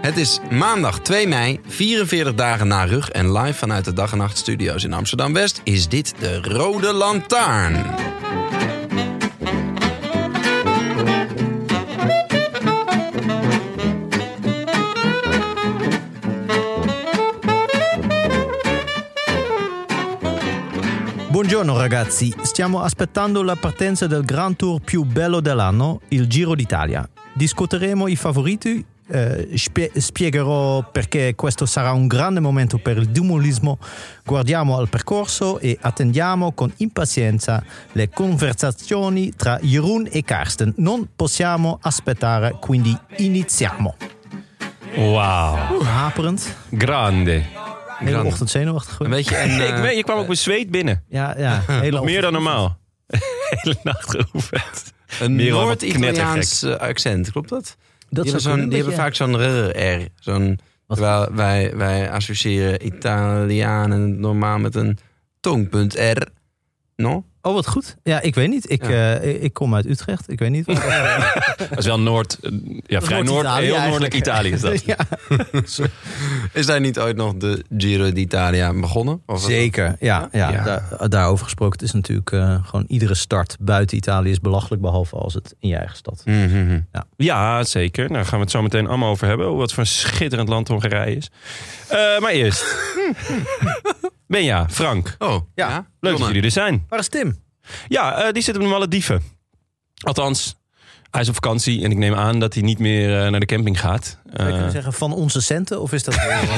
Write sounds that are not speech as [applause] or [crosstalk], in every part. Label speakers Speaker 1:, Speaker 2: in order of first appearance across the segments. Speaker 1: Het is maandag 2 mei, 44 dagen na rug en live vanuit de Dag en Nacht Studio's in Amsterdam West is dit de Rode Lantaarn.
Speaker 2: Buongiorno ragazzi, stiamo aspettando la partenza del Grand Tour più bello dell'anno, il Giro d'Italia. Discuteremo i favoriti, eh, spie- spiegherò perché questo sarà un grande momento per il dumolismo. Guardiamo al percorso e attendiamo con impazienza le conversazioni tra Jeroen e Karsten. Non possiamo aspettare, quindi iniziamo.
Speaker 3: Wauw.
Speaker 2: Haperend,
Speaker 3: Grande.
Speaker 2: hele
Speaker 1: Grande.
Speaker 2: ochtend zenuwachtig.
Speaker 1: Een beetje en,
Speaker 3: Ik
Speaker 1: eh,
Speaker 3: weet, je kwam ook met zweet binnen.
Speaker 2: Ja, ja. Hele
Speaker 3: Meer
Speaker 2: ochtend.
Speaker 3: dan normaal. [laughs] Hele nacht geoefend.
Speaker 1: eh, een
Speaker 3: Merel wordt
Speaker 1: Noord-Italiaans eh, accent, klopt dat? die
Speaker 2: Dat zou
Speaker 1: hebben, zo'n-
Speaker 2: kunnen,
Speaker 1: die hebben
Speaker 2: ja.
Speaker 1: vaak zo'n r-r. Zo'n, terwijl wij, wij associëren Italianen normaal met een tongpunt r. No?
Speaker 2: Oh, wat goed. Ja, ik weet niet. Ik,
Speaker 1: Ja.
Speaker 2: eh, ik kom uit Utrecht. Ik weet niet.
Speaker 3: Dat is wel Noord... eh, Ja, vrij Noord...
Speaker 2: Noord-Italië
Speaker 3: Heel noordelijk
Speaker 2: eigenlijk.
Speaker 3: Italië is dat.
Speaker 2: [laughs] ja.
Speaker 1: Is daar niet ooit nog de Giro d'Italia begonnen? Of was-
Speaker 2: Zeker, ja. ja,
Speaker 1: Ja.
Speaker 2: Daar, daarover gesproken. Het is natuurlijk eh, gewoon iedere start buiten Italië is belachelijk. Behalve als het in je eigen stad.
Speaker 1: Mhm.
Speaker 3: [laughs] Ja, zeker. Nou, gaan we het zo meteen allemaal over hebben. Wat voor een schitterend land Hongarije is. Eh, maar [laughs] eerst. Benja, Frank.
Speaker 1: Oh,
Speaker 2: Ja.
Speaker 1: ja.
Speaker 3: Leuk dat
Speaker 1: Jonne.
Speaker 3: jullie er zijn.
Speaker 2: Waar is Tim?
Speaker 3: Ja, eh, die zit op de Malediven. Althans, hij is op vakantie en ik neem aan dat hij niet meer eh, naar de camping gaat.
Speaker 2: Zou je
Speaker 3: Eh,
Speaker 2: kunnen zeggen van onze centen? Of is dat... eh,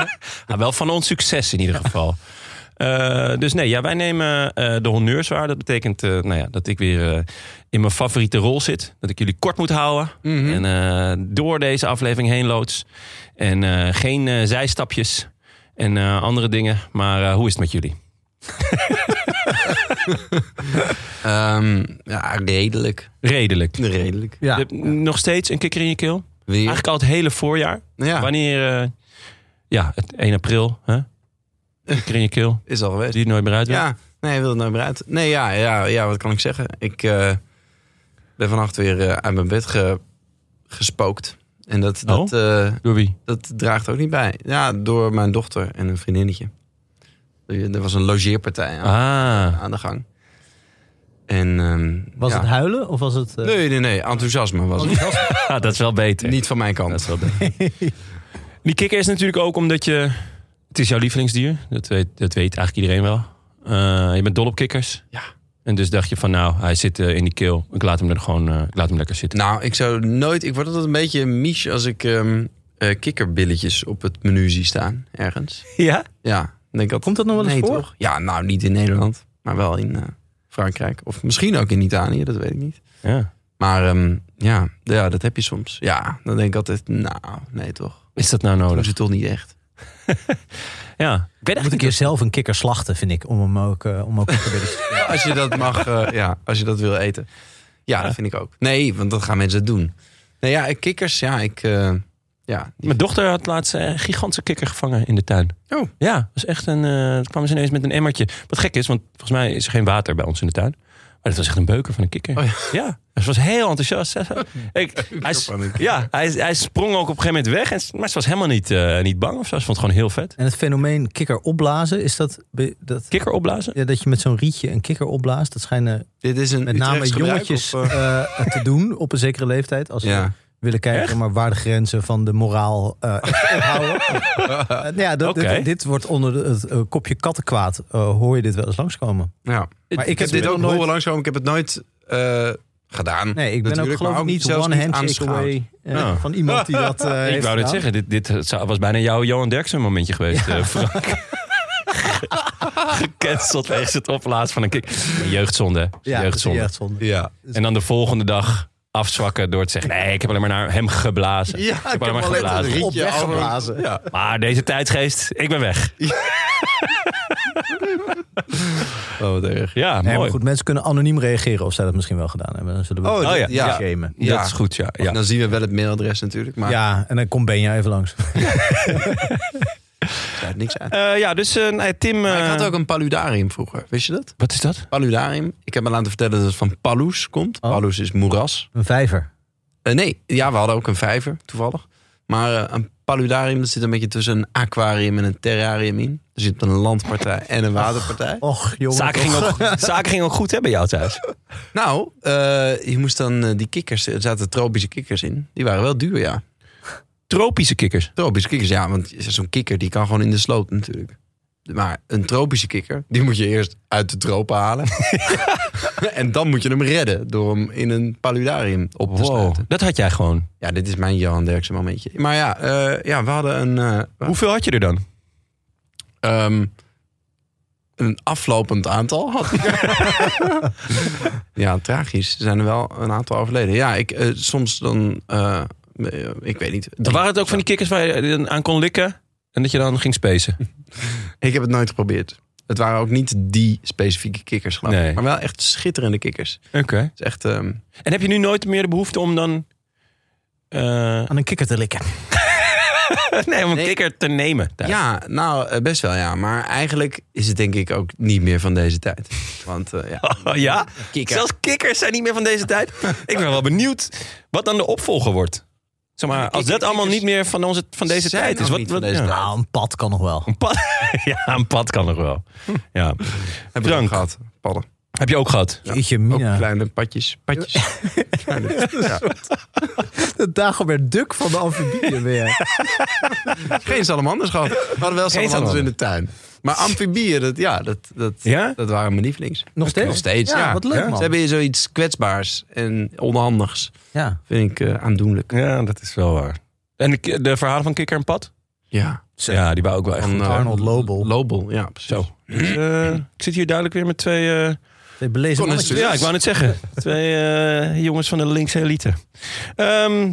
Speaker 3: [laughs] Nou, wel van ons succes in ieder
Speaker 1: [laughs]
Speaker 3: geval. Eh, dus nee, ja, wij nemen eh, de honneurs waar. Dat betekent eh, nou ja, dat ik weer eh, in mijn favoriete rol zit. Dat ik jullie kort moet houden.
Speaker 1: Mhm.
Speaker 3: En eh, door deze aflevering heen loods. En eh, geen eh, zijstapjes en eh, andere dingen. Maar eh, hoe is het met jullie?
Speaker 1: Ehm, ja, redelijk. [laughs]
Speaker 3: Redelijk.
Speaker 1: Redelijk.
Speaker 2: ja.
Speaker 3: Je hebt Nog steeds een kikker in je keel?
Speaker 1: Weer.
Speaker 3: Eigenlijk al het hele voorjaar.
Speaker 1: Ja,
Speaker 3: Wanneer, eh, ja, het 1 april. Hè? Kikker in je keel.
Speaker 1: is al geweest.
Speaker 3: Die het nooit meer uit wil.
Speaker 1: Ja, nee, hij wil het nou weer uit. Nee, ja, ja, ja, wat kan ik zeggen? Ik eh, ben vannacht weer eh, uit mijn bed ge- gespookt. En dat, dat, eh,
Speaker 3: Door wie?
Speaker 1: dat draagt ook niet bij. Ja, door mijn dochter en een vriendinnetje. Er er was een logeerpartij aan,
Speaker 3: Ah. [laughs]
Speaker 1: aan de gang. En, ehm,
Speaker 2: [laughs] Was
Speaker 1: ja.
Speaker 2: het huilen? Of was het... eh,
Speaker 1: Nee, nee, nee. Enthousiasme was het.
Speaker 3: Ah, dat is wel beter.
Speaker 1: Niet van mijn
Speaker 3: Dat is
Speaker 1: kant.
Speaker 3: wel beter. Die kikker is natuurlijk ook omdat je... Het is jouw lievelingsdier. Dat weet, dat weet eigenlijk iedereen wel. Eh, je bent dol op kikkers.
Speaker 1: Ja.
Speaker 3: En dus dacht je van nou, hij zit eh, in die keel. Ik laat hem er gewoon eh, ik laat hem lekker zitten.
Speaker 1: Nou, ik zou nooit. Ik word altijd een beetje miche als ik ehm, eh, kikkerbilletjes op het menu zie staan ergens.
Speaker 3: Ja?
Speaker 1: Ja, dan denk ik altijd,
Speaker 2: Komt dat nog wel eens
Speaker 1: nee,
Speaker 2: voor?
Speaker 1: toch? Ja, nou niet in Nederland, maar wel in eh, Frankrijk. Of misschien ook in Italië, dat weet ik niet.
Speaker 3: ja.
Speaker 1: Maar ehm, ja, ja, dat heb je soms. Ja, dan denk ik altijd, nou, nee
Speaker 2: Oh,
Speaker 1: toch.
Speaker 3: Is dat nou
Speaker 1: Dat is
Speaker 3: nodig?
Speaker 1: het toch niet echt.
Speaker 3: Ja. Ik weet
Speaker 2: Moet ik
Speaker 3: eigenlijk
Speaker 2: hier zelf een kikker slachten, vind ik. Om hem ook... eh, om ook
Speaker 1: Als je dat mag, eh, [laughs] ja, als je dat wil eten. Ja, dat vind ik ook. Nee, want dat gaan mensen doen. Nee, ja, kikkers, ja, ik, eh, Ja, die-
Speaker 3: Mijn dochter had laatst eh, een gigantische kikker gevangen in de tuin.
Speaker 1: Oh.
Speaker 3: Ja, was echt een. eh toen kwamen ze ineens met een emmertje. Wat gek is, want volgens mij is er geen water bij ons in de tuin. Maar dat was echt een beuker van een kikker.
Speaker 1: Oh ja.
Speaker 3: Ze was heel enthousiast. Ze-
Speaker 1: [laughs]
Speaker 3: Ik, hij, s-
Speaker 1: van een kikker.
Speaker 3: ja, hij, hij sprong ook op een gegeven moment weg. En, s- maar ze was helemaal niet, eh, niet bang of zo. Ze vond het gewoon heel vet.
Speaker 2: En het fenomeen kikker opblazen, is dat... be- dat
Speaker 3: Kikker opblazen?
Speaker 2: ja, dat je met zo'n rietje een kikker opblaast, dat schijnen
Speaker 1: dit is een
Speaker 2: met name
Speaker 1: Utrechts gebruik,
Speaker 2: jongetjes
Speaker 1: of, eh?
Speaker 2: eh, te doen op een zekere leeftijd. Als ze
Speaker 1: Ja.
Speaker 2: willen kijken
Speaker 3: Echt?
Speaker 2: maar waar de grenzen van de moraal eh ophouden. Eh, nou ja, dat- dit-
Speaker 3: Oké.
Speaker 2: dit, wordt onder de- het eh, kopje kattenkwaad, eh, hoor je dit wel eens langskomen.
Speaker 1: Ja.
Speaker 2: Maar
Speaker 1: Ik heb dit ook nooit... horen langskomen. Ik heb het nooit eh, gedaan.
Speaker 2: Nee, ik ben ook
Speaker 1: Natuurlijk,
Speaker 2: geloof
Speaker 1: maar
Speaker 2: ik niet
Speaker 1: zelfs
Speaker 2: one
Speaker 1: niet
Speaker 2: handshake
Speaker 1: aanschouwd.
Speaker 2: away eh,
Speaker 3: Nou.
Speaker 2: van iemand die dat eh
Speaker 3: Ik
Speaker 2: heeft
Speaker 3: wou net
Speaker 2: gedaan.
Speaker 3: zeggen, dit, dit zou- was bijna jouw Johan Derksen momentje geweest, eh, Frank.
Speaker 2: [laughs]
Speaker 3: Gecanceld wegens het opblazen van een kikker. Jeugdzonde.
Speaker 2: Ja,
Speaker 3: jeugdzonde.
Speaker 2: jeugdzonde.
Speaker 1: Ja.
Speaker 3: En dan de volgende dag afzwakken door te zeggen: nee, ik heb alleen maar naar hem geblazen.
Speaker 1: Ja, ik heb alleen een
Speaker 2: Op
Speaker 1: rietje
Speaker 2: weggeblazen.
Speaker 1: Ja.
Speaker 3: Maar deze tijdsgeest, ik ben weg.
Speaker 1: Oh, wat erg.
Speaker 3: Ja,
Speaker 2: Nee, maar
Speaker 3: mooi.
Speaker 2: goed, mensen kunnen anoniem reageren of zij dat misschien wel gedaan hebben. Dan zullen we
Speaker 1: Oh,
Speaker 2: het
Speaker 3: Oh ja,
Speaker 1: dit- ja.
Speaker 3: ja.
Speaker 2: shamen.
Speaker 3: Ja, Dat is goed, ja. ja.
Speaker 1: En dan zien we wel het mailadres natuurlijk, maar
Speaker 2: Ja, en dan komt Benja even langs.
Speaker 1: het sluit niks uit.
Speaker 3: Eh, ja, dus eh, nee,
Speaker 1: [laughs]
Speaker 3: Tim.
Speaker 1: Maar ik
Speaker 3: eh,
Speaker 1: had ook een paludarium vroeger, wist je dat?
Speaker 3: Wat is dat?
Speaker 1: Paludarium. Ik heb me laten vertellen dat het van palus komt.
Speaker 2: Oh.
Speaker 1: Palus is moeras.
Speaker 2: Een vijver.
Speaker 1: Eh, nee, ja, we hadden ook een vijver, toevallig. Maar eh, een paludarium, dat zit een beetje tussen een aquarium en een terrarium in. Dus je hebt een landpartij en een waterpartij.
Speaker 2: Och, jongen.
Speaker 3: Zaken ging, ook, zaken ging ook goed hè, bij jou thuis.
Speaker 1: Nou, eh, je moest dan eh, die kikkers, er zaten tropische kikkers in. Die waren wel duur, ja.
Speaker 3: Tropische kikkers.
Speaker 1: Tropische kikkers, ja, want zo'n kikker die kan gewoon in de sloot natuurlijk. Maar een tropische kikker, die moet je eerst uit de tropen
Speaker 3: [laughs]
Speaker 1: halen. en dan moet je hem redden door hem in een paludarium op te
Speaker 3: Wow,
Speaker 1: sluiten.
Speaker 3: dat had jij gewoon.
Speaker 1: Ja, dit is mijn Johan Derksen momentje. Maar ja, eh, ja we hadden een... eh, we-
Speaker 3: Hoeveel had je er dan?
Speaker 1: Ehm, een aflopend aantal
Speaker 3: [laughs]
Speaker 1: had. ja, tragisch. Er zijn er wel een aantal overleden. Ja, ik, eh, soms dan... eh, eh, ik weet niet.
Speaker 3: Dan waren het ook van die kikkers waar je dan aan kon likken en dat je dan ging spacen.
Speaker 1: Ik heb het nooit geprobeerd. Het waren ook niet die specifieke kikkers, geloof ik.
Speaker 3: Nee.
Speaker 1: Maar wel echt schitterende kikkers.
Speaker 3: [laughs] Oké.
Speaker 1: Het is echt... ehm,
Speaker 3: En heb je nu nooit meer de behoefte om dan. eh, [laughs]
Speaker 2: Aan een kikker te likken.
Speaker 3: nee, om een
Speaker 1: Nee.
Speaker 3: kikker te nemen. thuis.
Speaker 1: ja, nou, eh, best wel ja. Maar eigenlijk is het denk ik ook niet meer van deze tijd. Want eh,
Speaker 3: [laughs]
Speaker 1: ja,
Speaker 3: Oh, [laughs] ja?
Speaker 1: kikker.
Speaker 3: Zelfs kikkers zijn niet meer van deze tijd. Ik ben wel benieuwd wat dan de opvolger wordt. Zeg maar, als dat
Speaker 1: kikker-
Speaker 3: allemaal niet
Speaker 1: kikkers
Speaker 3: meer van, onze, van deze
Speaker 1: zijn
Speaker 3: tijd is.
Speaker 1: ook
Speaker 3: Wat,
Speaker 1: niet
Speaker 3: wat-
Speaker 1: van deze
Speaker 3: ja.
Speaker 1: tijd.
Speaker 2: Nou, een pad kan nog wel.
Speaker 3: [laughs] Een pad, [laughs] ja, een pad kan nog wel. Ja.
Speaker 1: heb ik ook
Speaker 3: Frank.
Speaker 1: gehad. Padden.
Speaker 3: Heb je ook gehad?
Speaker 2: Jeetje,
Speaker 1: Ook
Speaker 2: Mina.
Speaker 1: kleine padjes. Padjes. [laughs]
Speaker 2: [laughs]
Speaker 1: Kleine- ja.
Speaker 2: De Dagobert Duk van de [laughs] amfibieën weer.
Speaker 1: Geen salamanders gehad. We hadden wel
Speaker 3: Geen
Speaker 1: salamanders in
Speaker 3: salamander.
Speaker 1: de tuin. Maar amfibieën, dat, ja, dat, dat,
Speaker 3: Ja?
Speaker 1: dat waren mijn lievelings.
Speaker 2: Nog steeds?
Speaker 1: Nog steeds, ja.
Speaker 2: Ja, wat leuk, man.
Speaker 1: Ze hebben hier zoiets kwetsbaars en onhandigs.
Speaker 2: Ja,
Speaker 1: Vind ik eh, aandoenlijk.
Speaker 3: Ja, dat is wel waar. En de, ki- de verhalen van Kikker en Pad?
Speaker 1: Ja.
Speaker 3: Ja, die waren ook wel echt
Speaker 1: Van,
Speaker 3: goed.
Speaker 1: eh,
Speaker 2: Arnold Lobel.
Speaker 1: Lobel, ja, precies.
Speaker 3: Zo. Dus, eh, ik zit hier duidelijk weer met twee... eh,
Speaker 2: de belezen
Speaker 1: Kon het
Speaker 2: mannetjes.
Speaker 1: Dus-
Speaker 3: ja, ik wou net zeggen. [laughs] Twee eh, jongens van de linkse elite. [laughs] Ehm,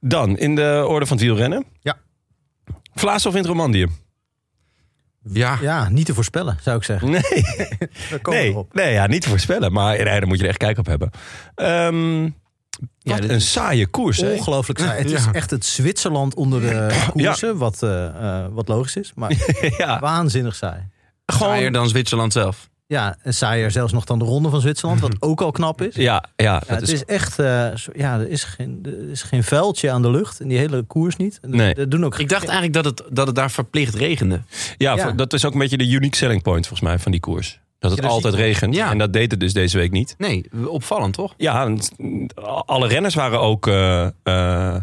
Speaker 3: dan, in de orde van het wielrennen.
Speaker 2: Ja.
Speaker 3: Vlaas of in het Romandium?
Speaker 1: Ja.
Speaker 2: Ja, niet te voorspellen, zou ik zeggen.
Speaker 3: Nee,
Speaker 2: Daar komen we
Speaker 3: nee,
Speaker 2: erop.
Speaker 3: nee ja, niet te voorspellen. Maar nee, daar moet je er echt kijk op hebben. Ehm, wat
Speaker 1: dit
Speaker 3: een
Speaker 1: is-
Speaker 3: saaie koers, hè?
Speaker 2: Ongelooflijk saai. Het is
Speaker 1: Ja.
Speaker 2: echt het Zwitserland onder de koersen, wat, eh, eh, wat logisch is. Maar
Speaker 3: ja,
Speaker 2: waanzinnig saai.
Speaker 1: Saaier
Speaker 3: gewoon...
Speaker 1: dan Zwitserland zelf.
Speaker 2: Ja, en saaier zelfs nog dan de Ronde van Zwitserland, wat ook al knap is.
Speaker 3: Mhm. Ja, ja,
Speaker 2: Ja,
Speaker 3: dat
Speaker 2: het
Speaker 3: is
Speaker 2: is echt, eh, zo- ja, er is, geen, er is geen vuiltje aan de lucht in die hele koers niet. En
Speaker 3: Nee.
Speaker 2: Dat doen ook
Speaker 1: Ik dacht eigenlijk dat het, dat het daar verplicht regende.
Speaker 3: Ja,
Speaker 2: Ja.
Speaker 3: voor- dat is ook een beetje de unique selling point volgens mij van die koers. Dat het
Speaker 1: Ja, dus
Speaker 3: altijd regent.
Speaker 1: Ja.
Speaker 3: En dat deed het dus deze week niet.
Speaker 1: Nee, opvallend toch?
Speaker 3: Ja, en het- alle renners waren ook eh, eh,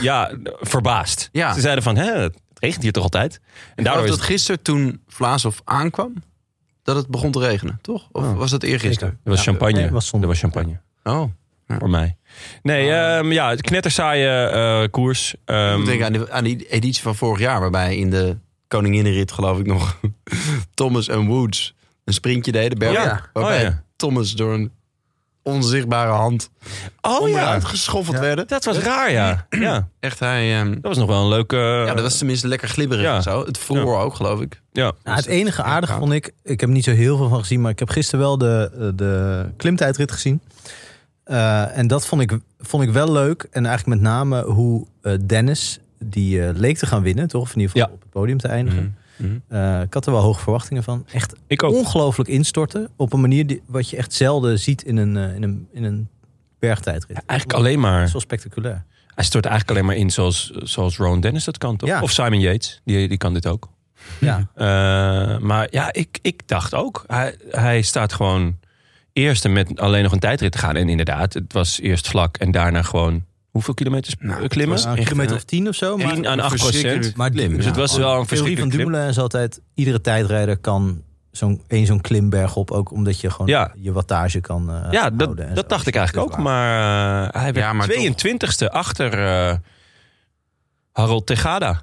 Speaker 3: ja, verbaasd.
Speaker 1: Ja.
Speaker 3: Ze zeiden van, hè, het regent hier toch altijd? En
Speaker 1: Daardoor
Speaker 3: daardoor is
Speaker 1: dat
Speaker 3: het,
Speaker 1: gisteren toen Vlaashof aankwam, dat het begon te regenen, toch? Of
Speaker 3: Oh,
Speaker 1: was dat eergisteren?
Speaker 3: er was champagne.
Speaker 2: nee, het was zondag.
Speaker 3: er was champagne,
Speaker 1: Oh.
Speaker 3: voor mij. Nee, ehm, ja, het knettersaaie eh, koers.
Speaker 1: Ik
Speaker 3: Ehm,
Speaker 1: moet denken aan, de, aan die editie van vorig jaar, waarbij in de Koninginrit, geloof ik nog, [laughs] Thomas en Woods een sprintje deden. Berg,
Speaker 3: Ja.
Speaker 1: Waarbij
Speaker 3: Oh ja.
Speaker 1: Thomas door een onzichtbare hand
Speaker 3: oh ja,
Speaker 1: onderuit geschoffeld werden.
Speaker 3: dat was raar, ja. ja.
Speaker 1: Echt, hij... ehm,
Speaker 3: Dat was nog wel een leuke...
Speaker 1: ja, dat was tenminste lekker glibberig
Speaker 3: ja.
Speaker 1: en zo. Het vroor ook, geloof ik.
Speaker 3: ja.
Speaker 2: Nou, het enige aardige vond ik, ik heb er niet zo heel veel van gezien, maar ik heb gisteren wel de, eh, de klimtijdrit gezien. Eh, en dat vond ik, vond ik wel leuk. En eigenlijk met name hoe eh, Dennis, die eh, leek te gaan winnen, toch? Of in ieder geval
Speaker 3: Ja.
Speaker 2: op het podium te eindigen.
Speaker 1: Mhm.
Speaker 2: Eh, ik had er wel hoge verwachtingen van. Echt
Speaker 3: Ik
Speaker 1: Oh.
Speaker 3: ook.
Speaker 2: ongelooflijk instorten. Op een manier die, wat je echt zelden ziet in een, eh, in een, in een bergtijdrit.
Speaker 3: Eigenlijk alleen maar.
Speaker 2: Zo spectaculair.
Speaker 3: Hij stort eigenlijk alleen maar in zoals, zoals Ron Dennis dat kan, toch?
Speaker 2: Ja.
Speaker 3: Of Simon Yates, die, die kan dit ook.
Speaker 1: Mhm.
Speaker 2: Ja.
Speaker 3: Eh, maar ja, ik, ik dacht ook. Hij, hij staat gewoon eerste met alleen nog een tijdrit te gaan. En inderdaad, het was eerst vlak en daarna gewoon... Hoeveel kilometers
Speaker 1: Nou, het
Speaker 3: klimmen?
Speaker 1: was
Speaker 2: Nou, een
Speaker 1: echt,
Speaker 2: kilometer
Speaker 1: eh,
Speaker 2: of tien of zo. Maar,
Speaker 3: 1 aan 8 procent.
Speaker 2: maar
Speaker 1: klim,
Speaker 3: Dus
Speaker 1: ja.
Speaker 3: het was wel een
Speaker 2: De theorie van
Speaker 3: verschrikkelijk klim.
Speaker 2: Dumoulin is altijd... iedere tijdrijder kan zo'n één zo'n klimberg op. Ook omdat je gewoon
Speaker 3: Ja.
Speaker 2: je wattage kan eh,
Speaker 3: Ja, dat,
Speaker 2: houden en
Speaker 3: dat
Speaker 2: zo.
Speaker 3: dacht ik eigenlijk ook.
Speaker 2: Dus waar.
Speaker 3: Maar eh, hij werd
Speaker 1: Ja, maar toch.
Speaker 3: 22e achter eh, Harold
Speaker 1: [laughs]
Speaker 3: Tegada.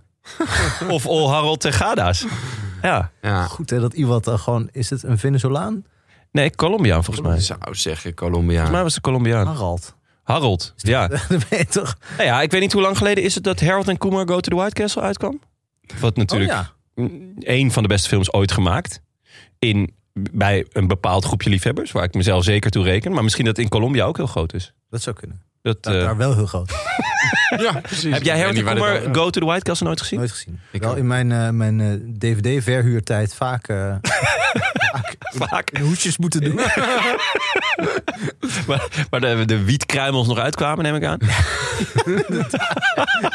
Speaker 3: of al Harold Tegada's. Ja.
Speaker 1: Ja.
Speaker 2: Goed hè, dat iemand dan gewoon... Is het een Venezolaan?
Speaker 3: Nee, Colombiaan volgens mij.
Speaker 1: Ik
Speaker 3: Volgens
Speaker 1: zou zeggen Colombia.
Speaker 3: mij was het
Speaker 1: Ah.
Speaker 3: Colombiaan.
Speaker 2: Harald.
Speaker 3: Harold. Ja.
Speaker 2: [laughs] Dan ben je toch... Oh
Speaker 3: Nou ja, ik weet niet hoe lang geleden is het dat Harold en Kumar Go to the White Castle uitkwam. Wat natuurlijk
Speaker 2: Oh, ja.
Speaker 3: een van de beste films ooit gemaakt. In, bij een bepaald groepje liefhebbers, waar ik mezelf zeker toe reken. Maar misschien dat in Colombia ook heel groot is.
Speaker 2: Dat zou kunnen.
Speaker 3: Dat,
Speaker 2: Dat
Speaker 3: eh,
Speaker 2: daar wel heel groot.
Speaker 1: Ja, precies.
Speaker 3: heb
Speaker 1: Ik weet
Speaker 3: jij Harold en
Speaker 1: niet waar dit
Speaker 3: Kumar
Speaker 1: over-
Speaker 3: Go to the White Castle nooit gezien?
Speaker 2: Nooit gezien.
Speaker 1: Ik
Speaker 2: wel
Speaker 1: ook.
Speaker 2: in mijn, eh, mijn eh, DVD-verhuurtijd vaak eh,
Speaker 3: Vaak. [laughs]
Speaker 2: hoedjes moeten doen.
Speaker 3: Maar, maar de, de wietkruimels nog uitkwamen, neem ik aan. [laughs]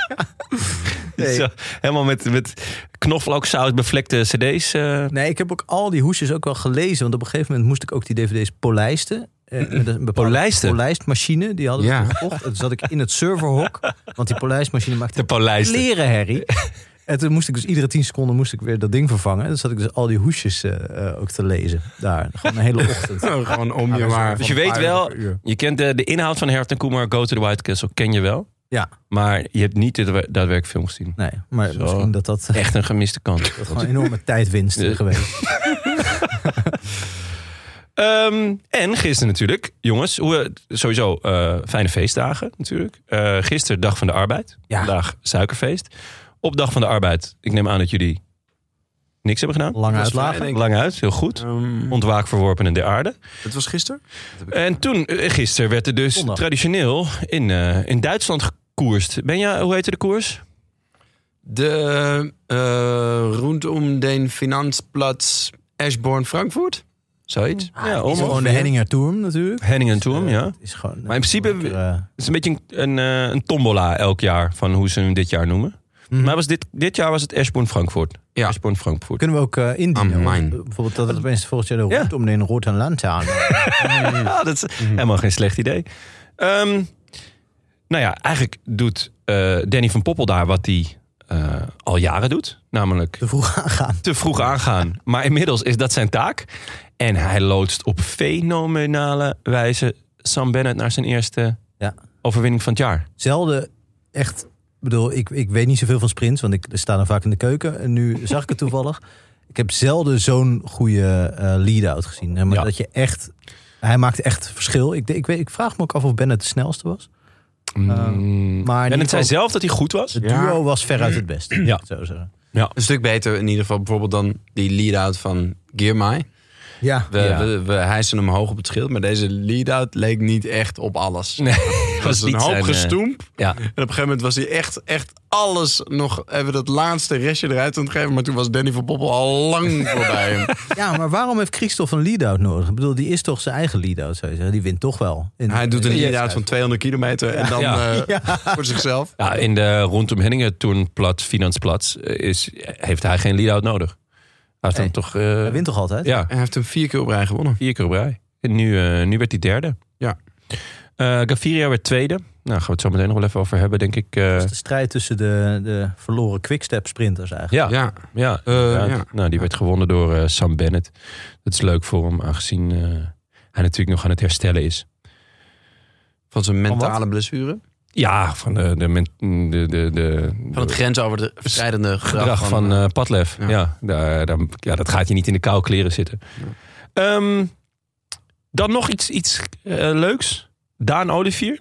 Speaker 2: Nee.
Speaker 3: Zo, helemaal met, met knoflooksaus bevlekte cd's. eh.
Speaker 2: Nee, ik heb ook al die hoesjes ook wel gelezen. Want op een gegeven moment moest ik ook die dvd's polijsten. Eh, met een bepaalde
Speaker 3: Polijsten?
Speaker 2: polijstmachine, die hadden we
Speaker 1: Ja.
Speaker 2: gekocht. En toen zat ik in het serverhok, want die polijstmachine maakte
Speaker 3: de polijsten.
Speaker 2: leren herrie. En toen moest ik dus iedere tien seconden moest ik weer dat ding vervangen. En toen zat ik dus al die hoesjes eh, eh, ook te lezen. Daar, gewoon een hele
Speaker 3: [laughs]
Speaker 2: ochtend.
Speaker 1: Gewoon om je maar.
Speaker 3: Oh, Dus je weet wel, je kent de, de inhoud van Harold en Kumar Go to the White Castle, ken je wel.
Speaker 2: Ja,
Speaker 3: Maar je hebt niet de daadwerkelijk film gezien.
Speaker 2: nee, maar
Speaker 3: Zo.
Speaker 2: misschien dat dat, eh,
Speaker 3: Echt een gemiste kans.
Speaker 2: dat gewoon een enorme tijdwinst is
Speaker 3: Ja.
Speaker 2: geweest.
Speaker 3: Ehm, en gisteren natuurlijk, jongens, hoe, sowieso eh, fijne feestdagen natuurlijk. Eh gisteren Dag van de Arbeid,
Speaker 2: Ja.
Speaker 3: vandaag Suikerfeest. Op Dag van de Arbeid, ik neem aan dat jullie niks hebben gedaan.
Speaker 2: Lange
Speaker 1: Dat is Ehm.
Speaker 2: uitlagen.
Speaker 1: vrij, denk ik.
Speaker 3: Lang uit, heel goed. Ontwaak verworpenen der aarde.
Speaker 1: Het was gisteren?
Speaker 3: En toen, eh, gisteren werd er dus
Speaker 2: Zondag.
Speaker 3: traditioneel in, eh, in Duitsland gekoerst. Ben je, hoe heette de koers?
Speaker 1: De eh rondom den Finanzplatz Eschborn Frankfurt? Zoiets.
Speaker 3: ja,
Speaker 2: Is gewoon de Henninger Turm natuurlijk.
Speaker 3: Henning en Toom,
Speaker 2: Eh,
Speaker 3: ja.
Speaker 2: het Is gewoon,
Speaker 3: Maar in principe-
Speaker 2: lekker, eh,
Speaker 3: Het is een beetje een, een, eh, een tombola elk jaar van hoe ze hem dit jaar noemen.
Speaker 2: Mhm.
Speaker 3: Maar was dit, dit jaar was het Eschborn Frankfurt.
Speaker 1: Ja.
Speaker 3: Eschborn Frankfurt.
Speaker 2: Kunnen we ook eh, indienen?
Speaker 1: Amijn.
Speaker 2: Want, eh, Bijvoorbeeld dat het mensen volgend jaar de
Speaker 3: Ja.
Speaker 2: route om de rood en land aan.
Speaker 3: Ja, dat is helemaal geen slecht idee. Mm. Mhm. Ehm, nou ja, eigenlijk doet eh, Danny van Poppel daar wat hij eh, al jaren doet. Namelijk
Speaker 2: Te vroeg [laughs] aangaan.
Speaker 3: te vroeg aangaan. Maar inmiddels is dat zijn taak. En hij loodst op fenomenale wijze Sam Bennett naar zijn eerste
Speaker 2: Ja.
Speaker 3: overwinning van het jaar.
Speaker 2: Zelden echt. Ik bedoel, ik, ik weet niet zoveel van sprints, want ik sta dan vaak in de keuken. En
Speaker 3: [laughs]
Speaker 2: nu zag ik het toevallig. Ik heb zelden zo'n goede eh, lead-out gezien. Hè, Maar
Speaker 3: Ja.
Speaker 2: dat je echt. Hij maakt echt verschil. Ik, ik, weet, ik vraag me ook af of Bennett de snelste was. Ehm,
Speaker 3: Mm.
Speaker 2: maar in ieder
Speaker 3: Bennett zei
Speaker 2: geval-
Speaker 3: zelf dat hij goed was.
Speaker 2: Het
Speaker 1: Ja.
Speaker 2: duo was veruit het beste.
Speaker 3: Ja.
Speaker 2: Zo zeggen.
Speaker 1: Een stuk beter in ieder geval bijvoorbeeld dan die lead-out van Gearmy.
Speaker 2: Ja.
Speaker 1: We,
Speaker 3: Ja.
Speaker 1: we, we hijsen hem hoog op het schild, maar deze lead-out leek niet echt op alles.
Speaker 3: Nee, [laughs]
Speaker 1: Het
Speaker 3: was
Speaker 1: was een
Speaker 3: niet
Speaker 1: hoop
Speaker 3: zijn, eh,
Speaker 1: gestoemp.
Speaker 3: ja.
Speaker 1: En op een gegeven moment was hij echt, echt alles nog even dat laatste restje eruit aan het geven. Maar toen was Danny van Poppel al lang [laughs] voorbij hem.
Speaker 2: Ja, maar waarom heeft Christophe een lead-out nodig? Ik bedoel, die is toch zijn eigen lead-out, zou je zeggen. Die wint toch wel. In-
Speaker 1: Hij doet een
Speaker 2: in-
Speaker 1: lead-out van 200 kilometer en dan
Speaker 3: Ja.
Speaker 1: eh, voor zichzelf.
Speaker 3: Ja, in de rondom Henningen toernplat, Finansplat, is, heeft hij geen lead-out nodig. Hij is dan
Speaker 2: Nee.
Speaker 3: toch... eh,
Speaker 2: Hij wint toch altijd?
Speaker 3: ja,
Speaker 1: Hij heeft hem vier keer op rij gewonnen.
Speaker 3: vier keer op rij. En nu, eh, nu werd hij derde.
Speaker 1: Ja.
Speaker 3: Eh, Gaviria werd tweede. Nou, gaan we het zo meteen nog wel even over hebben, denk ik. Eh,
Speaker 2: Dat is de strijd tussen de, de verloren quickstep sprinters eigenlijk.
Speaker 3: ja, ja.
Speaker 1: Ja,
Speaker 3: inderdaad.
Speaker 1: ja.
Speaker 3: Nou, die werd gewonnen door eh, Sam Bennett. Dat is leuk voor hem, aangezien eh, hij natuurlijk nog aan het herstellen is.
Speaker 1: van zijn
Speaker 2: wat?
Speaker 1: mentale blessure.
Speaker 3: Ja, van de, de, men- de, de, de,
Speaker 1: Van het grensoverschrijdende
Speaker 3: gedrag van, van
Speaker 1: eh,
Speaker 3: eh, Padlef. Ja,
Speaker 1: ja.
Speaker 3: daar, daar- ja, dat gaat je niet in de koude kleren zitten. Ehm, dan nog iets, iets eh, leuks. Daan Olivier,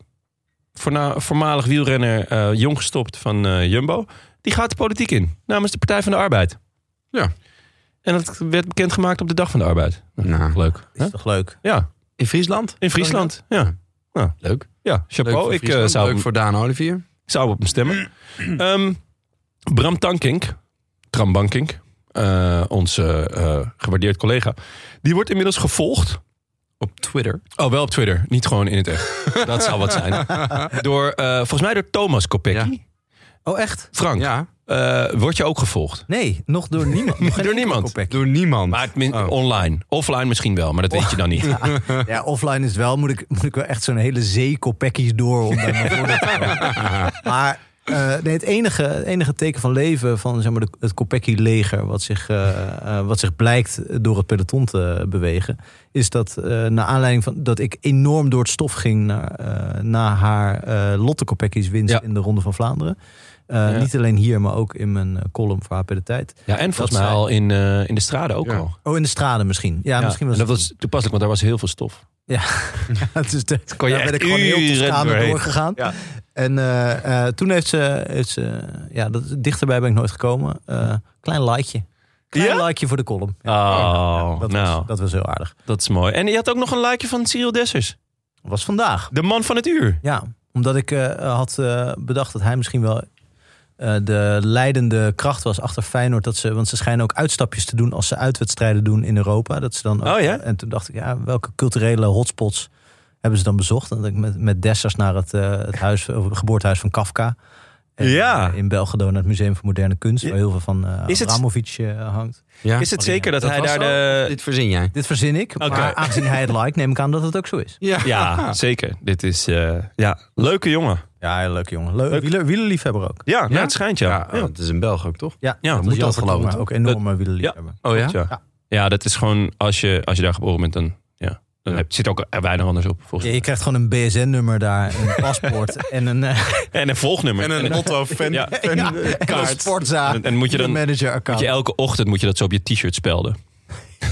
Speaker 3: voorna- voormalig wielrenner, eh, jong gestopt van eh, Jumbo. Die gaat de politiek in, namens de Partij van de Arbeid.
Speaker 1: Ja.
Speaker 3: En dat werd bekendgemaakt op de Dag van de Arbeid.
Speaker 1: Nou.
Speaker 3: Leuk.
Speaker 2: Is toch leuk?
Speaker 3: Ja,
Speaker 1: in Friesland. Oh,
Speaker 3: in Friesland. Ja. Nou,
Speaker 1: Leuk.
Speaker 3: ja,
Speaker 1: Leuk
Speaker 3: chapeau.
Speaker 1: voor
Speaker 3: Ik eh,
Speaker 1: Friesland,
Speaker 3: zou,
Speaker 1: Leuk voor Daan Olivier.
Speaker 3: zou op hem stemmen. Ehm, Bram Tankink, Tram Bankink, eh, onze eh, gewaardeerd collega, die wordt inmiddels gevolgd.
Speaker 1: Op Twitter.
Speaker 3: Oh, wel op Twitter, niet gewoon in het echt.
Speaker 2: [laughs]
Speaker 3: Dat zou wat zijn. Door, eh, volgens mij door Thomas Kopecky.
Speaker 2: Oh, echt?
Speaker 3: Frank,
Speaker 1: Ja.
Speaker 3: eh, word je ook gevolgd?
Speaker 2: Nee,
Speaker 1: [laughs]
Speaker 2: nog door niemand. Nog geen
Speaker 3: [laughs]
Speaker 2: enkel
Speaker 3: Door niemand.
Speaker 2: Kopecky. Oh.
Speaker 1: Door niemand.
Speaker 3: Maar het min- online. Offline misschien wel, maar dat weet je dan niet.
Speaker 2: [laughs] Ja, offline is wel, moet ik, moet ik wel echt zo'n hele zee koppekkies door om daar naar voren te komen.
Speaker 3: [laughs]
Speaker 2: Maar eh, nee, het enige, het enige teken van leven van zeg maar, de- het koppekkie leger wat zich, eh, eh, wat zich blijkt door het peloton te bewegen, is dat eh naar aanleiding van dat ik enorm door het stof ging na, eh, na haar eh Lotte Koppekkies winst
Speaker 3: Ja.
Speaker 2: in de Ronde van Vlaanderen. Eh,
Speaker 3: Ja.
Speaker 2: Niet alleen hier, maar ook in mijn eh, column voor HP de Tijd.
Speaker 3: Ja, en volgens mij
Speaker 2: zijn-
Speaker 3: al in, eh, in de straten ook
Speaker 1: Ja.
Speaker 3: al.
Speaker 2: Oh, in de straden misschien. Ja, misschien was
Speaker 3: en dat
Speaker 2: het-
Speaker 3: was toepasselijk, want daar was heel veel stof.
Speaker 2: [laughs] Het is de,
Speaker 3: kon je
Speaker 2: daar ben
Speaker 3: echt
Speaker 2: ik gewoon heel
Speaker 3: uren
Speaker 2: Toscane
Speaker 3: doorheen.
Speaker 2: doorgegaan.
Speaker 3: Ja.
Speaker 2: En eh, eh, toen heeft ze, heeft ze ja, dat, dichterbij ben ik nooit gekomen. Eh, klein likeje. Klein likeje voor de column.
Speaker 3: Oh,
Speaker 2: dat,
Speaker 3: nou,
Speaker 2: was, dat was heel aardig.
Speaker 3: dat is mooi. En je had ook nog een likeje van Cyril Dessers.
Speaker 2: Was vandaag.
Speaker 3: De man van het uur.
Speaker 2: Ja, omdat ik eh, had eh, bedacht dat hij misschien wel eh, de leidende kracht was achter Feyenoord. Dat ze, want ze schijnen ook uitstapjes te doen als ze uitwedstrijden doen in Europa. Dat ze dan ook-
Speaker 3: Oh ja?
Speaker 2: En toen dacht ik, ja, welke culturele hotspots hebben ze dan bezocht? En dat ik met, met Dessers naar het, eh, het, huis, of het geboortehuis van Kafka. En,
Speaker 3: Ja.
Speaker 2: eh, In Belgido naar het Museum voor Moderne Kunst,
Speaker 3: Ja.
Speaker 2: waar heel veel van eh
Speaker 3: Is het-
Speaker 2: Abramovic eh, hangt.
Speaker 1: Ja. Eh,
Speaker 3: Is het zeker dat,
Speaker 1: Dat
Speaker 3: hij
Speaker 1: was
Speaker 3: daar
Speaker 1: zo?
Speaker 3: de...
Speaker 1: Dit verzin jij.
Speaker 2: Dit verzin ik, maar aangezien hij het like, neem ik aan dat het ook zo is.
Speaker 1: Ja.
Speaker 3: Ja, Ah, zeker. Dit is... eh, ja, leuke jongen.
Speaker 2: Ja, leuk jongen. Leuk. Wieler, wielerliefhebber ook.
Speaker 3: Ja, nou,
Speaker 1: Ja?
Speaker 3: het schijnt ja.
Speaker 1: Ja, oh, het is in België ook, toch?
Speaker 2: Ja,
Speaker 3: Ja,
Speaker 2: dat
Speaker 3: moet
Speaker 2: moet
Speaker 1: dat
Speaker 2: dat
Speaker 1: geloven,
Speaker 2: geloven. Ook enorme wielerliefhebber.
Speaker 1: Oh ja?
Speaker 3: Ja. Ja. dat is gewoon... Als je, als je daar geboren bent, dan, ja, dan heb- zit ook er weinig anders op. Volgens
Speaker 2: Ja, je krijgt gewoon een BSN-nummer daar, een [laughs] paspoort en een,
Speaker 3: [laughs]
Speaker 2: eh,
Speaker 3: mij. En een volgnummer.
Speaker 1: En een Otto fan.
Speaker 3: Ja.
Speaker 1: fan-
Speaker 2: ja, en een
Speaker 1: kaart.
Speaker 2: sportzaak.
Speaker 3: eh, En- en moet je dan- Moet
Speaker 2: manager-account
Speaker 3: je elke ochtend moet je dat zo op je t-shirt spelden.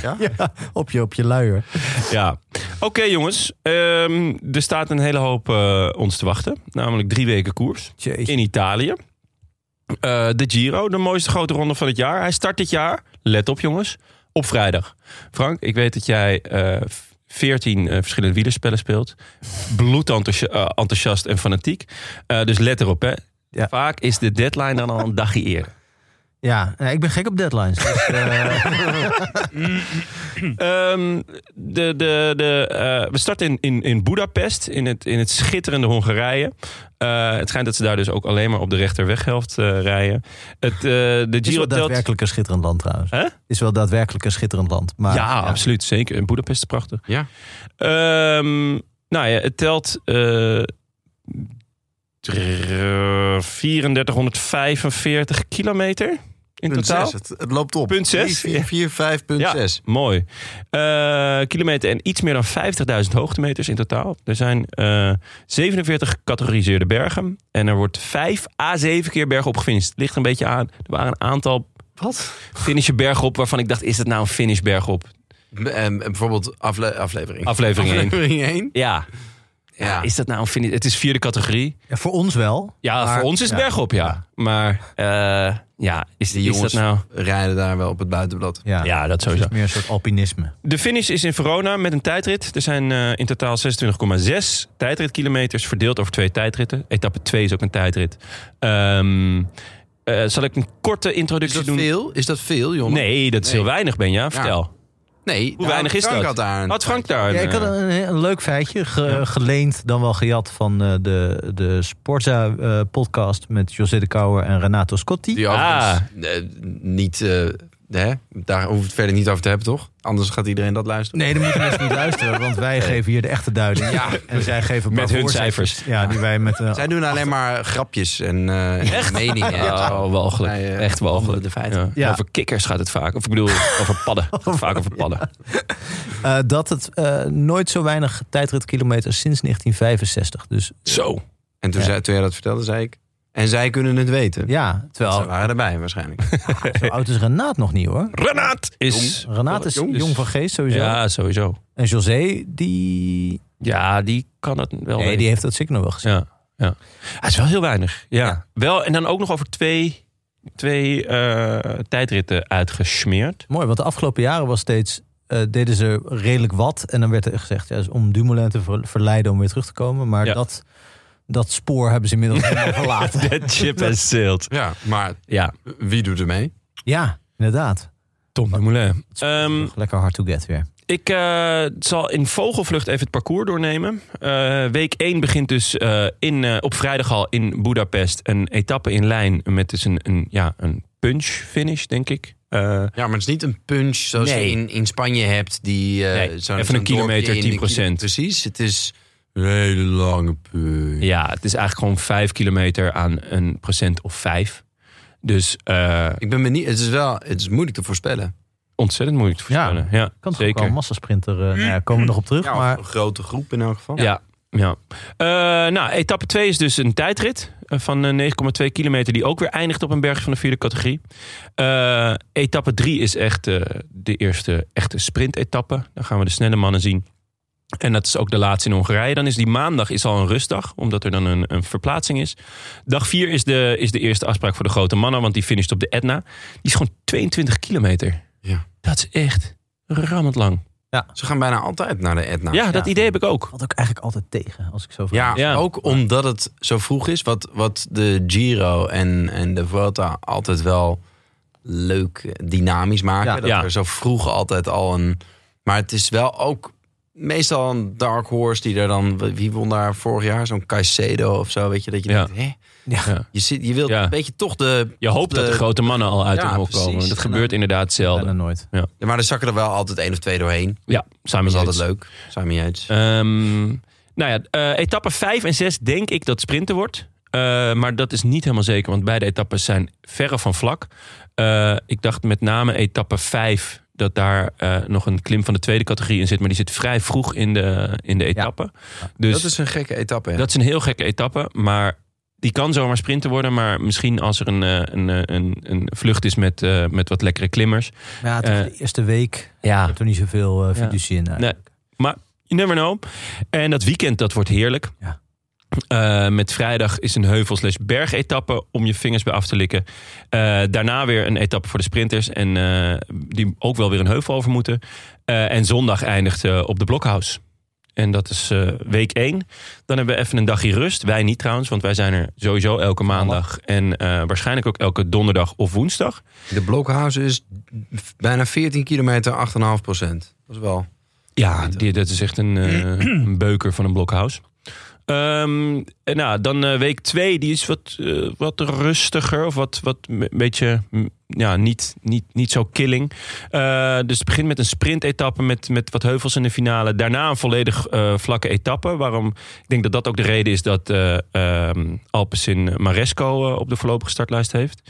Speaker 2: Ja, [laughs] op, je, op je luier.
Speaker 3: Ja. Oké jongens, Ehm, er staat een hele hoop eh, ons te wachten. Namelijk drie weken koers in Italië. Eh, de Giro, de mooiste grote ronde van het jaar. Hij start dit jaar, let op jongens, op vrijdag. Frank, ik weet dat jij eh, 14 eh, verschillende wielerspellen speelt. Bloedenthousiast enthousiast en fanatiek. Eh, dus let erop hè.
Speaker 2: Ja.
Speaker 3: Vaak is de deadline dan al een dagje eerder.
Speaker 2: Ja, eh, ik ben gek op deadlines.
Speaker 3: [laughs]
Speaker 2: Dus, eh, Hm.
Speaker 3: Ehm, de, de, de, eh, we starten in, in, in Budapest, in het, in het schitterende Hongarije. Eh, het schijnt dat ze daar dus ook alleen maar op de rechterweghelft eh, rijden. Het, eh, de
Speaker 2: is
Speaker 3: Giro
Speaker 2: wel
Speaker 3: telt...
Speaker 2: daadwerkelijk een schitterend land trouwens.
Speaker 3: Hè?
Speaker 2: Is wel daadwerkelijk een schitterend land.
Speaker 3: Ja,
Speaker 2: Maar,
Speaker 3: absoluut. Zeker. En Budapest is prachtig.
Speaker 1: Ja.
Speaker 3: Ehm, nou ja, het telt eh, dr- 3445 kilometer in
Speaker 1: Punt
Speaker 3: totaal.
Speaker 1: zes. Het, het loopt op.
Speaker 3: Punt zes?
Speaker 1: 4, 4, 5, punt
Speaker 3: Ja,
Speaker 1: 6.
Speaker 3: mooi. Eh, kilometer en iets meer dan 50.000 hoogtemeters in totaal. Er zijn eh, 47 gecategoriseerde bergen. En er wordt 5 à 7 keer bergen op gefinished. Het ligt een beetje aan. Er waren een aantal
Speaker 1: Wat?
Speaker 3: finishen bergen op waarvan ik dacht, is dat nou een finish berg op?
Speaker 1: eh, bijvoorbeeld afle- aflevering.
Speaker 3: Aflevering één.
Speaker 1: Aflevering 1.
Speaker 3: Ja. ja.
Speaker 1: Ja.
Speaker 3: Is dat nou een finish? Het is vierde categorie.
Speaker 2: Ja, voor ons wel.
Speaker 3: Ja,
Speaker 2: Maar-
Speaker 3: voor ons is het berg op, ja. Maar eh, ja, is,
Speaker 1: Die
Speaker 3: is
Speaker 1: jongens
Speaker 3: dat nou...
Speaker 1: rijden daar wel op het buitenblad.
Speaker 2: Ja,
Speaker 3: Ja, dat
Speaker 2: het
Speaker 3: sowieso.
Speaker 2: is meer een soort alpinisme.
Speaker 3: De finish is in Verona met een tijdrit. Er zijn eh, in totaal 26,6 tijdritkilometers verdeeld over twee tijdritten. Etappe 2 is ook een tijdrit. Ehm, eh, zal ik een korte
Speaker 1: Is
Speaker 3: introductie
Speaker 1: dat
Speaker 3: doen?
Speaker 1: veel? Is dat veel, jongen?
Speaker 3: Nee, dat is
Speaker 1: Nee.
Speaker 3: heel weinig, Benja. Vertel.
Speaker 1: nee
Speaker 3: Hoe weinig is dat?
Speaker 1: Had daar een-
Speaker 3: Had Frank daar?
Speaker 2: Ja,
Speaker 3: een,
Speaker 2: ik had
Speaker 3: eh,
Speaker 2: een, een leuk feitje ge- geleend, dan wel gejat van eh, de, de Sporza-podcast met José de Kouwer en Renato Scotti.
Speaker 1: Die overigens
Speaker 3: Ah.
Speaker 1: eh, niet... eh, hè? Daar hoeven we het verder niet over te hebben, toch? Anders gaat iedereen dat luisteren.
Speaker 2: Nee, dan moeten mensen niet luisteren, want wij geven hier de echte duiding. Ja, en zij geven
Speaker 3: Met
Speaker 2: maar
Speaker 3: hun
Speaker 2: voorzetten.
Speaker 3: cijfers.
Speaker 2: Ja, die wij met. eh,
Speaker 1: Zij doen alleen maar grapjes en,
Speaker 3: [laughs]
Speaker 1: eh en meningen. en zo.
Speaker 3: Oh, walgelijk.
Speaker 1: Hij, eh,
Speaker 3: Echt walgelijk. De feiten.
Speaker 2: Ja.
Speaker 3: Over kikkers gaat het vaak. Of ik bedoel, over padden. Het gaat vaak over padden.
Speaker 2: eh, dat het eh, nooit zo weinig tijdritkilometers sinds 1965. Dus
Speaker 3: Zo.
Speaker 1: En toen,
Speaker 2: Ja.
Speaker 1: zei, toen jij dat vertelde, zei ik... En zij kunnen het weten.
Speaker 2: ja,
Speaker 1: Ze
Speaker 2: terwijl
Speaker 1: waren erbij waarschijnlijk.
Speaker 2: zo oud is Renaat nog niet hoor.
Speaker 3: Renaat is...
Speaker 2: Renaat is
Speaker 3: Jong.
Speaker 2: jong, van geest sowieso.
Speaker 3: Ja, sowieso.
Speaker 2: En José, die.
Speaker 3: Ja, die kan het wel
Speaker 2: Nee,
Speaker 3: weten.
Speaker 2: die heeft dat zeker nog wel gezien.
Speaker 3: Ja, ja. Ah, het is wel heel weinig. Ja.
Speaker 2: Ja.
Speaker 3: Wel, en dan ook nog over twee, twee eh, tijdritten uitgesmeerd. [laughs]
Speaker 2: Mooi, want de afgelopen jaren was steeds eh, deden ze redelijk wat. En dan werd er gezegd, ja, is om Dumoulin te ver- verleiden om weer terug te komen. Maar
Speaker 3: Ja.
Speaker 2: dat, dat spoor hebben ze inmiddels
Speaker 3: [laughs]
Speaker 2: helemaal verlaten.
Speaker 3: That chip has sailed.
Speaker 1: Ja, maar
Speaker 3: [laughs] Ja,
Speaker 1: wie doet er mee?
Speaker 2: Ja, inderdaad.
Speaker 3: Tom Dumoulin.
Speaker 2: Het is
Speaker 3: Ehm,
Speaker 2: lekker hard to get weer.
Speaker 3: Ik eh, zal in vogelvlucht even het parcours doornemen. Eh, week 1 begint dus eh, in, eh, op vrijdag al in Budapest. Een etappe in lijn met dus een, een, ja, een punch finish, denk ik. Eh,
Speaker 1: Ja, maar het is niet een punch zoals
Speaker 3: Nee.
Speaker 1: je in, in Spanje hebt. Die, eh,
Speaker 3: Nee,
Speaker 1: zo'n-
Speaker 3: even een
Speaker 1: zo'n dorpje
Speaker 3: kilometer,
Speaker 1: in de
Speaker 3: 10%.
Speaker 1: Precies, het is een hele lange punch.
Speaker 3: ja, het is eigenlijk gewoon 5 kilometer aan een procent of 5. Dus eh,
Speaker 1: Ik ben benieuwd, het is wel het is moeilijk te voorspellen.
Speaker 3: ontzettend moeilijk te
Speaker 2: Ja,
Speaker 3: voorspellen. Ja,
Speaker 2: Kan toch ook
Speaker 3: zeker.
Speaker 2: wel een massasprinter. eh, nou ja, komen we nog op terug.
Speaker 1: Ja, of
Speaker 2: maar
Speaker 1: een grote groep in elk geval.
Speaker 3: Ja. ja. Eh, nou, etappe 2 is dus een tijdrit eh, van eh, 9,2 kilometer, die ook weer eindigt op een berg van de vierde categorie. Eh, etappe 3 is echt eh, de eerste echte sprintetappe. Dan gaan we de snelle mannen zien. En dat is ook de laatste in Hongarije. Dan is die maandag is al een rustdag, omdat er dan een, een verplaatsing is. Dag 4 is de, is de eerste afspraak voor de grote mannen, want die finisht op de Etna. Die is gewoon 22 kilometer.
Speaker 1: Ja.
Speaker 3: Dat is echt rammend lang.
Speaker 1: Ze gaan bijna altijd naar de Etna.
Speaker 3: ja, dat idee heb ik ook.
Speaker 2: valt ook eigenlijk altijd tegen, als ik zo
Speaker 1: Ja,
Speaker 2: vraag.
Speaker 3: Ja.
Speaker 1: ook omdat het zo vroeg is. Wat, wat de Giro en, en de Vuelta altijd wel leuk eh, dynamisch maken.
Speaker 2: Ja.
Speaker 1: dat
Speaker 3: Ja.
Speaker 1: er zo vroeg altijd al een... Maar het is wel ook meestal een dark horse die er dan... Wie won daar vorig jaar? Zo'n Caicedo of zo, weet je? Dat je
Speaker 3: Ja.
Speaker 1: denkt, hè?
Speaker 3: Ja.
Speaker 1: Je, zit, je wilt
Speaker 3: Ja.
Speaker 1: een beetje toch de...
Speaker 3: Je hoopt dat de grote mannen al uit
Speaker 1: Ja,
Speaker 3: hun hok
Speaker 1: precies.
Speaker 3: komen. Dat
Speaker 1: En
Speaker 3: gebeurt inderdaad
Speaker 2: Bijna
Speaker 3: zelden.
Speaker 2: nooit.
Speaker 1: Ja, Maar er zakken er wel altijd één of twee doorheen.
Speaker 3: Ja, samen
Speaker 1: Dat
Speaker 3: is
Speaker 1: is altijd leuk. Simon Yates.
Speaker 3: nou ja, eh, etappe 5 en 6 denk ik dat sprinten wordt. Eh, maar dat is niet helemaal zeker, want beide etappes zijn verre van vlak. Eh, ik dacht met name etappe 5 dat daar eh, nog een klim van de tweede categorie in zit. Maar die zit vrij vroeg in de, in de etappe. Dus
Speaker 1: dat is een gekke etappe. hè?
Speaker 3: Dat is een heel gekke etappe, maar die kan zomaar sprinten worden. Maar misschien als er een, eh, een, eh, een, een vlucht is met, eh, met wat lekkere klimmers.
Speaker 2: Ja, het is
Speaker 3: Eh,
Speaker 2: de eerste week.
Speaker 3: Ja,
Speaker 2: Ik heb er niet zoveel eh
Speaker 3: Ja.
Speaker 2: fiducie in. eigenlijk.
Speaker 3: You never know. En dat weekend, dat wordt heerlijk.
Speaker 2: Ja.
Speaker 3: Eh, met vrijdag is een heuvel slash bergetappe om je vingers bij af te likken. Eh, daarna weer een etappe voor de sprinters. En eh, die ook wel weer een heuvel over moeten. Eh, en zondag eindigt eh, op de Blokhouse. En dat is eh, week 1. Dan hebben we even een dagje rust. Wij niet trouwens, want wij zijn er sowieso elke maandag. En eh, waarschijnlijk ook elke donderdag of woensdag.
Speaker 1: De Blokhuizen is bijna 14 kilometer, 8,5 procent. Dat is wel...
Speaker 3: Ja, die- dat is echt een, eh,
Speaker 1: [clears throat]
Speaker 3: een beuker van een blokhuis. Ehm, en nou, dan eh, week 2, die is wat, eh, wat rustiger. Of wat, wat een beetje mm, ja, niet, niet, niet zo killing. Eh, dus het begint met een sprintetappe met, met wat heuvels in de finale. Daarna een volledig eh, vlakke etappe. Waarom, ik denk dat dat ook de reden is dat eh ehm Alpecin Maresco eh, op de voorlopige startlijst heeft.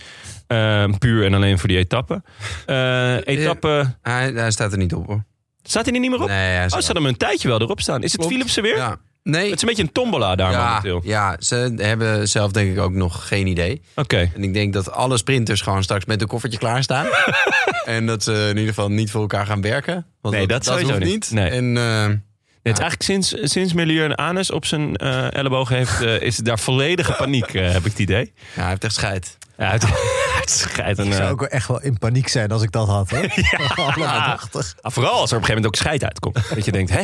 Speaker 3: Ehm, puur en alleen voor die etappe. Eh, etappe.
Speaker 1: Hij, hij staat er niet op hoor.
Speaker 3: Staat hij er niet meer op?
Speaker 1: Nee, hij
Speaker 3: Oh,
Speaker 1: staat
Speaker 3: ze hadden hem een tijdje wel erop staan. Is het
Speaker 1: Klopt.
Speaker 3: Philipsen weer?
Speaker 1: Ja. Nee.
Speaker 3: Het is een beetje een tombola daar
Speaker 1: ja,
Speaker 3: momenteel. Oké.
Speaker 1: ja, ze hebben zelf denk ik ook nog geen idee. En ik denk dat alle sprinters gewoon straks met een koffertje
Speaker 3: [laughs]
Speaker 1: klaarstaan. en dat ze in ieder geval niet voor elkaar gaan werken. Want
Speaker 3: Nee, dat sowieso
Speaker 1: hoeft
Speaker 3: niet.
Speaker 1: niet.
Speaker 3: Nee.
Speaker 1: En, eh,
Speaker 3: Nee, Het is eigenlijk sinds, sinds Melieur een anus op zijn eh, elleboog heeft, eh, is het daar volledige paniek, eh, heb ik het idee.
Speaker 1: ja, hij heeft echt scheid.
Speaker 3: Ja, het, [laughs] het scheidt een...
Speaker 2: Ik
Speaker 3: eh,
Speaker 2: zou ook wel echt wel in paniek zijn als ik dat had. [laughs] Hoor. ja.
Speaker 3: ah, [laughs] vooral als er op een gegeven moment ook scheid uitkomt. Dat je denkt, hè?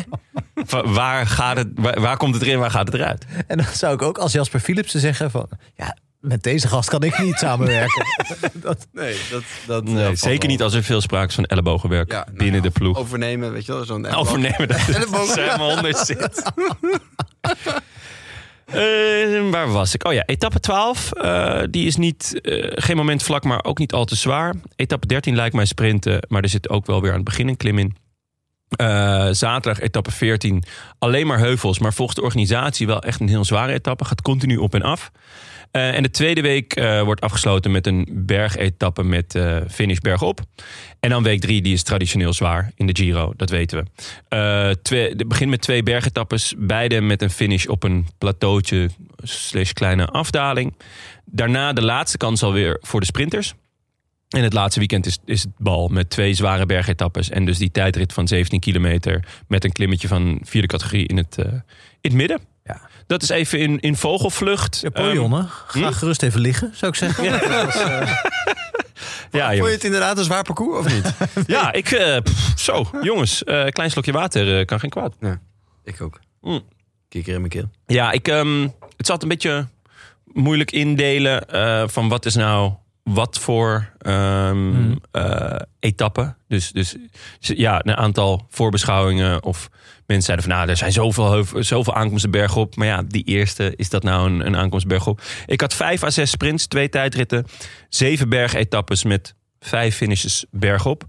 Speaker 3: Va- Waar, gaat het, waar, waar komt het erin, waar gaat het eruit?
Speaker 2: En dan zou ik ook als Jasper Philipsen zeggen van... Ja, met deze gast kan ik [laughs] niet samenwerken. dat,
Speaker 1: Nee, dat, dat
Speaker 3: Nee, zeker niet als er veel sprake is van ellebogenwerk
Speaker 1: Ja, nou
Speaker 3: binnen
Speaker 1: ja,
Speaker 3: de ploeg.
Speaker 1: Overnemen, weet je wel. Zo'n
Speaker 3: [laughs] Overnemen dat het
Speaker 1: Ellebogen.
Speaker 3: helemaal onder zit. [laughs] Eh, waar was ik? Oh ja, etappe 12. eh, die is niet, eh, geen moment vlak, maar ook niet al te zwaar. Etappe 13 lijkt mij sprinten, maar er zit ook wel weer aan het begin een klim in. Eh, zaterdag etappe 14. Alleen maar heuvels, maar volgens de organisatie wel echt een heel zware etappe. Gaat continu op en af. Eh, en de tweede week eh, wordt afgesloten met een bergetappe met eh finish bergop. En dan week drie, die is traditioneel zwaar in de Giro, dat weten we. Eh twee, het begint met twee bergetappes, beide met een finish op een plateautje slash kleine afdaling. Daarna de laatste kans alweer voor de sprinters. En het laatste weekend is, is het bal met twee zware bergetappes. En dus die tijdrit van 17 kilometer met een klimmetje van vierde categorie in het, eh, in het midden.
Speaker 2: Ja.
Speaker 3: Dat is even in, in vogelvlucht. Ehm,
Speaker 2: Napoleon, hè? ga
Speaker 3: hm?
Speaker 2: gerust even liggen, zou ik zeggen. [laughs] eh,
Speaker 3: Ja,
Speaker 1: Vond je
Speaker 3: joh.
Speaker 1: het inderdaad een zwaar parcours of niet?
Speaker 3: ja ik, eh, pff, Zo, jongens, eh, klein slokje water eh, kan geen kwaad.
Speaker 1: Ik ook.
Speaker 3: Mm.
Speaker 1: Kikker in mijn keel.
Speaker 3: Ja, ik, ehm, het zat een beetje moeilijk indelen eh, van wat is nou wat voor ehm eh, etappe. Dus, dus ja, een aantal voorbeschouwingen of mensen zeiden van nou, er zijn zoveel, heuvel- zoveel aankomsten bergop. Maar ja, die eerste, is dat nou een, een aankomst bergop? Ik had vijf à zes sprints, twee tijdritten, zeven bergetappes met vijf finishes bergop.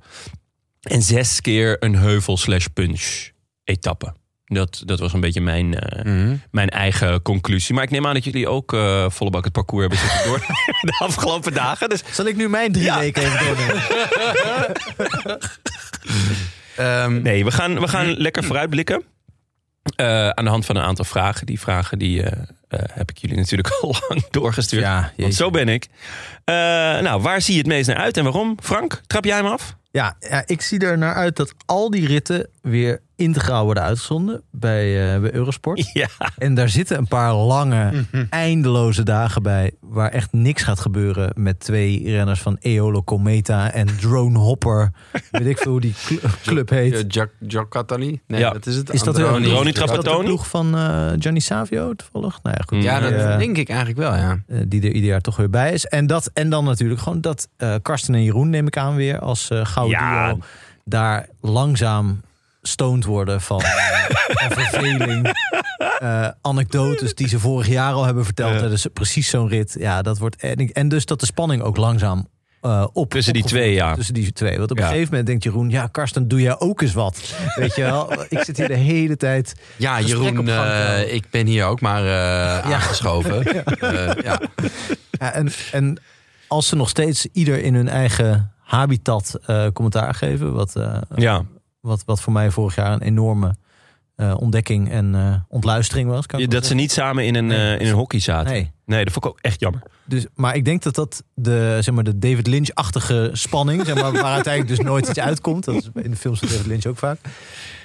Speaker 3: En zes keer een heuvel slash punch etappe. Dat, dat was een beetje mijn, eh, mijn eigen conclusie. Maar ik neem aan dat jullie ook eh volle bak het parcours hebben zitten [laughs] door de afgelopen dagen. Dus
Speaker 2: Zal ik nu mijn drie weken even doornemen?
Speaker 1: Ehm,
Speaker 3: nee, we gaan, we gaan lekker vooruitblikken. Eh, aan de hand van een aantal vragen. Die vragen die, eh, eh, heb ik jullie natuurlijk [laughs] al lang doorgestuurd.
Speaker 2: Ja,
Speaker 3: want
Speaker 2: jezus.
Speaker 3: zo ben ik. Eh, nou, waar zie je het meest naar uit en waarom? Frank, trap jij hem af?
Speaker 2: Ja, ja, ik zie er naar uit dat al die ritten weer integraal worden uitgezonden bij, eh, bij Eurosport.
Speaker 3: [laughs] Ja.
Speaker 2: En daar zitten een paar lange,
Speaker 1: Mhm.
Speaker 2: eindeloze dagen bij... waar echt niks gaat gebeuren met twee renners van Eolo Cometa en Drone Hopper.
Speaker 1: [laughs]
Speaker 2: Weet ik veel hoe die cl- club heet.
Speaker 1: eh, Jack, Jack Catali? Nee,
Speaker 3: Ja.
Speaker 1: dat is het.
Speaker 2: Is dat
Speaker 1: Androni.
Speaker 2: Androni
Speaker 1: Is dat-
Speaker 2: Is dat de
Speaker 3: Trapattoni?
Speaker 2: ploeg van eh, Gianni Savio toevallig? Nou ja, goed.
Speaker 1: Ja, dat
Speaker 2: Die, eh,
Speaker 1: denk ik eigenlijk wel, ja.
Speaker 2: eh, die er ieder jaar toch weer bij is. En, dat, en dan natuurlijk gewoon dat eh, Karsten en Jeroen neem ik aan weer als eh gouden
Speaker 3: Ja.
Speaker 2: duo. Daar langzaam stoned worden van,
Speaker 3: [laughs]
Speaker 2: eh, van verveling. Eh, anekdotes die ze vorig jaar al hebben verteld. hè, Dus precies zo'n rit. Ja, dat wordt, en, ik- en dus dat de spanning ook langzaam eh op.
Speaker 3: Tussen die
Speaker 2: opgevoerd
Speaker 3: twee, ja.
Speaker 2: tussen die twee. Want op
Speaker 3: Ja.
Speaker 2: een gegeven moment denkt Jeroen... ja, Karsten, doe jij ook eens wat? Weet je wel? Ik zit hier de hele tijd...
Speaker 1: Ja,
Speaker 2: Gesprek op
Speaker 1: Jeroen,
Speaker 2: gang,
Speaker 1: eh,
Speaker 2: eh.
Speaker 1: ik ben hier ook maar eh aangeschoven. Eh, ja.
Speaker 2: Ja, en, en als ze nog steeds ieder in hun eigen habitat eh, commentaar geven... Wat, eh,
Speaker 3: Ja,
Speaker 2: wat, wat voor mij vorig jaar een enorme eh, ontdekking en eh, ontluistering was. Kan ik wel
Speaker 3: dat ze niet samen in een, eh, in een hockey zaten.
Speaker 2: zeggen.
Speaker 3: Nee.
Speaker 2: Nee,
Speaker 3: dat vond ik ook echt jammer.
Speaker 2: dus, maar ik denk dat dat de, zeg maar, de David Lynch-achtige spanning... zeg maar, waar uiteindelijk dus nooit iets uitkomt... dat is in de films van David Lynch ook vaak...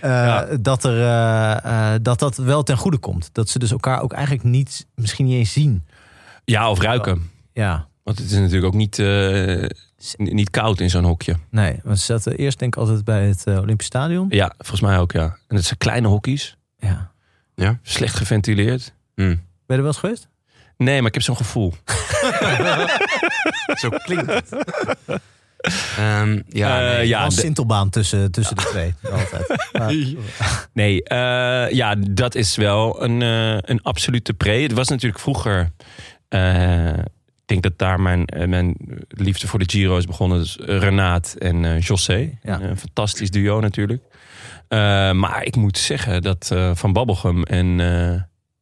Speaker 2: eh,
Speaker 3: Ja.
Speaker 2: dat, er, eh, eh, dat dat wel ten goede komt. Dat ze dus elkaar ook eigenlijk niet, misschien niet eens zien.
Speaker 3: Ja, of ruiken.
Speaker 2: Ja,
Speaker 3: Want het is natuurlijk ook niet, eh, n- niet koud in zo'n hokje.
Speaker 2: nee. Want ze zaten eerst denk ik altijd bij het eh, Olympisch Stadion.
Speaker 3: Ja, volgens mij ook, ja. En dat zijn kleine hokjes.
Speaker 2: Ja.
Speaker 3: Slecht geventileerd.
Speaker 2: Ben je er wel eens geweest?
Speaker 3: Nee, maar ik heb zo'n gevoel.
Speaker 1: Zo klinkt het. Ehm, ja, nee.
Speaker 3: Eh,
Speaker 2: Ja,
Speaker 3: ja,
Speaker 2: een
Speaker 3: de-
Speaker 2: sintelbaan tussen, tussen de twee. Altijd. Maar,
Speaker 3: nee, eh, ja, dat is wel een, eh, een absolute pre. Het was natuurlijk vroeger... eh, ik denk dat daar mijn, eh, mijn liefde voor de Giro is begonnen. Dus Renaat en eh José.
Speaker 2: Ja.
Speaker 3: Een fantastisch duo natuurlijk. Eh, maar ik moet zeggen dat eh, Van Babbelgem en, eh,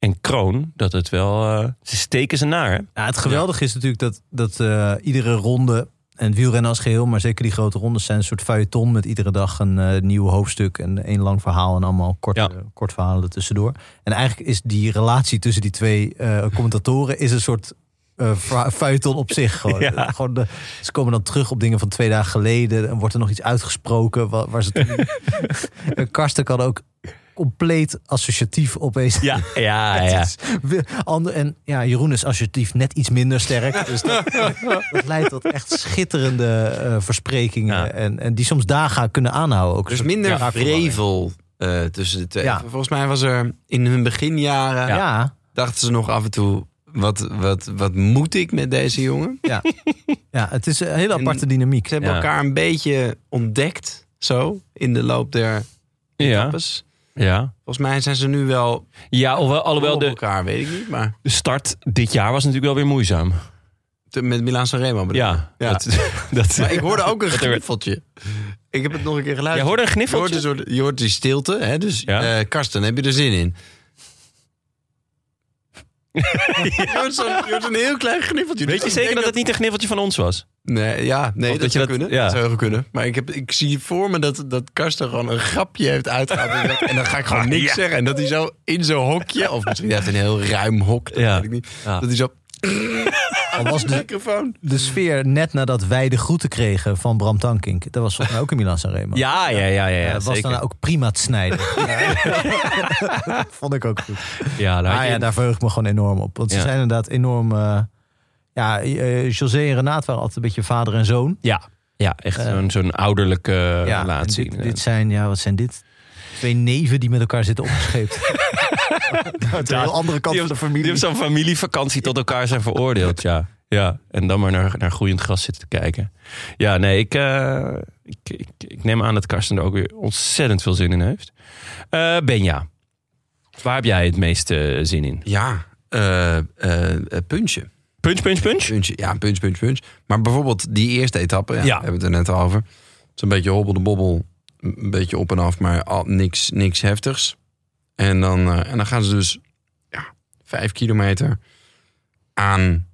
Speaker 3: en Kroon... dat het wel... eh, ze steken ze naar, hè?
Speaker 2: [laughs] ja, het geweldige is natuurlijk dat, dat eh, iedere ronde, en het wielrennen als geheel, maar zeker die grote rondes zijn een soort feuilleton met iedere dag een eh, nieuw hoofdstuk en één lang verhaal en allemaal korte,
Speaker 3: Ja.
Speaker 2: kort verhalen er tussendoor. En eigenlijk is die relatie tussen die twee eh, commentatoren is een soort eh, fra- feuilleton op [laughs] zich. Gewoon.
Speaker 3: Ja.
Speaker 2: gewoon de, ze komen dan terug op dingen van twee dagen geleden en wordt er nog iets uitgesproken waar, waar ze toen... [laughs] En Karsten kan ook compleet associatief opeens
Speaker 3: Ja, Ah, ja, ja.
Speaker 2: We- ander- en ja, Jeroen is associatief net iets minder sterk. Dus
Speaker 3: [laughs]
Speaker 2: dat, dat leidt tot echt schitterende eh, versprekingen.
Speaker 3: Ja.
Speaker 2: En, en die soms dagen kunnen aanhouden. Ook
Speaker 1: Dus minder
Speaker 2: Ja.
Speaker 1: vrevel eh, tussen de twee.
Speaker 2: Ja.
Speaker 1: Volgens mij was er in hun beginjaren...
Speaker 2: Ja. Ja.
Speaker 1: dachten ze nog af en toe... Wat, wat, wat moet ik met deze jongen?
Speaker 2: het is een hele
Speaker 1: En-
Speaker 2: aparte dynamiek.
Speaker 1: Ze hebben
Speaker 3: Ja.
Speaker 1: elkaar een beetje ontdekt, zo, in de loop der
Speaker 3: Ja,
Speaker 1: etappes.
Speaker 3: ja.
Speaker 1: Volgens mij zijn ze nu wel
Speaker 3: ja alhoewel, alhoewel
Speaker 1: op
Speaker 3: de,
Speaker 1: elkaar, weet ik niet. Maar
Speaker 3: De start dit jaar was natuurlijk wel weer moeizaam.
Speaker 1: te- met Milan Sanremo bedoel ik.
Speaker 3: Ja,
Speaker 1: Ja.
Speaker 3: Dat, [laughs] dat,
Speaker 1: Maar ik hoorde ook een
Speaker 3: [laughs] Dat er-
Speaker 1: griffeltje. Ik heb het nog een keer
Speaker 3: Jij
Speaker 1: geluisterd.
Speaker 3: hoorde een
Speaker 1: Je hoort, een
Speaker 3: gniffeltje?
Speaker 1: soort- je hoort die stilte, hè? dus
Speaker 3: Ja.
Speaker 1: eh, Karsten, heb je er zin
Speaker 3: [laughs]
Speaker 1: in? je, hoort zo'n, je hoort een heel klein gniffeltje.
Speaker 3: Weet je
Speaker 1: Dus ik
Speaker 3: zeker dat
Speaker 1: denk
Speaker 3: het niet een gniffeltje van ons was?
Speaker 1: Nee, ja, nee
Speaker 3: Of
Speaker 1: dat,
Speaker 3: dat je
Speaker 1: zou
Speaker 3: dat-
Speaker 1: kunnen.
Speaker 3: ja.
Speaker 1: Dat zou heel goed kunnen. Maar ik, heb, ik zie voor me dat, dat Karsten gewoon een grapje heeft
Speaker 3: [laughs]
Speaker 1: uitgehaald. en dan ga ik gewoon niks zeggen. En dat hij zo in zo'n hokje, of misschien heeft hij een heel ruim hok, dat
Speaker 3: Ja.
Speaker 1: weet ik niet.
Speaker 3: Ja.
Speaker 1: Dat hij zo
Speaker 2: Al was
Speaker 1: de
Speaker 2: de,
Speaker 1: microfoon.
Speaker 2: de sfeer net nadat wij de groeten kregen van Bram Tankink. Dat was volgens mij ook in Milan Sanremo.
Speaker 3: Ja, ja, ja, ja,
Speaker 2: Eh,
Speaker 3: ja
Speaker 2: was dan
Speaker 3: zeker.
Speaker 2: ook prima te
Speaker 3: [laughs]
Speaker 2: snijden. Ja. [laughs] Vond ik ook goed.
Speaker 3: Ja, daar had
Speaker 2: Ah
Speaker 3: je-
Speaker 2: ja, daar verheug ik me gewoon enorm op. Want ze
Speaker 3: Ja.
Speaker 2: zijn inderdaad enorm... eh, ja, eh, José en Renaat waren altijd een beetje vader en zoon.
Speaker 3: ja. Ja, echt
Speaker 2: Eh,
Speaker 3: zo'n zo'n ouderlijke eh,
Speaker 2: ja, en
Speaker 3: relatie.
Speaker 2: dit, dit zijn, ja, wat zijn dit? Twee neven die met elkaar zitten
Speaker 3: [laughs]
Speaker 2: opgescheept. Uit de heel andere kant van
Speaker 3: die
Speaker 2: de
Speaker 3: hebben-
Speaker 2: familie.
Speaker 3: Die hebben zo'n familievakantie tot elkaar zijn veroordeeld, ja. Ja, en dan maar naar, naar groeiend gras zitten te kijken. Ja, nee, ik, eh, ik, ik, ik neem aan dat Karsten er ook weer ontzettend veel zin in heeft. Eh, Benja, waar heb jij het meeste zin in?
Speaker 1: Ja, eh, eh, eh, puntje.
Speaker 3: Punch, punch, punch?
Speaker 1: puntje. Ja, punch, punch, punch. Maar bijvoorbeeld die eerste etappe, ja,
Speaker 3: Ja.
Speaker 1: we hebben het er net al over. Het is een beetje hobbel de bobbel, een beetje op en af, maar al, niks, niks heftigs. En dan, eh, en dan gaan ze dus ja, vijf kilometer aan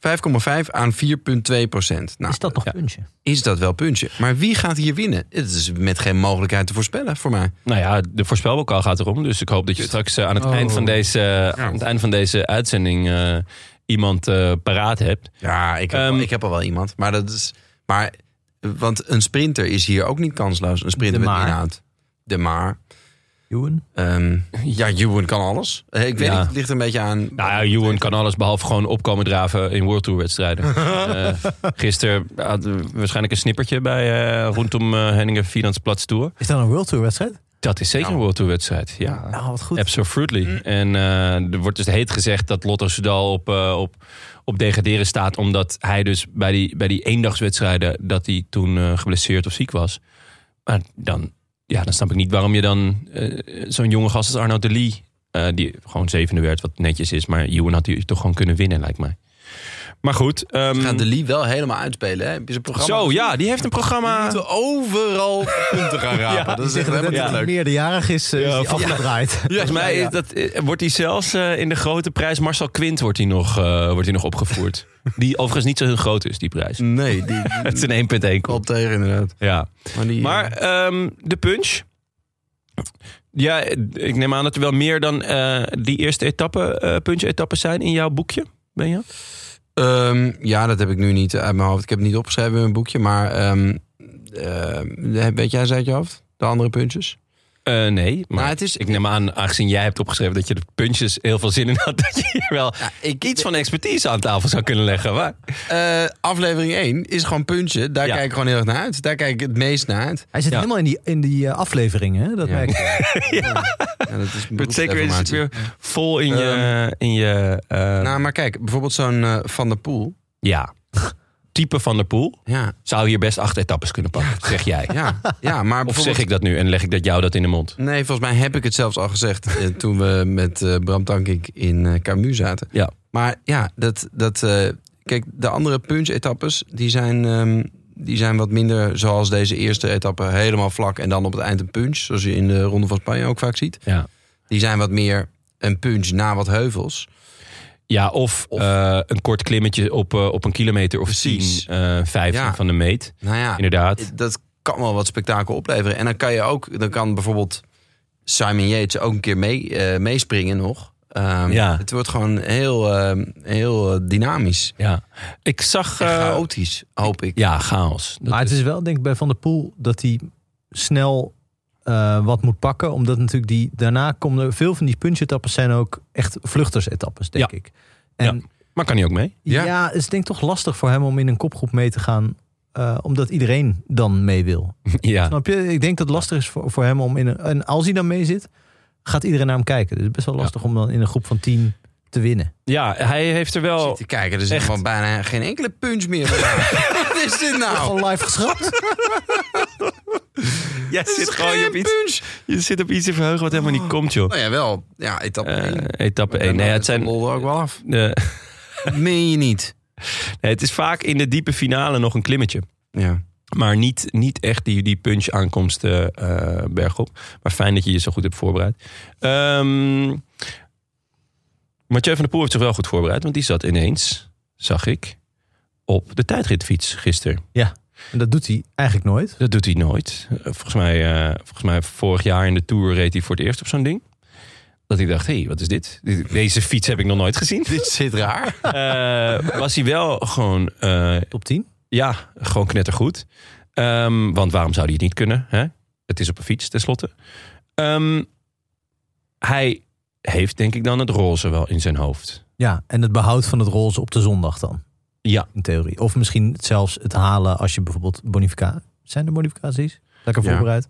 Speaker 1: 5,5 aan 4,2 procent. Nou,
Speaker 2: Is dat nog
Speaker 3: ja.
Speaker 2: puntje?
Speaker 1: is dat wel puntje. Maar wie gaat hier winnen? Het is met geen mogelijkheid te voorspellen voor mij.
Speaker 3: Nou ja, de voorspelbokaal gaat erom. Dus ik hoop dat je straks eh, aan het,
Speaker 1: Oh.
Speaker 3: eind, van deze, eh, aan het eind van deze uitzending eh, iemand eh, paraat hebt.
Speaker 1: Ja, ik heb,
Speaker 3: Ehm,
Speaker 1: ik heb al wel iemand. Maar dat is. Maar, want een sprinter is hier ook niet kansloos. Een sprinter
Speaker 2: De
Speaker 1: met
Speaker 2: Maar.
Speaker 1: inhoud. De maar.
Speaker 2: Johan?
Speaker 1: Ehm, [laughs] ja, Ewan kan alles. Eh, Ik weet
Speaker 3: Ja.
Speaker 1: niet, het ligt een beetje aan.
Speaker 3: Nou ja, Ewan kan alles behalve gewoon opkomen draven in World Tour wedstrijden. [laughs] Eh, gisteren hadden we waarschijnlijk een snippertje bij eh rondom eh Henningen Finans Platz Tour.
Speaker 2: Is dat een World Tour wedstrijd?
Speaker 3: Dat is zeker een World Tour wedstrijd, ja.
Speaker 2: Nou, wat goed.
Speaker 3: Absolutely. En eh, er wordt dus heet gezegd dat Lotto Soudal op, eh, op, op degraderen staat. Omdat hij dus bij die, bij die eendagswedstrijden, dat hij toen eh, geblesseerd of ziek was. Maar dan, ja, dan snap ik niet waarom je dan eh, zo'n jonge gast als Arno de Lee, eh, die gewoon zevende werd, wat netjes is. Maar Ewan had die toch gewoon kunnen winnen, lijkt mij. Maar goed. ehm,
Speaker 1: Gaat de Lee wel helemaal uitspelen? Hè? Heb je zijn programma?
Speaker 3: zo, ja, die heeft een
Speaker 1: We
Speaker 3: programma.
Speaker 1: moeten overal punten
Speaker 3: [laughs]
Speaker 1: gaan rapen. dat is echt helemaal niet leuk.
Speaker 2: meerderjarig is, eh, is
Speaker 3: Ja,
Speaker 2: die
Speaker 3: volgens
Speaker 2: afgedraaid.
Speaker 3: [laughs] Volgens mij is dat, eh, wordt hij zelfs eh, in de grote prijs Marcel Quint wordt hij nog, eh, wordt hij nog opgevoerd. die overigens niet zo heel groot is, die prijs.
Speaker 1: Nee, die
Speaker 3: [laughs] Het is een 1.1 kop.
Speaker 1: Mm. klopt tegen inderdaad.
Speaker 3: Ja.
Speaker 1: Maar, die, eh,
Speaker 3: Maar ehm, de punch. Ja, ik neem aan dat er wel meer dan eh, die eerste etappe, eh punch-etappen zijn in jouw boekje. Ben je?
Speaker 1: Ehm, ja, dat heb ik nu niet uit mijn hoofd. Ik heb het niet opgeschreven in mijn boekje. Maar ehm, eh, weet jij ze uit je hoofd? De andere puntjes?
Speaker 3: Eh, nee, maar
Speaker 1: Nou, het is-
Speaker 3: ik neem aan, aangezien jij hebt opgeschreven dat je de punches heel veel zin in had, [laughs] dat je hier wel
Speaker 1: ik,
Speaker 3: iets van expertise aan tafel zou kunnen leggen. Maar,
Speaker 1: Eh, aflevering 1 is gewoon puntje. Daar
Speaker 3: Ja.
Speaker 1: kijk ik gewoon heel erg naar uit. Daar kijk ik het meest naar uit.
Speaker 2: Hij zit
Speaker 3: Ja.
Speaker 2: helemaal in die, in die eh, afleveringen, hè? Dat merk ik.
Speaker 1: Ja, dat is
Speaker 3: [laughs] zeker is het
Speaker 1: beroepsdeformatie.
Speaker 3: weer vol in je. in je eh,
Speaker 1: Nou, maar kijk, bijvoorbeeld zo'n eh, Van der Poel.
Speaker 3: ja, type van de pool
Speaker 1: Ja,
Speaker 3: zou hier best acht etappes kunnen pakken, zeg jij.
Speaker 1: ja, ja maar
Speaker 3: Of
Speaker 1: bijvoorbeeld...
Speaker 3: zeg ik dat nu en leg ik dat jou dat in de mond?
Speaker 1: Nee, volgens mij heb ik het zelfs al gezegd eh, toen we met eh, Bram Tankink in eh Camus zaten.
Speaker 3: Ja.
Speaker 1: Maar ja, dat, dat, eh, kijk, de andere punch-etappes, die zijn, ehm, die zijn wat minder zoals deze eerste etappe. Helemaal vlak en dan op het eind een punch, zoals je in de Ronde van Spanje ook vaak ziet.
Speaker 3: Ja.
Speaker 1: Die zijn wat meer een punch na wat heuvels.
Speaker 3: Ja, of,
Speaker 1: Of-
Speaker 3: eh, een kort klimmetje op, eh, op een kilometer of
Speaker 1: Precies.
Speaker 3: 10, eh 15
Speaker 1: Ja.
Speaker 3: van de meet.
Speaker 1: Nou ja,
Speaker 3: Inderdaad.
Speaker 1: dat kan wel wat spektakel opleveren. En dan kan je ook, dan kan bijvoorbeeld Simon Yates ook een keer mee, eh, meespringen nog. Ehm,
Speaker 3: Ja.
Speaker 1: Het wordt gewoon heel, ehm, heel eh, dynamisch.
Speaker 3: Ja. Ik zag...
Speaker 1: En
Speaker 3: eh,
Speaker 1: chaotisch, hoop ik.
Speaker 3: ja, chaos.
Speaker 2: [laughs]
Speaker 3: Dat
Speaker 2: Maar het is wel, denk ik, bij Van der Poel dat hij snel eh, wat moet pakken. Omdat natuurlijk die, daarna komen er veel van die punch-etappes zijn ook echt vluchters-etappes, denk
Speaker 3: Ja.
Speaker 2: ik. En
Speaker 3: Ja. Maar kan hij ook mee?
Speaker 2: ja.
Speaker 1: Ja.
Speaker 2: het is denk ik toch lastig voor hem om in een kopgroep mee te gaan. eh, omdat iedereen dan mee wil.
Speaker 3: [laughs] ja.
Speaker 2: Snap je? Ik denk dat het lastig is voor, voor hem om in een. En als hij dan mee zit, gaat iedereen naar hem kijken. Dus het is best wel lastig om dan in een groep van tien te winnen.
Speaker 3: Ja, hij heeft er wel...
Speaker 1: Zit te kijken, er is
Speaker 3: echt.
Speaker 1: gewoon bijna geen enkele punch meer.
Speaker 3: [laughs]
Speaker 1: Wat is dit nou?
Speaker 2: Gewoon live geschrapt.
Speaker 3: Jij
Speaker 1: Het is
Speaker 3: zit
Speaker 1: geen
Speaker 3: gewoon op iets,
Speaker 1: punch.
Speaker 3: je zit op iets te verheugen wat helemaal niet komt, joh.
Speaker 1: Nou ja, wel. Ja, etappe
Speaker 3: Eh,
Speaker 1: één.
Speaker 3: etappe 1. Nee, het [laughs] zijn...
Speaker 1: Lol er ook wel af.
Speaker 3: eh,
Speaker 1: Meen je niet?
Speaker 3: nee, het is vaak in de diepe finale nog een klimmetje.
Speaker 1: Ja.
Speaker 3: Maar niet, niet echt die, die punch-aankomst eh, bergop. Maar fijn dat je je zo goed hebt voorbereid. Ehm Mathieu van der Poel heeft zich wel goed voorbereid. Want die zat ineens, zag ik, op de tijdritfiets gisteren.
Speaker 2: En dat doet hij eigenlijk nooit.
Speaker 3: Dat doet hij nooit. Eh, Volgens mij, eh, volgens mij vorig jaar in de Tour reed hij voor het eerst op zo'n ding. Dat ik dacht, hé, hey, wat is dit? Dit- Deze fiets heb ik nog nooit
Speaker 1: [laughs]
Speaker 3: gezien.
Speaker 1: Dit zit raar.
Speaker 3: Eh, was hij wel gewoon eh,
Speaker 2: Top 10.
Speaker 3: ja, gewoon knettergoed. Ehm, want waarom zou hij het niet kunnen? Hè? Het is op een fiets, tenslotte. Ehm, hij heeft denk ik dan het roze wel in zijn hoofd.
Speaker 2: Ja, en het behoud van het roze op de zondag dan.
Speaker 3: Ja.
Speaker 2: in theorie. Of misschien zelfs het halen als je bijvoorbeeld bonificatie... Zijn er bonificaties? Lekker
Speaker 1: Ja.
Speaker 2: voorbereid.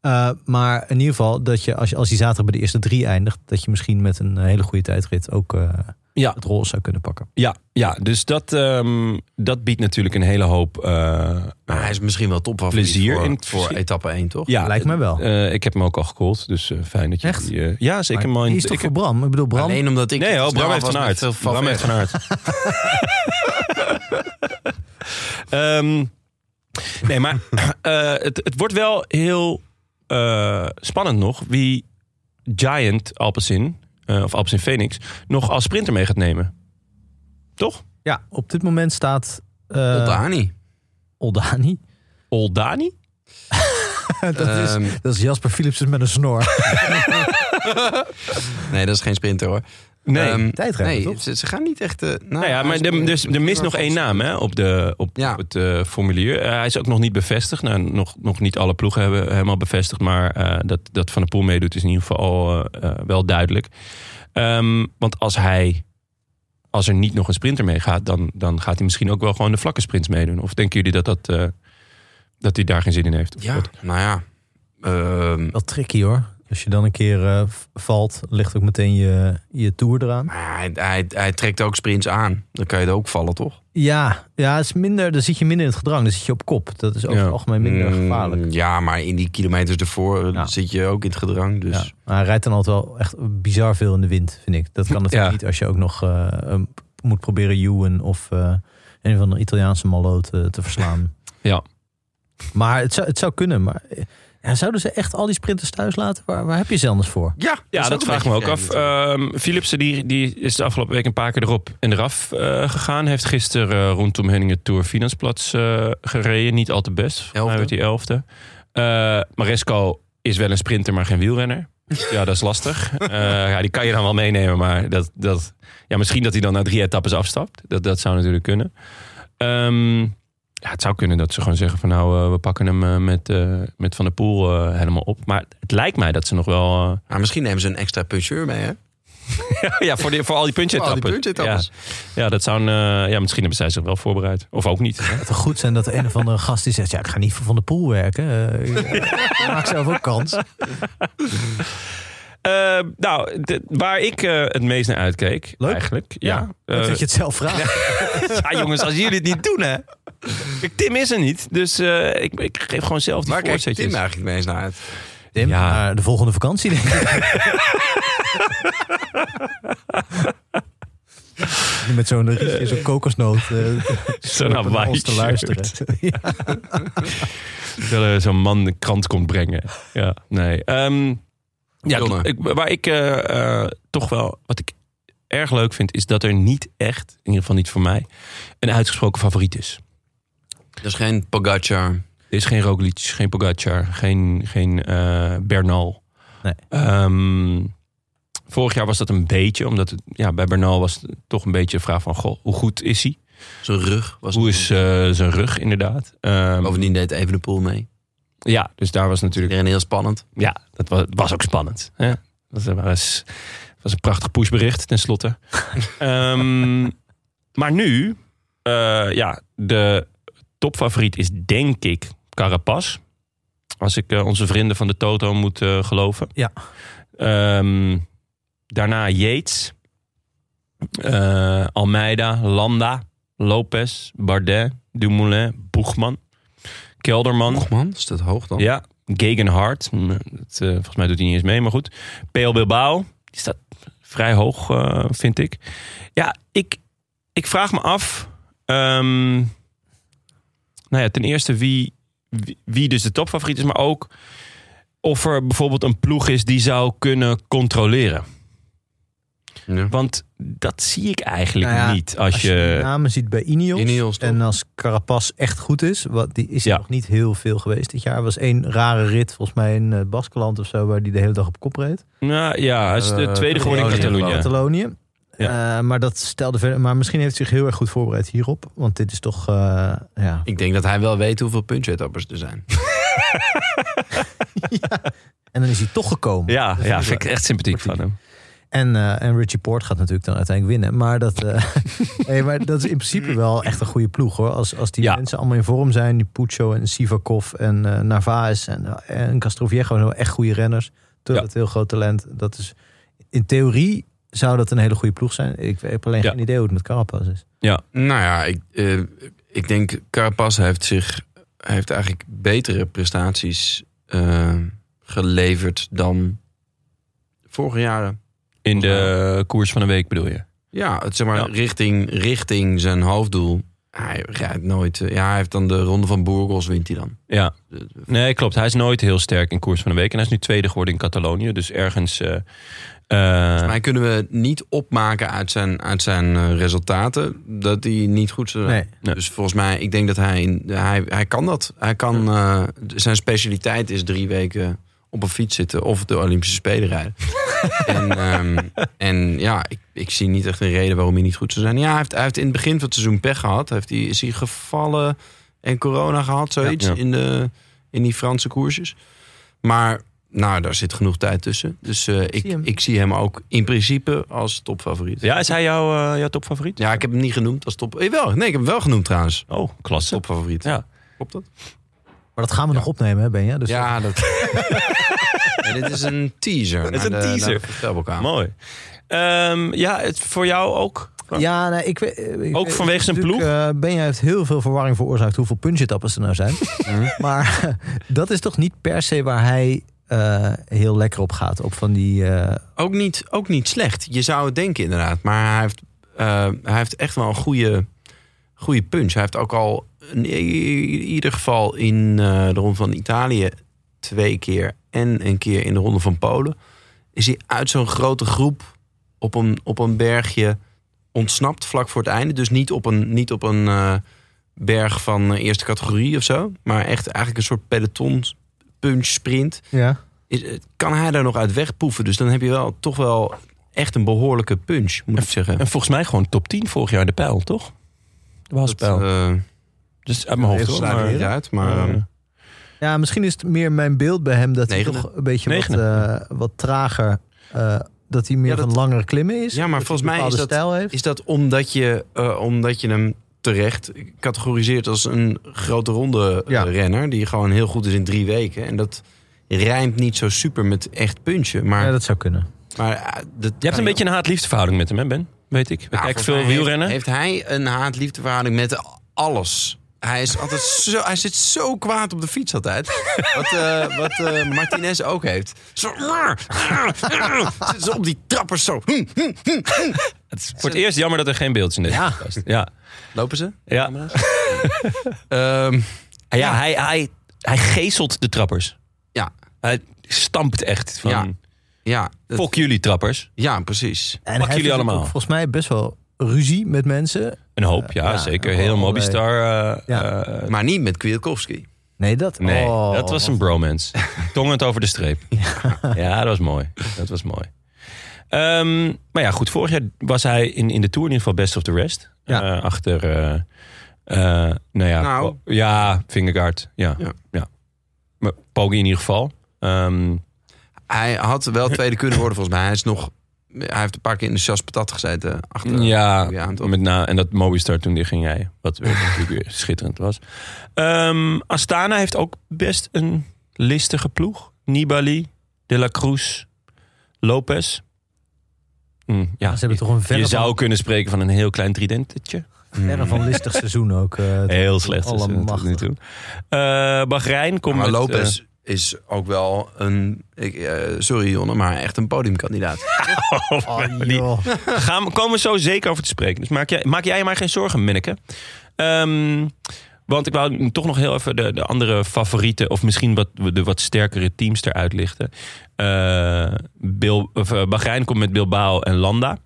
Speaker 2: Eh, maar in ieder geval, dat je als, je als die zaterdag bij de eerste drie eindigt... dat je misschien met een hele goede tijdrit ook eh,
Speaker 3: Ja.
Speaker 2: het roze zou kunnen pakken.
Speaker 3: Ja, ja dus dat, ehm, dat biedt natuurlijk een hele hoop. eh,
Speaker 1: Maar Nou, hij is misschien wel topfavoriet
Speaker 3: Plezier
Speaker 1: voor,
Speaker 3: in het
Speaker 1: voor
Speaker 3: verschil.
Speaker 1: etappe 1, toch?
Speaker 3: ja,
Speaker 2: Ah, Lijkt mij wel.
Speaker 3: eh, ik heb hem ook al gecallt, dus eh, fijn dat je
Speaker 2: Echt?
Speaker 3: die, eh, ja, zeker.
Speaker 2: Maar
Speaker 3: man.
Speaker 2: die is toch
Speaker 3: ik
Speaker 2: voor
Speaker 3: heb,
Speaker 2: Bram? Ik bedoel, Bram...
Speaker 1: Alleen omdat ik...
Speaker 3: nee,
Speaker 1: snel
Speaker 3: oh, Bram heeft
Speaker 1: was
Speaker 3: van
Speaker 1: met
Speaker 3: aard.
Speaker 1: veel
Speaker 3: Bram heeft van aard.
Speaker 1: [laughs]
Speaker 3: Ehm, nee, maar [clears throat] eh, het, het wordt wel heel eh, spannend nog wie Giant Alpecin, eh, of Alpecin Phoenix, nog als sprinter mee gaat nemen. Toch?
Speaker 2: Ja, op dit moment staat... eh,
Speaker 1: Oldani.
Speaker 2: Oldani.
Speaker 3: Oldani?
Speaker 2: dat,
Speaker 3: Eh.
Speaker 2: is,
Speaker 1: Ehm,
Speaker 2: dat is Jasper Philipsen met een snor.
Speaker 1: nee, dat is geen sprinter hoor.
Speaker 3: Nee.
Speaker 1: Ehm,
Speaker 2: Tijdrijder,
Speaker 1: nee,
Speaker 2: toch?
Speaker 1: Ze, ze gaan niet echt... eh, nou,
Speaker 3: nou ja, maar
Speaker 1: hij
Speaker 3: er,
Speaker 1: is-
Speaker 3: dus, er mist nog één naam hè, op, de, op,
Speaker 1: Ja.
Speaker 3: op het eh, formulier. Eh, hij is ook nog niet bevestigd. Nou, nog, nog niet alle ploegen hebben helemaal bevestigd. Maar eh, dat, dat Van der Poel meedoet is in ieder geval al, eh, eh, wel duidelijk. Ehm, want als hij... Als er niet nog een sprinter meegaat, dan, dan gaat hij misschien ook wel gewoon de vlakke sprints meedoen. Of denken jullie dat, dat, eh, dat hij daar geen zin in heeft? Of
Speaker 1: Ja,
Speaker 3: wat?
Speaker 1: nou ja. Ehm,
Speaker 2: [laughs] Wel tricky hoor. Als je dan een keer eh, v- valt, ligt ook meteen je, je tour eraan.
Speaker 1: maar hij, hij, hij trekt ook sprints aan. Dan kan je er ook vallen, toch?
Speaker 2: Ja, ja het is minder, dan zit je minder in het gedrang. Dan zit je op kop. Dat is over
Speaker 3: Ja.
Speaker 2: het algemeen minder
Speaker 1: Mm,
Speaker 2: gevaarlijk.
Speaker 1: Ja, maar in die kilometers ervoor eh,
Speaker 2: Ja.
Speaker 1: zit je ook in het gedrang. Dus
Speaker 2: Ja. Maar hij rijdt dan altijd wel echt bizar veel in de wind, vind ik. Dat kan natuurlijk
Speaker 3: Ja.
Speaker 2: niet als je ook nog eh, een- moet proberen Ewan of eh, een van de Italiaanse maloten eh, te verslaan.
Speaker 3: [laughs] Ja.
Speaker 2: Maar het zou, het zou kunnen. Maar eh, ja, zouden ze echt al die sprinters thuis laten? Waar, waar heb je ze anders voor?
Speaker 1: Ja,
Speaker 3: Ja, dat,
Speaker 1: is een
Speaker 3: vraag ik me ook
Speaker 1: beetje
Speaker 3: af.
Speaker 1: vreemd
Speaker 2: eh.
Speaker 1: natuurlijk.
Speaker 3: Ehm, Philipsen die, die is de afgelopen week een paar keer erop en eraf eh, gegaan. Heeft gisteren eh, rondom Henningen Tour Finansplatz eh, gereden. Niet al te best. Volgens mij
Speaker 1: Elfde.
Speaker 3: werd hij elfde. Eh Maresco is wel een sprinter, maar geen
Speaker 1: [laughs]
Speaker 3: wielrenner. Ja, dat is lastig. Eh, ja, die kan je dan wel meenemen, maar dat, dat, ja, misschien dat hij dan na drie etappes afstapt. Dat, dat zou natuurlijk kunnen. Ehm, ja, het zou kunnen dat ze gewoon zeggen van nou, eh, we pakken hem eh, met, eh, met Van der Poel eh, helemaal op. Maar het lijkt mij dat ze nog wel... eh,
Speaker 1: Maar Ah, misschien nemen ze een extra puncheur mee, hè?
Speaker 3: ja, voor, die, voor al
Speaker 1: Voor al
Speaker 3: die punchetappen.
Speaker 1: die punchetappes.
Speaker 3: Ja, ja, dat zou een, eh, ja, misschien hebben zij zich wel voorbereid. Of ook niet.
Speaker 2: Het zou goed zijn dat de een of andere gast die zegt... ja, ik ga niet voor Van de Poel werken. Eh, [laughs] ik maak zelf ook kans.
Speaker 3: Eh, nou, de- waar ik eh, het meest naar uitkeek,
Speaker 2: Leuk.
Speaker 3: eigenlijk.
Speaker 2: Ja,
Speaker 3: Ja, Eh,
Speaker 2: dat je het zelf vraagt.
Speaker 3: [laughs] ja, jongens, als jullie het niet doen, hè. Kijk, [laughs] Tim is er niet, dus eh, ik, ik geef gewoon zelf die
Speaker 1: Waar kijkt Tim
Speaker 3: voorzetjes.
Speaker 1: eigenlijk het meest naar uit?
Speaker 2: Tim,
Speaker 3: Ja.
Speaker 2: naar de volgende vakantie denk [laughs] ik. Met zo'n rietje, zo'n kokosnoot. eh,
Speaker 3: Zo'n
Speaker 2: om naar ons te
Speaker 3: Hawaii-shirt. [laughs]
Speaker 2: luisteren. [laughs] Ja.
Speaker 3: Dat er eh, zo'n man de krant komt brengen. Ja, nee. Ehm, ja,
Speaker 1: Jonne.
Speaker 3: ik, waar ik eh, eh, toch wel... Wat ik erg leuk vind, is dat er niet echt... in ieder geval niet voor mij... een uitgesproken favoriet is.
Speaker 1: Dat is geen Pogacar.
Speaker 3: Er is geen Roglic, geen Pogacar, geen, geen eh, Bernal.
Speaker 2: Nee.
Speaker 3: Ehm, vorig jaar was dat een beetje, omdat het, ja, bij Bernal was het toch een beetje de vraag van... Goh, hoe goed is hij?
Speaker 1: Zijn rug was...
Speaker 3: Hoe is eh, zijn rug, inderdaad? Ehm,
Speaker 1: Bovendien deed even de pool mee.
Speaker 3: ja, dus daar was natuurlijk...
Speaker 1: Iedereen heel spannend.
Speaker 3: Ja, dat was, was ook spannend. Hè? Dat was, was een prachtig pushbericht, tenslotte. Ehm maar nu, eh, ja, de topfavoriet is denk ik Carapaz. Als ik eh, onze vrienden van de Toto moet eh, geloven.
Speaker 2: Ja.
Speaker 3: Ehm, daarna Yates. eh, Almeida, Landa, Lopez, Bardet, Dumoulin, Boegman, Kelderman.
Speaker 1: Och man, is dat hoog dan?
Speaker 3: Ja, Gegenhard. Hm, Dat, eh, volgens mij doet hij niet eens mee, maar goed. PL Bilbao, die staat vrij hoog, eh, vind ik. Ja, ik, ik vraag me af... ehm, nou ja, ten eerste wie, wie, wie dus de topfavoriet is, maar ook of er bijvoorbeeld een ploeg is die zou kunnen controleren.
Speaker 1: Ja.
Speaker 3: Want dat zie ik eigenlijk
Speaker 2: Nou ja,
Speaker 3: niet als,
Speaker 2: Als je
Speaker 3: je...
Speaker 2: die namen ziet bij Ineos.
Speaker 1: Ineos, toch?
Speaker 2: en als Carapaz echt goed is, wat, die is er
Speaker 3: Ja.
Speaker 2: nog niet heel veel geweest dit jaar. Er was één rare rit, volgens mij in eh, Baskeland of zo, waar die de hele dag op kop reed.
Speaker 3: nou, ja, hij is de
Speaker 1: Eh,
Speaker 3: tweede geworden in
Speaker 1: Catalonië.
Speaker 3: Catalonië.
Speaker 2: Catalonië. Eh, maar dat stelde verder. Maar misschien heeft hij zich heel erg goed voorbereid hierop. Want dit is toch. eh, ja.
Speaker 1: Ik denk dat hij wel weet hoeveel punchetappers er zijn.
Speaker 2: En dan is hij toch gekomen.
Speaker 3: Ja, ja,
Speaker 2: is
Speaker 3: vind ik echt sympathiek van hem.
Speaker 2: En, eh, en Richie Poort gaat natuurlijk dan uiteindelijk winnen. Maar dat, eh,
Speaker 3: [laughs]
Speaker 2: nee, maar dat is in principe wel echt een goede ploeg hoor. Als, als die
Speaker 3: Ja.
Speaker 2: mensen allemaal in vorm zijn. Die Puccio en Sivakov en eh Narvaez en, eh, en Castroviejo. zijn wel Echt goede renners. Toen
Speaker 3: Ja.
Speaker 2: dat heel groot talent. Dat is, in theorie zou dat een hele goede ploeg zijn. Ik heb alleen
Speaker 3: Ja.
Speaker 2: geen idee hoe het met Carapaz is.
Speaker 1: Nou ja, ik, eh, ik denk Carapaz heeft zich hij heeft eigenlijk betere prestaties eh, geleverd dan vorige jaren.
Speaker 3: In de koers van een week bedoel je?
Speaker 1: Ja, het, zeg maar
Speaker 3: Ja.
Speaker 1: Richting, richting zijn hoofddoel. Hij rijdt nooit. eh, ja, hij heeft dan de ronde van Burgos wint hij dan.
Speaker 3: Ja.
Speaker 1: Eh,
Speaker 3: Nee, klopt. Hij is nooit heel sterk in koers van een week. En hij is nu tweede geworden in Catalonië. Dus ergens... eh, eh,
Speaker 1: Maar kunnen we niet opmaken uit zijn, uit zijn eh, resultaten dat die niet goed zijn.
Speaker 2: Nee.
Speaker 3: Nee.
Speaker 1: Dus volgens mij, ik denk dat hij, in- hij, hij kan dat. Hij kan, eh, zijn specialiteit is drie weken op een fiets zitten of de Olympische Spelen
Speaker 3: [laughs]
Speaker 1: rijden. en, ehm, en ja, ik, ik zie niet echt een reden waarom hij niet goed zou zijn. Ja, hij heeft, hij heeft in het begin van het seizoen pech gehad. Heeft hij, is hij gevallen en corona gehad, zoiets,
Speaker 3: Ja.
Speaker 1: In, de, in die Franse koersjes. Maar nou, daar zit genoeg tijd tussen. Dus eh, ik,
Speaker 2: zie hem.
Speaker 1: ik zie hem ook in principe als topfavoriet.
Speaker 3: ja, is hij jouw, eh, jouw topfavoriet?
Speaker 1: Ja, ik heb hem niet genoemd als top. Jawel, nee, ik heb hem wel genoemd trouwens.
Speaker 3: Oh, klasse.
Speaker 1: Topfavoriet.
Speaker 3: Ja.
Speaker 1: Klopt dat?
Speaker 2: Maar dat gaan we nog opnemen, hè, Benja? Dus
Speaker 1: ja, dat. [laughs] Ja, dit is een teaser. Het
Speaker 3: eh. is een teaser. Mooi. Ehm, ja, het, voor jou ook?
Speaker 2: Ja, nee, ik, weet- ik
Speaker 3: Ook
Speaker 2: weet-
Speaker 3: vanwege zijn
Speaker 2: natuurlijk, eh, Benja heeft heel veel verwarring veroorzaakt hoeveel punchetappers er nou
Speaker 3: [laughs]
Speaker 2: zijn.
Speaker 3: Mhm.
Speaker 2: [laughs] maar dat is toch niet per se waar hij eh, heel lekker op gaat. Op van die. eh,
Speaker 1: Ook niet, ook niet slecht. Je zou het denken inderdaad. Maar hij heeft, eh, hij heeft echt wel een goede, goede punch. Hij heeft ook al in, i- in ieder geval in eh, de Ronde van Italië twee keer... en een keer in de Ronde van Polen... is hij uit zo'n grote groep op een, op een bergje ontsnapt vlak voor het einde. Dus niet op een, niet op een eh, berg van eh, eerste categorie of zo. Maar echt eigenlijk een soort peloton punch sprint
Speaker 2: ja.
Speaker 1: is, eh, kan hij daar nog uit wegpoeven. Dus dan heb je wel toch wel echt een behoorlijke punch, moet ik zeggen.
Speaker 3: En volgens mij gewoon top 10 vorig jaar in de pijl, toch? De Waalspijl.
Speaker 1: eh,
Speaker 3: dus uit mijn hoofd
Speaker 1: regels
Speaker 3: hoor.
Speaker 1: sluiten
Speaker 3: maar-
Speaker 1: niet uit, maar...
Speaker 3: Eh,
Speaker 1: eh,
Speaker 2: ja, misschien is het meer mijn beeld bij hem dat
Speaker 1: Negende.
Speaker 2: hij toch een beetje wat,
Speaker 3: Negende.
Speaker 2: eh, wat trager. eh, dat hij meer
Speaker 1: Ja, dat-
Speaker 2: van langere klimmen is.
Speaker 1: Ja, maar
Speaker 2: Dat
Speaker 1: volgens mij
Speaker 2: hij een
Speaker 1: is
Speaker 2: bepaalde
Speaker 1: dat-
Speaker 2: stijl heeft.
Speaker 1: Is dat omdat je, eh, omdat je hem terecht categoriseert als een grote ronde eh,
Speaker 2: Ja.
Speaker 1: renner... die gewoon heel goed is in drie weken. En dat rijmt niet zo super met echt punchen. Maar,
Speaker 2: Ja, dat zou kunnen.
Speaker 1: maar, eh, dat
Speaker 3: Je hebt een beetje een haat-liefdeverhouding met hem, hè Ben? Weet ik. We
Speaker 1: Nou, volgens
Speaker 3: kijken veel
Speaker 1: mij heeft-
Speaker 3: wielrennen.
Speaker 1: Heeft, hij een haat-liefdeverhouding met alles? Hij, is altijd [laughs] zo, hij zit zo kwaad op de fiets altijd. Wat, eh, wat eh, Martinez ook heeft. Zo, zit ze op die trappers zo. Hm, hm.
Speaker 3: Het is voor het eerst jammer dat er geen beeld is in deze
Speaker 1: Ja.
Speaker 3: podcast. Ja.
Speaker 1: Lopen ze?
Speaker 3: Ja.
Speaker 1: Ehm,
Speaker 3: Ja, Hij, hij, hij geeselt de trappers.
Speaker 1: ja,
Speaker 3: Hij stampt echt van...
Speaker 1: Ja. ja, dat-
Speaker 3: Fok jullie trappers.
Speaker 1: ja, precies.
Speaker 2: En
Speaker 3: Pak
Speaker 2: hij heeft
Speaker 3: jullie
Speaker 2: natuurlijk
Speaker 3: allemaal.
Speaker 2: ook Volgens mij best wel ruzie met mensen.
Speaker 3: Een hoop, ja,
Speaker 2: Eh, ja,
Speaker 3: zeker.
Speaker 2: en
Speaker 3: Heel
Speaker 2: allerlei-
Speaker 3: Mobistar. eh,
Speaker 2: Ja.
Speaker 3: eh,
Speaker 1: Maar niet met Kwiatkowski.
Speaker 2: Nee, dat.
Speaker 3: nee,
Speaker 2: oh,
Speaker 3: dat was een bromance. Tongend over de streep. Ja, dat was mooi. Dat was mooi. Ehm, maar ja, goed. Vorig jaar was hij in, in de Tour in ieder geval best of the rest.
Speaker 2: Ja.
Speaker 3: Eh, achter, eh, eh, nou ja,
Speaker 1: Nou.
Speaker 3: oh, ja, Vingegaard. Ja,
Speaker 1: Ja.
Speaker 3: ja. Maar Poggi in ieder geval. Ehm,
Speaker 1: Hij had wel tweede kunnen worden volgens mij. Hij, is nog, hij heeft een paar keer in de chas patat gezeten. Achter,
Speaker 3: ja,
Speaker 1: ja, toch?
Speaker 3: met na, en dat Mobistar toen die ging jij. Wat weer [laughs] natuurlijk weer schitterend was. Ehm, Astana heeft ook best een listige ploeg. Nibali, De La Cruz, Lopez. Hm, ja,
Speaker 2: Ze hebben toch een verre
Speaker 3: Je zou
Speaker 2: van-
Speaker 3: kunnen spreken van een heel klein tridentetje.
Speaker 2: Verre van
Speaker 3: [laughs]
Speaker 2: listig seizoen ook. eh,
Speaker 3: Heel slecht. is het tot nu
Speaker 2: Allemachtig.
Speaker 3: toe. Eh, Bahrein komt
Speaker 1: Maar
Speaker 3: met, eh,
Speaker 1: Lopez is ook wel een... Ik, eh, sorry Jonne, maar echt een podiumkandidaat.
Speaker 3: eh,
Speaker 1: [laughs]
Speaker 2: Oh,
Speaker 3: die-
Speaker 2: joh.
Speaker 3: Gaan we, komen we zo zeker over te spreken. Dus maak jij, maak jij je maar geen zorgen, Minneke. Ehm, want ik wou toch nog heel even de, de andere favorieten... of misschien wat, de wat sterkere teams eruit lichten. Eh, Bil, of, eh, Bahrein komt met Bilbao en Landa.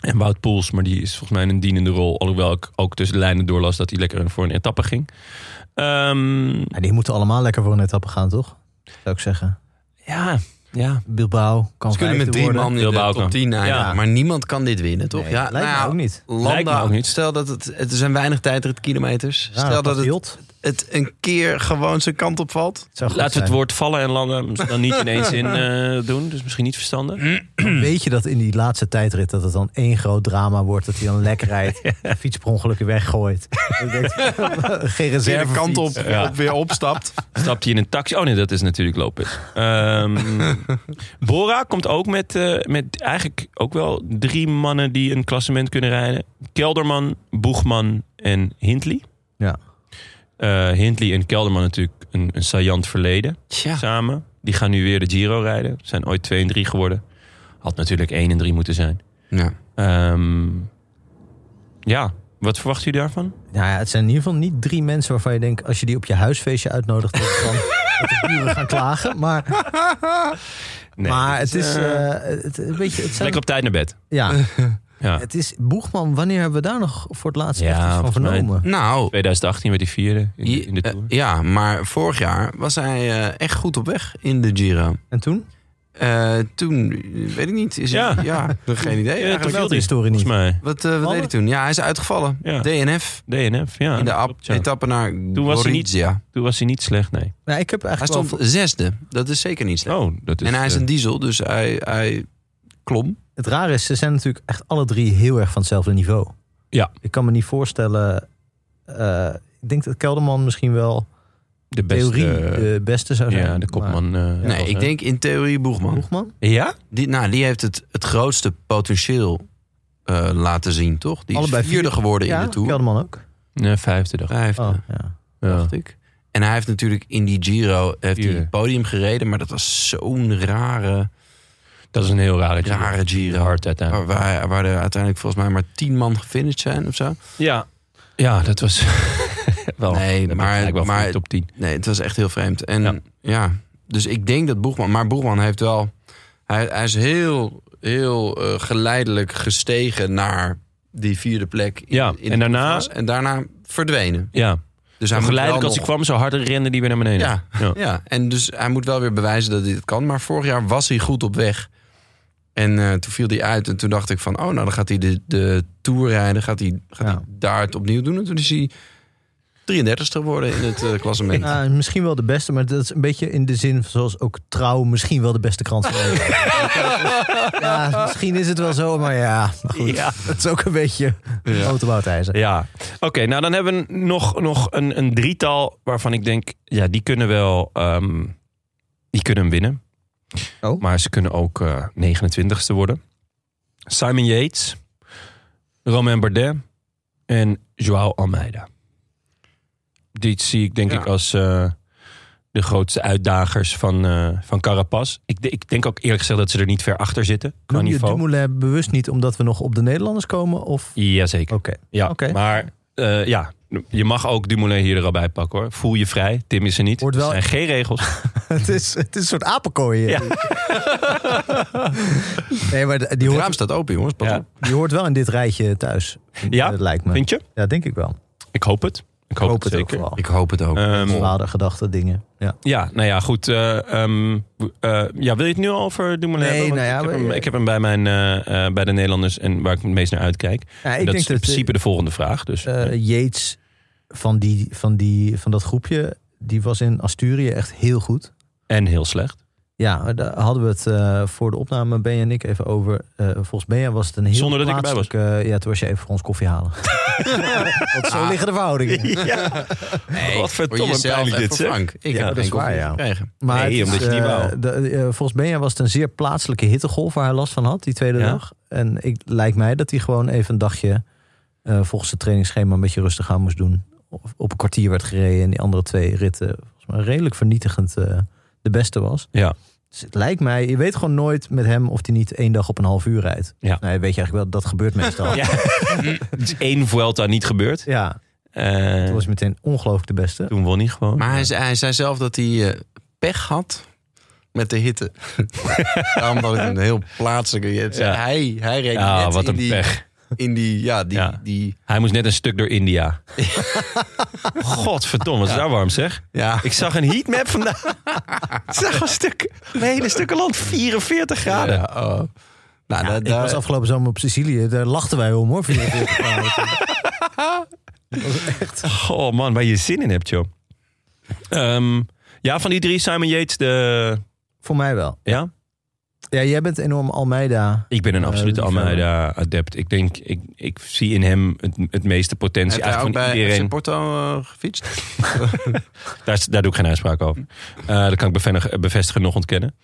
Speaker 3: En Wout Poels, maar die is volgens mij in een dienende rol. Alhoewel ik ook tussen de lijnen doorlas dat hij lekker voor een etappe ging. Ehm,
Speaker 2: Ja, die moeten allemaal lekker voor een etappe gaan, toch? Zou ik zeggen.
Speaker 3: ja, ja.
Speaker 2: Bilbao kan
Speaker 1: Ze kunnen
Speaker 2: vijfde
Speaker 1: met drie
Speaker 2: worden.
Speaker 1: man in
Speaker 3: Bilbao
Speaker 1: de
Speaker 3: kan.
Speaker 1: top 10 eindigen.
Speaker 3: Ja.
Speaker 1: Maar niemand kan dit winnen, toch?
Speaker 2: Nee, lijkt me
Speaker 1: nou
Speaker 2: ook niet.
Speaker 1: Landa,
Speaker 3: Lijkt me ook niet.
Speaker 1: Stel dat het... Het zijn weinig tijdritkilometers.
Speaker 2: Ja,
Speaker 1: stel dat het,
Speaker 2: Patriot.
Speaker 1: het een keer gewoon zijn kant op valt.
Speaker 2: Het zou goed
Speaker 3: Laten we het
Speaker 2: zijn.
Speaker 3: woord vallen en lange dan niet ineens in eh, doen. Dus misschien niet verstandig.
Speaker 2: Weet je dat in die laatste tijdrit dat het dan één groot drama wordt? Dat hij dan lek
Speaker 1: [laughs]
Speaker 2: rijdt, de fiets per ongeluk weer weggooit. Dan denk ik, [laughs] Geen
Speaker 1: Weer
Speaker 2: reserve
Speaker 1: de kant op,
Speaker 3: Ja.
Speaker 1: op weer
Speaker 3: [laughs]
Speaker 1: opstapt.
Speaker 3: Stapt hij in een taxi? Oh nee, dat is natuurlijk Lopez.
Speaker 2: [laughs]
Speaker 3: Ehm, Bora komt ook met, eh, met eigenlijk ook wel drie mannen die een klassement kunnen rijden. Kelderman, Boegman en Hindley.
Speaker 2: Ja.
Speaker 3: Eh, Hindley en Kelderman natuurlijk een, een saillant verleden
Speaker 1: Tja.
Speaker 3: samen. Die gaan nu weer de Giro rijden. Zijn ooit 2 en 3 geworden. Had natuurlijk 1 en 3 moeten zijn.
Speaker 1: Ja.
Speaker 3: Ehm, ja, wat verwacht u daarvan?
Speaker 2: Nou ja, het zijn in ieder geval niet drie mensen waarvan je denkt... als je die op je huisfeestje uitnodigt... dat het dan
Speaker 1: [laughs]
Speaker 2: dat de buren gaan klagen. Maar,
Speaker 3: Nee,
Speaker 2: maar
Speaker 3: dat
Speaker 2: het is
Speaker 3: eh,
Speaker 2: eh, het, een beetje... Het zijn,
Speaker 3: lekker op tijd naar bed.
Speaker 2: ja,
Speaker 3: Ja.
Speaker 2: het is... Boegman, wanneer hebben we daar nog voor het laatst
Speaker 3: Ja,
Speaker 2: echt iets van
Speaker 3: volgens mij-
Speaker 2: vernomen?
Speaker 1: Nou,
Speaker 3: 2018 werd hij vierde in,
Speaker 1: je-
Speaker 3: in de
Speaker 1: eh,
Speaker 3: Tour.
Speaker 1: ja, maar vorig jaar was hij eh, echt goed op weg in de Giro.
Speaker 2: En toen?
Speaker 1: Eh, toen, eh, weet ik niet. Is
Speaker 3: Ja.
Speaker 1: ja.
Speaker 3: [laughs]
Speaker 1: ja, geen idee
Speaker 3: Ja,
Speaker 1: eigenlijk.
Speaker 3: toen viel
Speaker 2: de
Speaker 3: hij,
Speaker 2: historie
Speaker 3: volgens
Speaker 2: niet.
Speaker 3: mij.
Speaker 1: Wat, eh, wat deed hij toen? Ja, hij is uitgevallen.
Speaker 3: Ja.
Speaker 1: DNF
Speaker 3: DNF, ja.
Speaker 1: in de
Speaker 3: dat
Speaker 1: ap-
Speaker 3: klopt, ja.
Speaker 1: etappe naar
Speaker 3: was hij niet-
Speaker 1: Gorizia.
Speaker 3: Toen was hij niet slecht, nee.
Speaker 2: Nou, ik heb
Speaker 1: Hij
Speaker 2: eigenlijk wel
Speaker 1: stond zesde. Dat is zeker niet slecht.
Speaker 3: Oh, dat is...
Speaker 1: en hij is
Speaker 3: eh,
Speaker 1: een diesel, dus hij, hij klom.
Speaker 2: Het rare is, ze zijn natuurlijk echt alle drie heel erg van hetzelfde niveau.
Speaker 3: Ja.
Speaker 2: Ik kan me niet voorstellen. eh, ik denk dat Kelderman misschien wel
Speaker 3: de beste, eh,
Speaker 2: theorie de beste zou zijn.
Speaker 3: ja, de kopman. eh,
Speaker 1: eh, nee,
Speaker 3: was,
Speaker 1: ik
Speaker 3: hè?
Speaker 1: denk in theorie
Speaker 2: Maar,
Speaker 1: Boegman.
Speaker 2: Boegman?
Speaker 3: Ja?
Speaker 1: Die, nou, die heeft het, het grootste potentieel eh, laten zien, toch? Die is
Speaker 2: Allebei
Speaker 1: vierde
Speaker 2: vierde.
Speaker 1: geworden
Speaker 2: Ja,
Speaker 1: in de Tour.
Speaker 2: Kelderman ook.
Speaker 3: Nee, vijfde dag.
Speaker 1: Vijfde,
Speaker 2: Oh, ja.
Speaker 3: Ah, Ja.
Speaker 1: dacht ik. En hij heeft natuurlijk in die Giro heeft hij
Speaker 3: Vierde.
Speaker 1: het podium gereden. Maar dat was zo'n rare,
Speaker 3: Dat is een heel rare Giro.
Speaker 1: rare Oh, Giro.
Speaker 3: Hard uiteindelijk.
Speaker 1: Waar, waar, waar er uiteindelijk volgens mij maar tien man gefinished zijn of zo.
Speaker 3: Ja. Ja, dat was... [laughs] wel,
Speaker 1: Nee,
Speaker 3: dat
Speaker 1: maar-
Speaker 3: eigenlijk wel
Speaker 1: maar-
Speaker 3: voor de top 10.
Speaker 1: Nee, het was echt heel vreemd. En
Speaker 3: Ja.
Speaker 1: ja, dus ik denk dat Boegman... Maar Boegman heeft wel... Hij, hij is heel, heel eh, geleidelijk gestegen naar die vierde plek. in-
Speaker 3: Ja,
Speaker 1: in de
Speaker 3: en daarna-
Speaker 1: Tour de France. En daarna verdwenen.
Speaker 3: Ja,
Speaker 1: Dus hij moet
Speaker 3: geleidelijk
Speaker 1: wel
Speaker 3: als hij
Speaker 1: nog-
Speaker 3: kwam, zo harder rende die weer naar beneden.
Speaker 1: Ja.
Speaker 3: ja.
Speaker 1: Ja, en dus hij moet wel weer bewijzen dat hij het kan. Maar vorig jaar was hij goed op weg. En eh, toen viel hij uit. En toen dacht ik van... Oh, nou dan gaat hij de, de Tour rijden. Gaat hij, gaat
Speaker 2: Ja.
Speaker 1: hij daar het opnieuw doen. En toen is hij 33ste geworden in het eh, klassement.
Speaker 2: Nou, misschien wel de beste, maar dat is een beetje in de zin zoals ook trouw misschien wel de beste krant van Nederland.
Speaker 3: [laughs]
Speaker 2: ja, misschien is het wel zo, maar ja, maar goed.
Speaker 3: Ja.
Speaker 2: Het is ook een beetje autoboutijzer.
Speaker 3: Ja, oké. nou, dan hebben we nog, nog een, een drietal waarvan ik denk, ja, die kunnen wel, ehm, die kunnen hem winnen.
Speaker 2: Oh.
Speaker 3: Maar ze kunnen ook eh 29ste worden. Simon Yates, Romain Bardet en Joao Almeida. Dit zie ik denk
Speaker 1: Ja.
Speaker 3: ik als eh, de grootste uitdagers van, eh van Carapaz. Ik, de- ik denk ook eerlijk gezegd dat ze er niet ver achter zitten. Qua
Speaker 2: Noem je
Speaker 3: niveau.
Speaker 2: Dumoulin bewust niet omdat we nog op de Nederlanders komen? Of?
Speaker 3: Jazeker.
Speaker 2: Oké.
Speaker 3: Ja,
Speaker 2: Oké.
Speaker 3: maar eh, ja, je mag ook Dumoulin hier er al bij pakken hoor. Voel je vrij, Tim is er niet.
Speaker 2: Wordt wel-
Speaker 3: Er zijn geen
Speaker 2: [laughs]
Speaker 3: regels.
Speaker 2: Het is, het is een soort apenkooi. hier. [laughs] nee, maar de- die
Speaker 1: Het
Speaker 2: hoort,
Speaker 1: raam staat open, jongens. Pas
Speaker 3: Ja.
Speaker 1: op.
Speaker 2: die hoort wel in dit rijtje thuis.
Speaker 3: Ja?
Speaker 2: Dat lijkt me.
Speaker 3: Vind je?
Speaker 2: Ja, denk ik wel. Ik
Speaker 3: Ik hoop het. Ik hoop,
Speaker 2: hoop
Speaker 3: het
Speaker 2: het ook
Speaker 3: zeker.
Speaker 2: vooral.
Speaker 1: Ik hoop het ook.
Speaker 3: Ehm,
Speaker 2: Zwaarder gedachten, dingen. Ja.
Speaker 3: ja, nou ja, goed. eh, ehm, w- eh, ja, wil je het nu al over Dumoulin
Speaker 2: Nee,
Speaker 3: hebben?
Speaker 2: nou
Speaker 3: Want
Speaker 2: ja,
Speaker 3: ik, heb
Speaker 2: we-
Speaker 3: hem, ik heb hem bij, mijn, eh, eh, bij de Nederlanders en waar ik het meest naar uitkijk.
Speaker 2: Ja, ik
Speaker 3: En dat
Speaker 2: denk
Speaker 3: is
Speaker 2: dat eh,
Speaker 3: in principe
Speaker 2: principe...
Speaker 3: de volgende vraag. Dus,
Speaker 2: Yates van, die, van, die, van dat groepje, die was in Asturië echt heel goed.
Speaker 3: en heel
Speaker 2: [laughs]
Speaker 3: slecht.
Speaker 2: Ja, daar hadden we het eh, voor de opname, Benja en ik, even over. Eh, volgens Benja was het een heel
Speaker 3: Zonder dat ik erbij was.
Speaker 2: plaatselijke- ja, toen was je even voor ons koffie
Speaker 3: [laughs]
Speaker 2: halen. Want zo liggen de verhoudingen.
Speaker 1: Nee,
Speaker 3: Wat verdomme
Speaker 1: voor jezelf
Speaker 3: pijnlijk
Speaker 1: en
Speaker 3: dit,
Speaker 1: voor
Speaker 3: zeg.
Speaker 1: Frank. Ik
Speaker 3: Ja,
Speaker 1: heb
Speaker 2: dat is
Speaker 1: geen koffie
Speaker 2: waar, ja.
Speaker 1: gekregen.
Speaker 2: Maar
Speaker 3: Nee,
Speaker 2: het is,
Speaker 3: omdat je die
Speaker 2: eh,
Speaker 3: wou.
Speaker 2: de- eh, volgens Benja was het een zeer plaatselijke hittegolf waar hij last van had, die tweede
Speaker 3: Ja.
Speaker 2: dag. En ik, lijkt mij dat hij gewoon even een dagje eh, volgens het trainingsschema een beetje rustig aan moest doen. Of op een kwartier werd gereden en die andere twee ritten volgens mij redelijk vernietigend eh, de beste was.
Speaker 3: Ja.
Speaker 2: Dus het lijkt mij, je weet gewoon nooit met hem of hij niet één dag op een half uur rijdt.
Speaker 3: Ja.
Speaker 2: Nee, weet je eigenlijk wel, dat gebeurt meestal. ja.
Speaker 3: [laughs]
Speaker 1: [laughs]
Speaker 3: Ja. Het is één Vuelta niet gebeurd. Eh,
Speaker 2: toen was hij meteen ongelooflijk de beste.
Speaker 3: toen won hij gewoon.
Speaker 1: Maar hij, zei- hij zei zelf dat hij eh, pech had met de hitte. [laughs] Daarom dat ik een heel plaatselijke...
Speaker 3: Ja.
Speaker 1: Hij, hij reed
Speaker 3: ja,
Speaker 1: net
Speaker 3: Ah, wat
Speaker 1: in,
Speaker 3: een
Speaker 1: die,
Speaker 3: pech.
Speaker 1: in die... Ja, die...
Speaker 3: Ja.
Speaker 1: die
Speaker 3: Hij moest net een stuk door
Speaker 1: [laughs]
Speaker 3: India. Godverdomme, was daar warm zeg.
Speaker 1: ja.
Speaker 3: Ik zag een
Speaker 1: [laughs]
Speaker 3: heatmap vandaag. Ik zag een stuk, een hele stuk land, 44 graden.
Speaker 1: Ja, oh. Nou,
Speaker 2: Ja,
Speaker 1: daar-
Speaker 2: ik
Speaker 1: daar-
Speaker 2: was afgelopen zomer op Sicilië, daar lachten wij
Speaker 3: [laughs]
Speaker 2: om hoor. 44 graden.
Speaker 3: Oh man, waar je zin in hebt, joh. Ehm, ja, van die drie, Simon Yates, de...
Speaker 2: Voor mij wel.
Speaker 3: Ja?
Speaker 2: Ja, jij bent enorm Almeida.
Speaker 3: Ik ben een
Speaker 2: Eh,
Speaker 3: absolute
Speaker 2: liefhebber.
Speaker 3: Almeida-adept. Ik denk, ik, ik zie in hem het, het meeste potentie
Speaker 1: Heeft hij ook
Speaker 3: eigenlijk van
Speaker 1: bij FC
Speaker 3: iedereen.
Speaker 1: Porto eh, gefietst?
Speaker 3: Daar, is- daar doe ik geen uitspraak over. Eh, dat kan ik bevenig- bevestigen, nog ontkennen.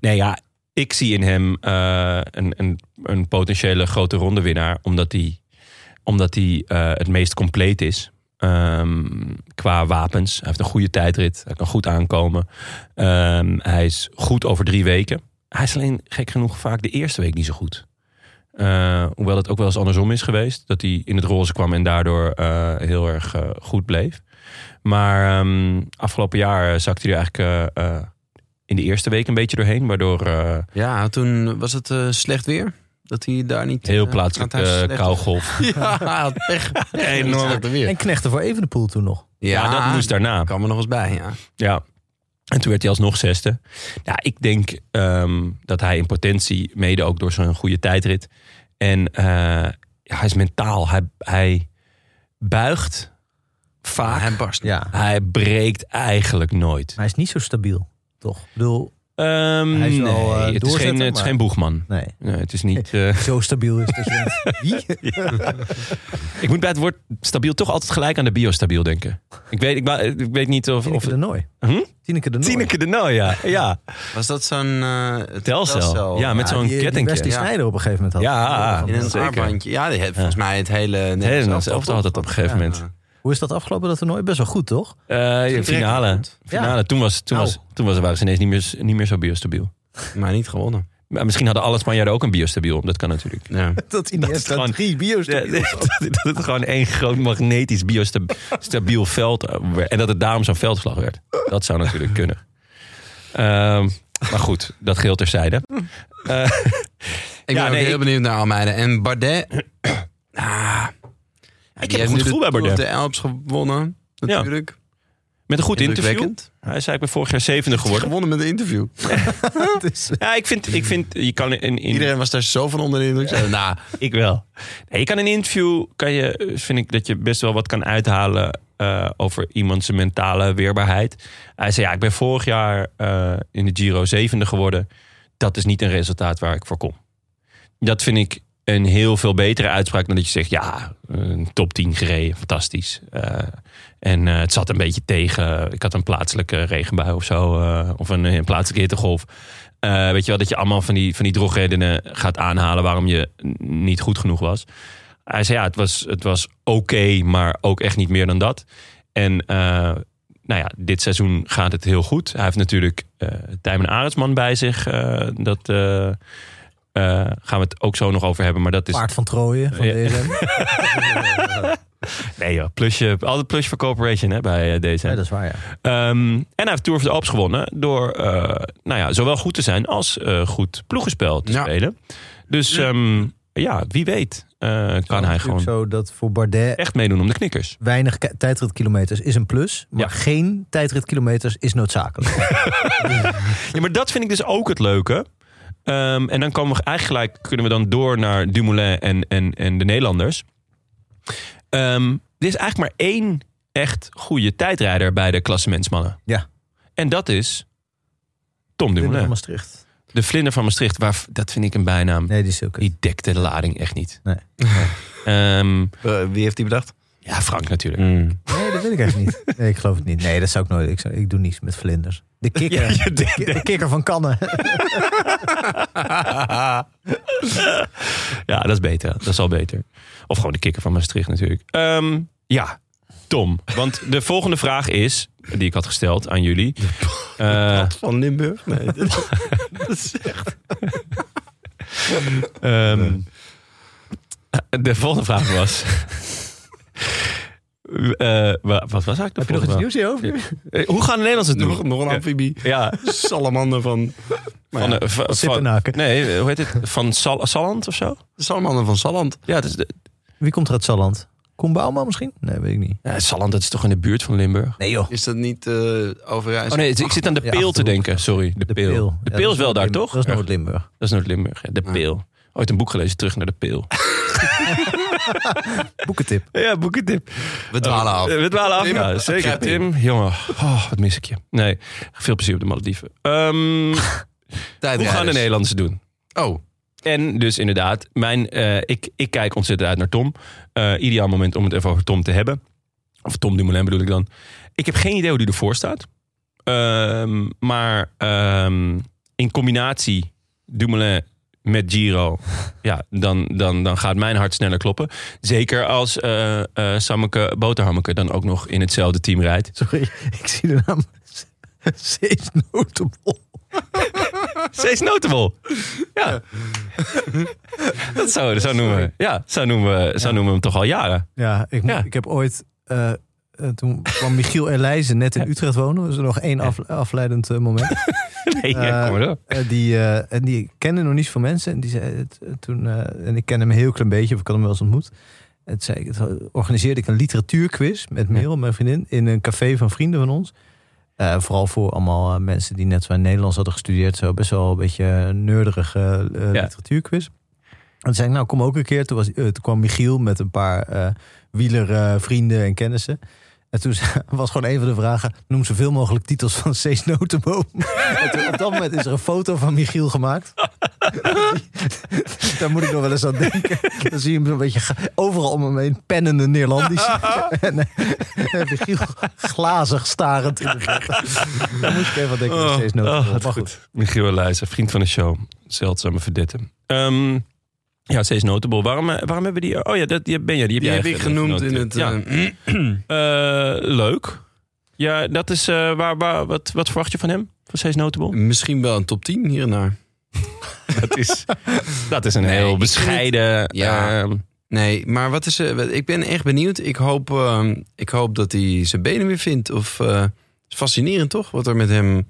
Speaker 3: Nee, ja, ik zie in hem eh, een, een, een potentiële grote rondewinnaar. Omdat hij omdat hij eh, het meest compleet is. Ehm, qua wapens. Hij heeft een goede tijdrit. Hij kan goed aankomen. Ehm, hij is goed over drie weken. Hij is alleen gek genoeg vaak de eerste week niet zo goed. Eh, hoewel het ook wel eens andersom is geweest. Dat hij in het roze kwam en daardoor eh, heel erg eh, goed bleef. Maar ehm, afgelopen jaar eh, zakte hij er eigenlijk eh, eh, in de eerste week een beetje doorheen. Waardoor eh,
Speaker 1: Ja, toen was het eh, slecht weer. Dat hij daar niet...
Speaker 3: heel
Speaker 1: eh,
Speaker 3: plaatselijk
Speaker 1: aan het huis
Speaker 3: eh
Speaker 1: slecht-
Speaker 2: [laughs]
Speaker 3: kougolf.
Speaker 1: [laughs] Ja, echt.
Speaker 3: Enorm.
Speaker 1: Enorm. Weer.
Speaker 2: En knechten voor Evenepoel toen nog.
Speaker 3: Ja, dat moest daarna.
Speaker 1: kwam er nog eens bij, ja.
Speaker 3: Ja. En toen werd hij alsnog zesde. Ja, ik denk ehm, dat hij in potentie, mede ook door zijn goede tijdrit. En eh, ja, hij is mentaal. Hij, hij buigt vaak.
Speaker 1: Hij barst.
Speaker 2: Ja.
Speaker 3: Hij breekt eigenlijk nooit.
Speaker 2: Hij is niet zo stabiel, toch? Ik bedoel,
Speaker 3: Ehm,
Speaker 2: Hij is wel, eh,
Speaker 3: nee, het, is
Speaker 2: doorzetter,
Speaker 3: geen, het is
Speaker 2: maar-
Speaker 3: geen boegman.
Speaker 2: nee.
Speaker 3: Nee, het is niet. eh,
Speaker 2: Zo stabiel is dat je
Speaker 3: [laughs]
Speaker 2: denkt, wie?
Speaker 3: ik moet bij het woord stabiel toch altijd gelijk aan de biostabiel denken. Ik weet, ik, wou- ik weet niet of. of
Speaker 2: Tineke de Nooi.
Speaker 3: Hm?
Speaker 2: Tineke de Nooi.
Speaker 3: Tineke de Nou, ja. ja.
Speaker 1: Was dat zo'n... eh,
Speaker 3: Telcel. Ja, met
Speaker 2: Ja,
Speaker 3: zo'n
Speaker 2: die-
Speaker 3: kettingje.
Speaker 2: Die Wesley
Speaker 1: Ja.
Speaker 2: Sneijder op een gegeven moment had.
Speaker 3: Ja.
Speaker 2: Van-
Speaker 1: In een
Speaker 3: Zeker.
Speaker 1: armbandje. Ja, die heeft volgens mij het hele... Het
Speaker 3: Nederlands elftal had het op een gegeven moment.
Speaker 2: Hoe is dat afgelopen, dat toernooi? Best wel goed, toch?
Speaker 3: Eh,
Speaker 1: Toen
Speaker 3: finale.
Speaker 1: direct.
Speaker 3: finale. Toen, was, toen,
Speaker 2: Nou.
Speaker 3: was, toen was, waren ze ineens niet meer, niet meer zo biostabiel.
Speaker 1: Maar niet gewonnen.
Speaker 3: Maar misschien hadden alle Spanjaarden ook een biostabiel. Dat kan natuurlijk.
Speaker 1: Ja.
Speaker 2: Dat in
Speaker 3: Dat is gewoon-
Speaker 2: drie bio's.
Speaker 3: Ja, [laughs] dat, dat het gewoon één groot magnetisch biostabiel veld eh, werd. En dat het daarom zo'n veldslag werd. Dat zou natuurlijk kunnen. Ehm, maar goed, dat geheel terzijde. Eh,
Speaker 1: Ik ben
Speaker 3: Ja,
Speaker 1: ook
Speaker 3: nee,
Speaker 1: heel
Speaker 3: ik-
Speaker 1: benieuwd naar Almeida. En Bardet... ah,
Speaker 3: heb
Speaker 1: die
Speaker 3: een goed
Speaker 1: heeft nu
Speaker 3: gevoel
Speaker 1: de
Speaker 3: bij
Speaker 1: Tour of
Speaker 3: Bardet.
Speaker 1: de Alps gewonnen. Natuurlijk.
Speaker 3: met een goed interview.
Speaker 1: Indrukwekkend.
Speaker 3: Hij is eigenlijk vorig jaar
Speaker 1: [laughs]
Speaker 3: zevende geworden. Hmm.
Speaker 1: Gewonnen met een interview.
Speaker 3: Ja, ik vind, ik vind je kan in, in,
Speaker 1: Iedereen was daar zo van onder de indruk. Ze zeiden, Nou,
Speaker 3: Ik wel. Nee, je kan in een interview, kan je, eh, vind ik dat je best wel wat kan uithalen eh, over iemands mentale weerbaarheid. Hij zei, ja, ik ben vorig jaar eh, in de Giro zevende geworden. Dat is niet een resultaat waar ik voor kom. Dat vind ik een heel veel betere uitspraak dan dat je zegt, ja, een top 10 gereden, fantastisch. Eh, en eh, het zat een beetje tegen. eh, Ik had een plaatselijke regenbui of zo. eh, of een, een plaatselijke hittegolf. Eh, weet je wel, dat je allemaal van die, van die drogredenen gaat aanhalen waarom je n- niet goed genoeg was. Hij zei ja, het was, het was oké, maar ook echt niet meer dan dat. En eh, nou ja, dit seizoen gaat het heel goed. Hij heeft natuurlijk eh Tijmen Arendsman bij zich. eh, dat eh, eh, gaan we het ook zo nog over hebben. Maar dat is
Speaker 2: Paard van Trooien van E
Speaker 3: Ja. [laughs]
Speaker 2: DSM.
Speaker 3: nee, joh, plusje, altijd plusje voor Corporation hè, bij eh, DSM.
Speaker 2: Ja, dat is waar, ja.
Speaker 3: Ehm, en hij heeft Tour of the Alps gewonnen door eh, nou ja, zowel goed te zijn als eh, goed ploegenspel te
Speaker 1: Ja.
Speaker 3: spelen. Dus ehm, ja, wie weet eh, kan hij
Speaker 2: Natuurlijk
Speaker 3: gewoon
Speaker 2: Zo dat voor Bardet
Speaker 3: echt meedoen om de knikkers.
Speaker 2: weinig ki- tijdritkilometers is een plus. Maar
Speaker 3: Ja.
Speaker 2: geen tijdritkilometers is noodzakelijk.
Speaker 3: Ja, maar dat vind ik dus ook het leuke. Ehm, en dan komen we eigenlijk gelijk, kunnen we dan door naar Dumoulin en, en, en de Nederlanders. Ehm, er is eigenlijk maar één echt goede tijdrijder bij de klassementsmannen.
Speaker 2: Ja.
Speaker 3: En dat is Tom
Speaker 2: Willem van
Speaker 3: Dumoulin.
Speaker 2: Maastricht.
Speaker 3: De vlinder van Maastricht, waar, dat vind ik een bijnaam.
Speaker 2: Nee, die is ook...
Speaker 3: Die dekte de lading echt niet.
Speaker 2: Nee.
Speaker 3: [laughs] Ehm,
Speaker 1: eh, wie heeft die bedacht?
Speaker 3: ja, Frank natuurlijk.
Speaker 2: Nee, dat weet ik echt [laughs] niet. Nee, ik geloof het niet. Nee, dat zou ik nooit. Ik, zou- ik doe niets met vlinders. De kikker. Ki- de kikker van Kannen.
Speaker 3: Ja, dat is beter. Dat is al beter. Of gewoon de kikker van Maastricht natuurlijk. Ehm, ja, Tom. Want de volgende vraag is, die ik had gesteld aan jullie. [laughs] Eh,
Speaker 1: Van Limburg?
Speaker 3: [laughs]
Speaker 1: Nee.
Speaker 3: ehm, [laughs] de volgende vraag was... Eh, wa- wat was eigenlijk de
Speaker 2: Heb je nog iets
Speaker 3: volgende
Speaker 2: nieuws hierover?
Speaker 3: vraag? Eh, Hoe gaan de Nederlanders het doen?
Speaker 1: nog, nog een amfibie.
Speaker 3: [laughs] Ja,
Speaker 1: Salamander van... Maar
Speaker 3: van,
Speaker 1: ja,
Speaker 3: de- van- van-
Speaker 2: Sippenhaken.
Speaker 3: nee, hoe heet het? Van Sal Salland of zo?
Speaker 1: salamander van Salland.
Speaker 3: Ja, het is de,
Speaker 2: Wie komt er uit Salland? Koen Bouwman misschien? Nee, weet ik niet.
Speaker 3: ja, Salland, dat is toch in de buurt van Limburg?
Speaker 2: Nee joh.
Speaker 1: Is dat niet eh Overijssel?
Speaker 3: Oh nee, ik zit aan de
Speaker 2: Ja,
Speaker 3: peel te
Speaker 2: Achterhoek.
Speaker 3: denken. Sorry, de peel. De
Speaker 2: Ja,
Speaker 3: peel
Speaker 2: dat
Speaker 3: is wel
Speaker 2: Noord-Limburg.
Speaker 3: daar, toch?
Speaker 2: Dat is
Speaker 3: Ja,
Speaker 2: Noord-Limburg.
Speaker 3: dat is Noord-Limburg. ja, De peel. Ooit een boek gelezen, terug naar de peel. [laughs]
Speaker 2: Boekentip.
Speaker 3: Ja, boekentip.
Speaker 1: We dwalen af.
Speaker 3: Eh, We dwalen af,
Speaker 1: Tim,
Speaker 3: ja, zeker.
Speaker 1: grijp in.
Speaker 3: Tim, jongen, oh, wat mis ik je. Nee, veel plezier op de Malediven. [laughs] Ehm, hoe gaan de
Speaker 1: Tijdrijders.
Speaker 3: Nederlanders het doen?
Speaker 1: Oh,
Speaker 3: En dus inderdaad, mijn, eh, ik, ik kijk ontzettend uit naar Tom. Eh, ideaal moment om het even over Tom te hebben. Of Tom Dumoulin bedoel ik dan. Ik heb geen idee hoe die ervoor staat. Ehm, maar ehm, in combinatie Dumoulin met Giro... [laughs] ja, dan, dan, dan gaat mijn hart sneller kloppen. Zeker als eh eh, Sammeke Boterhammeke dan ook nog in hetzelfde team rijdt.
Speaker 2: Sorry, ik zie de
Speaker 3: [laughs]
Speaker 2: naam. Zees notable.
Speaker 3: Ze is notable. Ja. dat zou, zo noemen we. Ja, zo noemen we, zo noemen we hem toch al jaren.
Speaker 2: Ja, ik, moet-
Speaker 3: Ja.
Speaker 2: ik heb ooit... eh, eh, toen kwam Michiel Elijzen net in Utrecht wonen. Dus nog één af- afleidend eh, moment.
Speaker 3: Nee,
Speaker 2: Eh,
Speaker 3: kom maar door.
Speaker 2: Eh, die, eh, en die kende nog niet veel mensen. En, die zei, het, eh, toen, eh, en ik ken hem een heel klein beetje, of ik had hem wel eens ontmoet. En toen zei ik, toen organiseerde ik een literatuurquiz met Merel, mijn vriendin, in een café van vrienden van ons. Eh, vooral voor allemaal eh, mensen die net zo in Nederlands hadden gestudeerd. Zo best wel een beetje een nerdige eh, eh,
Speaker 3: Ja.
Speaker 2: literatuurquiz. En toen zei ik, nou kom ook een keer. Toen, was, eh, toen kwam Michiel met een paar eh wielervrienden en kennissen. En toen [laughs] ze- was gewoon een van de vragen... noem zoveel mogelijk titels van [laughs] Cees Notenboom. En toen, op dat moment is er een foto van Michiel gemaakt. [laughs] Daar moet ik nog wel eens aan denken. Dan zie je hem zo'n beetje ga- overal om hem heen pennende Nederlandisch. [laughs] en, eh, en Michiel glazig starend in de verte. Daar moest ik even aan denken
Speaker 1: Oh,
Speaker 2: van Cees Notenboom.
Speaker 3: Eh, oh, wat
Speaker 2: Maar goed.
Speaker 3: Michiel Leijzer, vriend van de show. Zeldzame verdette. Ehm, ja, ze is notable. Waarom, eh, waarom hebben we die... Oh ja, dat, die ben jij. Die heb,
Speaker 1: die
Speaker 3: jij
Speaker 1: heb ik
Speaker 3: even
Speaker 1: genoemd in
Speaker 3: genoteerd.
Speaker 1: het... mm.
Speaker 3: Ja.
Speaker 1: eh,
Speaker 3: Eh, leuk. Ja, dat is... eh, waar, waar, wat, wat verwacht je van hem? Van Sees Notable?
Speaker 1: misschien wel een top 10 hier en daar.
Speaker 3: dat, is, [laughs] dat is een
Speaker 1: Nee, ik
Speaker 3: heel
Speaker 1: vind
Speaker 3: bescheiden...
Speaker 1: Ja.
Speaker 3: ehm,
Speaker 1: Nee, maar wat is, eh, wat- ik ben echt benieuwd. Ik hoop, ehm, ik hoop dat hij zijn benen weer vindt. Of, eh, het is fascinerend toch, wat er met hem...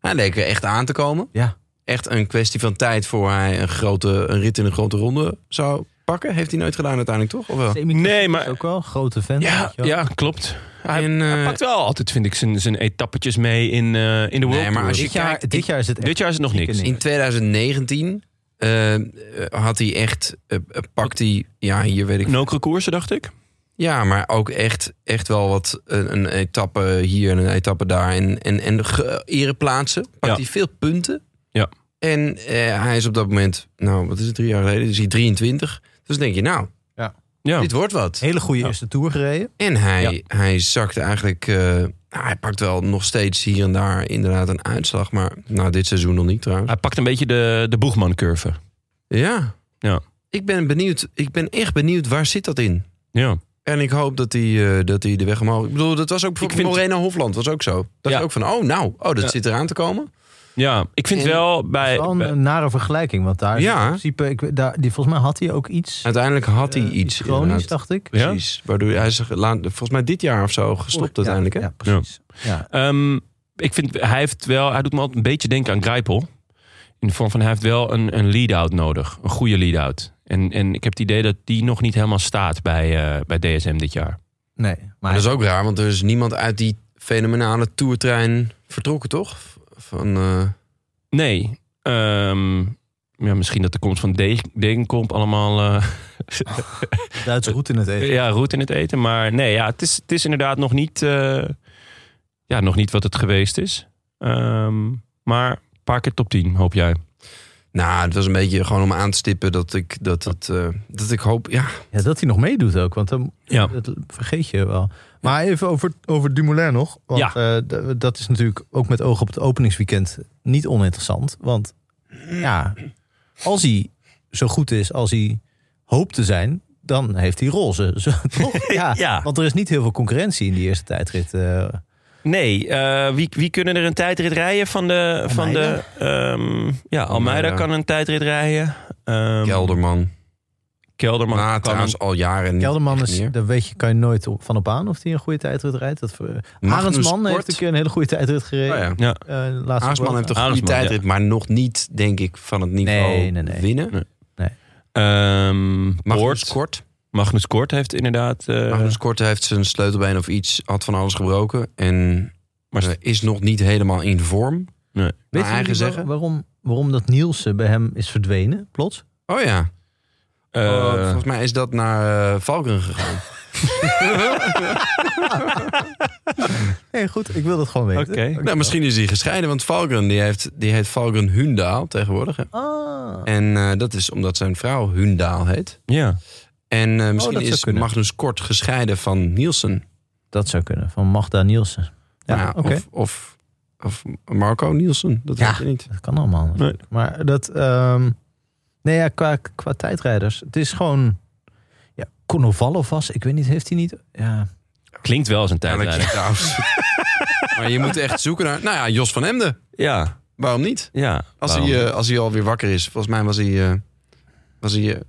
Speaker 1: Hij leek er echt aan te komen.
Speaker 2: Ja.
Speaker 1: Echt een kwestie van tijd voor hij een, grote, een rit in een grote ronde zou pakken. Heeft hij nooit gedaan uiteindelijk toch? Of wel?
Speaker 3: eh, nee, maar...
Speaker 2: Is ook wel een grote fan.
Speaker 3: Ja,
Speaker 2: weet je wel.
Speaker 3: ja, klopt. Hij,
Speaker 1: En, eh,
Speaker 3: hij pakt wel altijd, vind ik, zijn, zijn etappetjes mee in, eh, in de World
Speaker 1: maar als
Speaker 3: Tour.
Speaker 1: je
Speaker 2: Dit, jaar,
Speaker 1: kijkt,
Speaker 2: dit
Speaker 1: ik-
Speaker 2: jaar is het echt
Speaker 3: Dit jaar is het nog niks.
Speaker 2: zieke
Speaker 1: In 2019 eh, eh, had hij echt, eh, eh, pakt hij, ja, hier weet ik
Speaker 3: Nokere koersen, dacht ik.
Speaker 1: Ja, maar ook echt, echt wel wat een, een etappe hier en een etappe daar. En, en, en ge- ereplaatsen. Pakt
Speaker 3: Ja.
Speaker 1: hij veel punten.
Speaker 3: Ja.
Speaker 1: En eh, hij is op dat moment, nou wat is het, drie jaar geleden, is hij 23. Dus dan denk je, nou,
Speaker 3: Ja.
Speaker 1: dit wordt wat.
Speaker 2: Hele goede
Speaker 3: Ja.
Speaker 2: eerste tour gereden.
Speaker 1: En hij, hij zakt eigenlijk, eh, nou, hij pakt wel nog steeds hier en daar inderdaad een uitslag. Maar nou, dit seizoen nog niet trouwens.
Speaker 3: Hij pakt een beetje de, de boegman-curve.
Speaker 1: Ja.
Speaker 3: Ja.
Speaker 1: Ik ben benieuwd, ik ben echt benieuwd, waar zit dat in?
Speaker 3: Ja.
Speaker 1: En ik hoop dat hij, eh, dat hij de weg omhoog... Ik bedoel, dat was ook bijvoorbeeld
Speaker 3: vind-
Speaker 1: Morena Hofland, was ook zo. Dacht
Speaker 3: Ja.
Speaker 1: ook van, oh nou, oh, dat
Speaker 3: Ja.
Speaker 1: zit eraan te komen.
Speaker 3: ja, ik vind
Speaker 1: En-
Speaker 3: wel bij...
Speaker 2: Wel een,
Speaker 3: bij-
Speaker 2: een nare vergelijking. Want daar is
Speaker 1: Ja.
Speaker 2: in principe, ik, daar, die, volgens mij had hij ook iets,
Speaker 1: Uiteindelijk had hij
Speaker 2: eh,
Speaker 1: iets.
Speaker 2: chronisch,
Speaker 1: inderdaad.
Speaker 2: dacht ik.
Speaker 3: Ja?
Speaker 1: Precies. Waardoor hij zich laat, volgens mij dit jaar of zo gestopt
Speaker 2: Ja,
Speaker 1: uiteindelijk. Hè?
Speaker 2: Ja, precies. Ja.
Speaker 3: Ehm, ik vind, hij heeft wel... Hij doet me altijd een beetje denken aan Grijpel. In de vorm van, hij heeft wel een, een lead-out nodig. Een goede lead-out. En, en ik heb het idee dat die nog niet helemaal staat bij, eh, bij DSM dit jaar.
Speaker 2: Nee, maar
Speaker 1: Maar dat is ook raar, want er is niemand uit die fenomenale toertrein vertrokken, toch? Van, eh,
Speaker 3: Nee. Ehm, ja, misschien dat de komst van Degen- Degenkolb allemaal... eh,
Speaker 2: Duitse route in het eten.
Speaker 3: [laughs] Ja, roet in het eten. Maar nee, ja, het, is, het is inderdaad nog niet, eh, ja, nog niet wat het geweest is. Ehm, maar een paar keer top 10, hoop jij.
Speaker 1: nou, het was een beetje gewoon om aan te stippen dat ik, dat het, eh, dat ik hoop... Ja,
Speaker 2: Ja, dat hij nog meedoet ook, want dan,
Speaker 3: Ja.
Speaker 2: dat vergeet je wel. Maar even over, over Dumoulin nog. Want
Speaker 3: Ja.
Speaker 2: eh, d- dat is natuurlijk ook met oog op het openingsweekend niet oninteressant. Want ja, als hij zo goed is als hij hoopt te zijn, dan heeft hij roze. [laughs] Zo, toch?
Speaker 3: [laughs]
Speaker 2: Ja,
Speaker 3: Ja.
Speaker 2: Want er is niet heel veel concurrentie in die eerste tijdrit. eh.
Speaker 3: Nee, eh, wie, wie kunnen er een tijdrit rijden van de... Van de ehm, ja, Almeida
Speaker 1: Almeida.
Speaker 3: kan een tijdrit rijden. Ehm,
Speaker 1: Kelderman.
Speaker 3: Kelderman
Speaker 1: Maar
Speaker 3: kan
Speaker 1: trouwens
Speaker 3: een-
Speaker 1: al jaren niet
Speaker 2: Kelderman,
Speaker 1: echt
Speaker 2: is,
Speaker 1: meer.
Speaker 2: daar weet je, kan je nooit op, van op aan of hij een goede tijdrit rijdt. Dat, voor-
Speaker 1: Magnus
Speaker 2: Arendsman heeft
Speaker 1: Kort.
Speaker 2: een keer een hele goede tijdrit gereden.
Speaker 1: Oh ja.
Speaker 3: Ja,
Speaker 2: Eh, de laatste
Speaker 1: Aasman
Speaker 2: Vuelta.
Speaker 1: heeft toch een goede
Speaker 3: Aasman, ja.
Speaker 1: tijdrit, maar nog niet, denk ik, van het niveau
Speaker 2: Nee, nee, nee.
Speaker 1: winnen.
Speaker 3: ehm,
Speaker 1: Magnus
Speaker 3: Poort.
Speaker 1: Kort.
Speaker 3: Magnus Kort heeft inderdaad... eh,
Speaker 1: Magnus Kort heeft zijn sleutelbeen of iets, had van alles gebroken. En
Speaker 3: Maar-
Speaker 1: eh, is nog niet helemaal in vorm.
Speaker 3: Nee.
Speaker 1: Naar
Speaker 2: Weet je
Speaker 1: eigen zeggen.
Speaker 2: waarom, waarom dat Nielsen bij hem is verdwenen, plots?
Speaker 1: Oh ja.
Speaker 3: Eh,
Speaker 1: Oh, volgens mij is dat naar eh Valken gegaan.
Speaker 2: Nee, goed, ik wil dat gewoon weten.
Speaker 3: Oké.
Speaker 1: Nou, misschien is hij gescheiden, want Valken die heeft, die heet Valken Hundaal tegenwoordig. hè.
Speaker 2: Ah.
Speaker 1: En eh, dat is omdat zijn vrouw Hundaal heet.
Speaker 3: Ja.
Speaker 1: En eh, misschien
Speaker 2: dat zou
Speaker 1: is
Speaker 2: kunnen.
Speaker 1: Magnus Kort gescheiden van Nielsen.
Speaker 2: Dat zou kunnen, van Magda Nielsen. Ja,
Speaker 1: Nou
Speaker 2: oké.
Speaker 1: of, of, of Marco Nielsen, dat
Speaker 2: Ja.
Speaker 1: weet je niet.
Speaker 2: Dat kan allemaal. natuurlijk. Maar dat... ehm, nee, ja, qua, qua tijdrijders. Het is gewoon... Ja, Konovalov was, ik weet niet, heeft hij niet... Ja,
Speaker 3: Klinkt wel als een
Speaker 1: Eigenlijk
Speaker 3: tijdrijder.
Speaker 1: trouwens. maar je moet echt zoeken naar... Nou ja, Jos van Emden.
Speaker 3: Ja.
Speaker 1: Waarom niet?
Speaker 3: Ja.
Speaker 1: Als, hij,
Speaker 3: Waarom?
Speaker 1: eh, als hij alweer wakker is. Volgens mij was hij, eh, was hij, eh,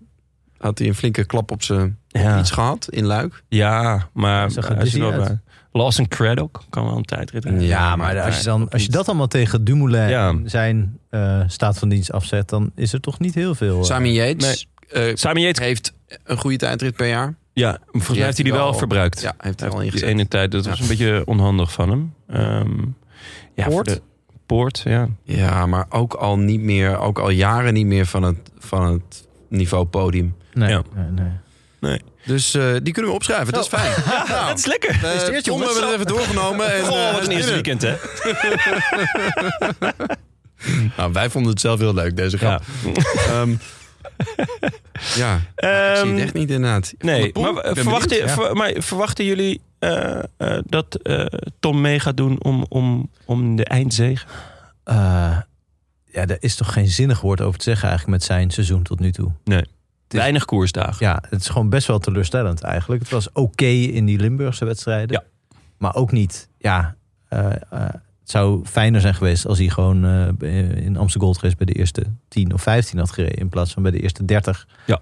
Speaker 1: had hij een flinke klap op zijn
Speaker 3: Ja.
Speaker 1: iets gehad in Luik.
Speaker 3: Ja, maar
Speaker 2: Hij zag er
Speaker 3: hij is
Speaker 2: dizzy
Speaker 3: er wel
Speaker 2: uit.
Speaker 3: bij. Lawson Craddock kan wel een tijdrit rijden.
Speaker 2: ja maar als je, dan, als je dat allemaal tegen Dumoulin
Speaker 3: Ja.
Speaker 2: en zijn eh, staat van dienst afzet... dan is er toch niet heel veel... eh,
Speaker 1: Sami Yates eh,
Speaker 3: Simon Yates,
Speaker 1: heeft een goede tijdrit per jaar.
Speaker 3: ja, volgens mij heeft hij die wel, verbruikt.
Speaker 1: Ja, heeft
Speaker 3: Hij
Speaker 1: hij al
Speaker 3: heeft die
Speaker 1: ingezet.
Speaker 3: ene tijd, dat
Speaker 1: Ja.
Speaker 3: was een beetje onhandig van hem. Ehm, ja, voor
Speaker 2: Poort?
Speaker 3: de- Poort, ja.
Speaker 1: Ja, maar ook al niet meer, ook al jaren niet meer van het, van het niveau podium.
Speaker 2: nee,
Speaker 3: ja.
Speaker 2: nee, nee.
Speaker 1: Dus eh, die kunnen we opschrijven, dat is fijn. Ja,
Speaker 3: Dat is lekker.
Speaker 1: we
Speaker 2: Gefeliciteerd, jongens.
Speaker 1: hebben het even doorgenomen. En, eh,
Speaker 3: [laughs] Goh, wat een eerste
Speaker 1: binnen.
Speaker 3: weekend, hè?
Speaker 1: Nou, wij vonden het zelf heel leuk, deze
Speaker 3: Ja.
Speaker 1: grap. Ja,
Speaker 3: [laughs]
Speaker 1: ja. ik zie het echt niet inderdaad.
Speaker 3: Ehm, Nee,
Speaker 1: Van der Poel?
Speaker 3: maar,
Speaker 1: Ik ben
Speaker 3: eh, verwachten,
Speaker 1: benieuwd.
Speaker 3: ver- maar verwachten jullie eh, eh, dat eh, Tom mee gaat doen om, om, om de eindzege?
Speaker 2: Eh, ja, daar is toch geen zinnig woord over te zeggen eigenlijk met zijn seizoen tot nu toe. is-
Speaker 3: Weinig koersdagen.
Speaker 2: Ja, het is gewoon best wel teleurstellend eigenlijk. Het was oké in die Limburgse wedstrijden. Maar ook niet, ja, eh, eh, het zou fijner zijn geweest als hij gewoon eh, in Amsterdam Gold Race bij de eerste 10 of 15 had gereden. In plaats van bij de eerste 30.
Speaker 3: Ja.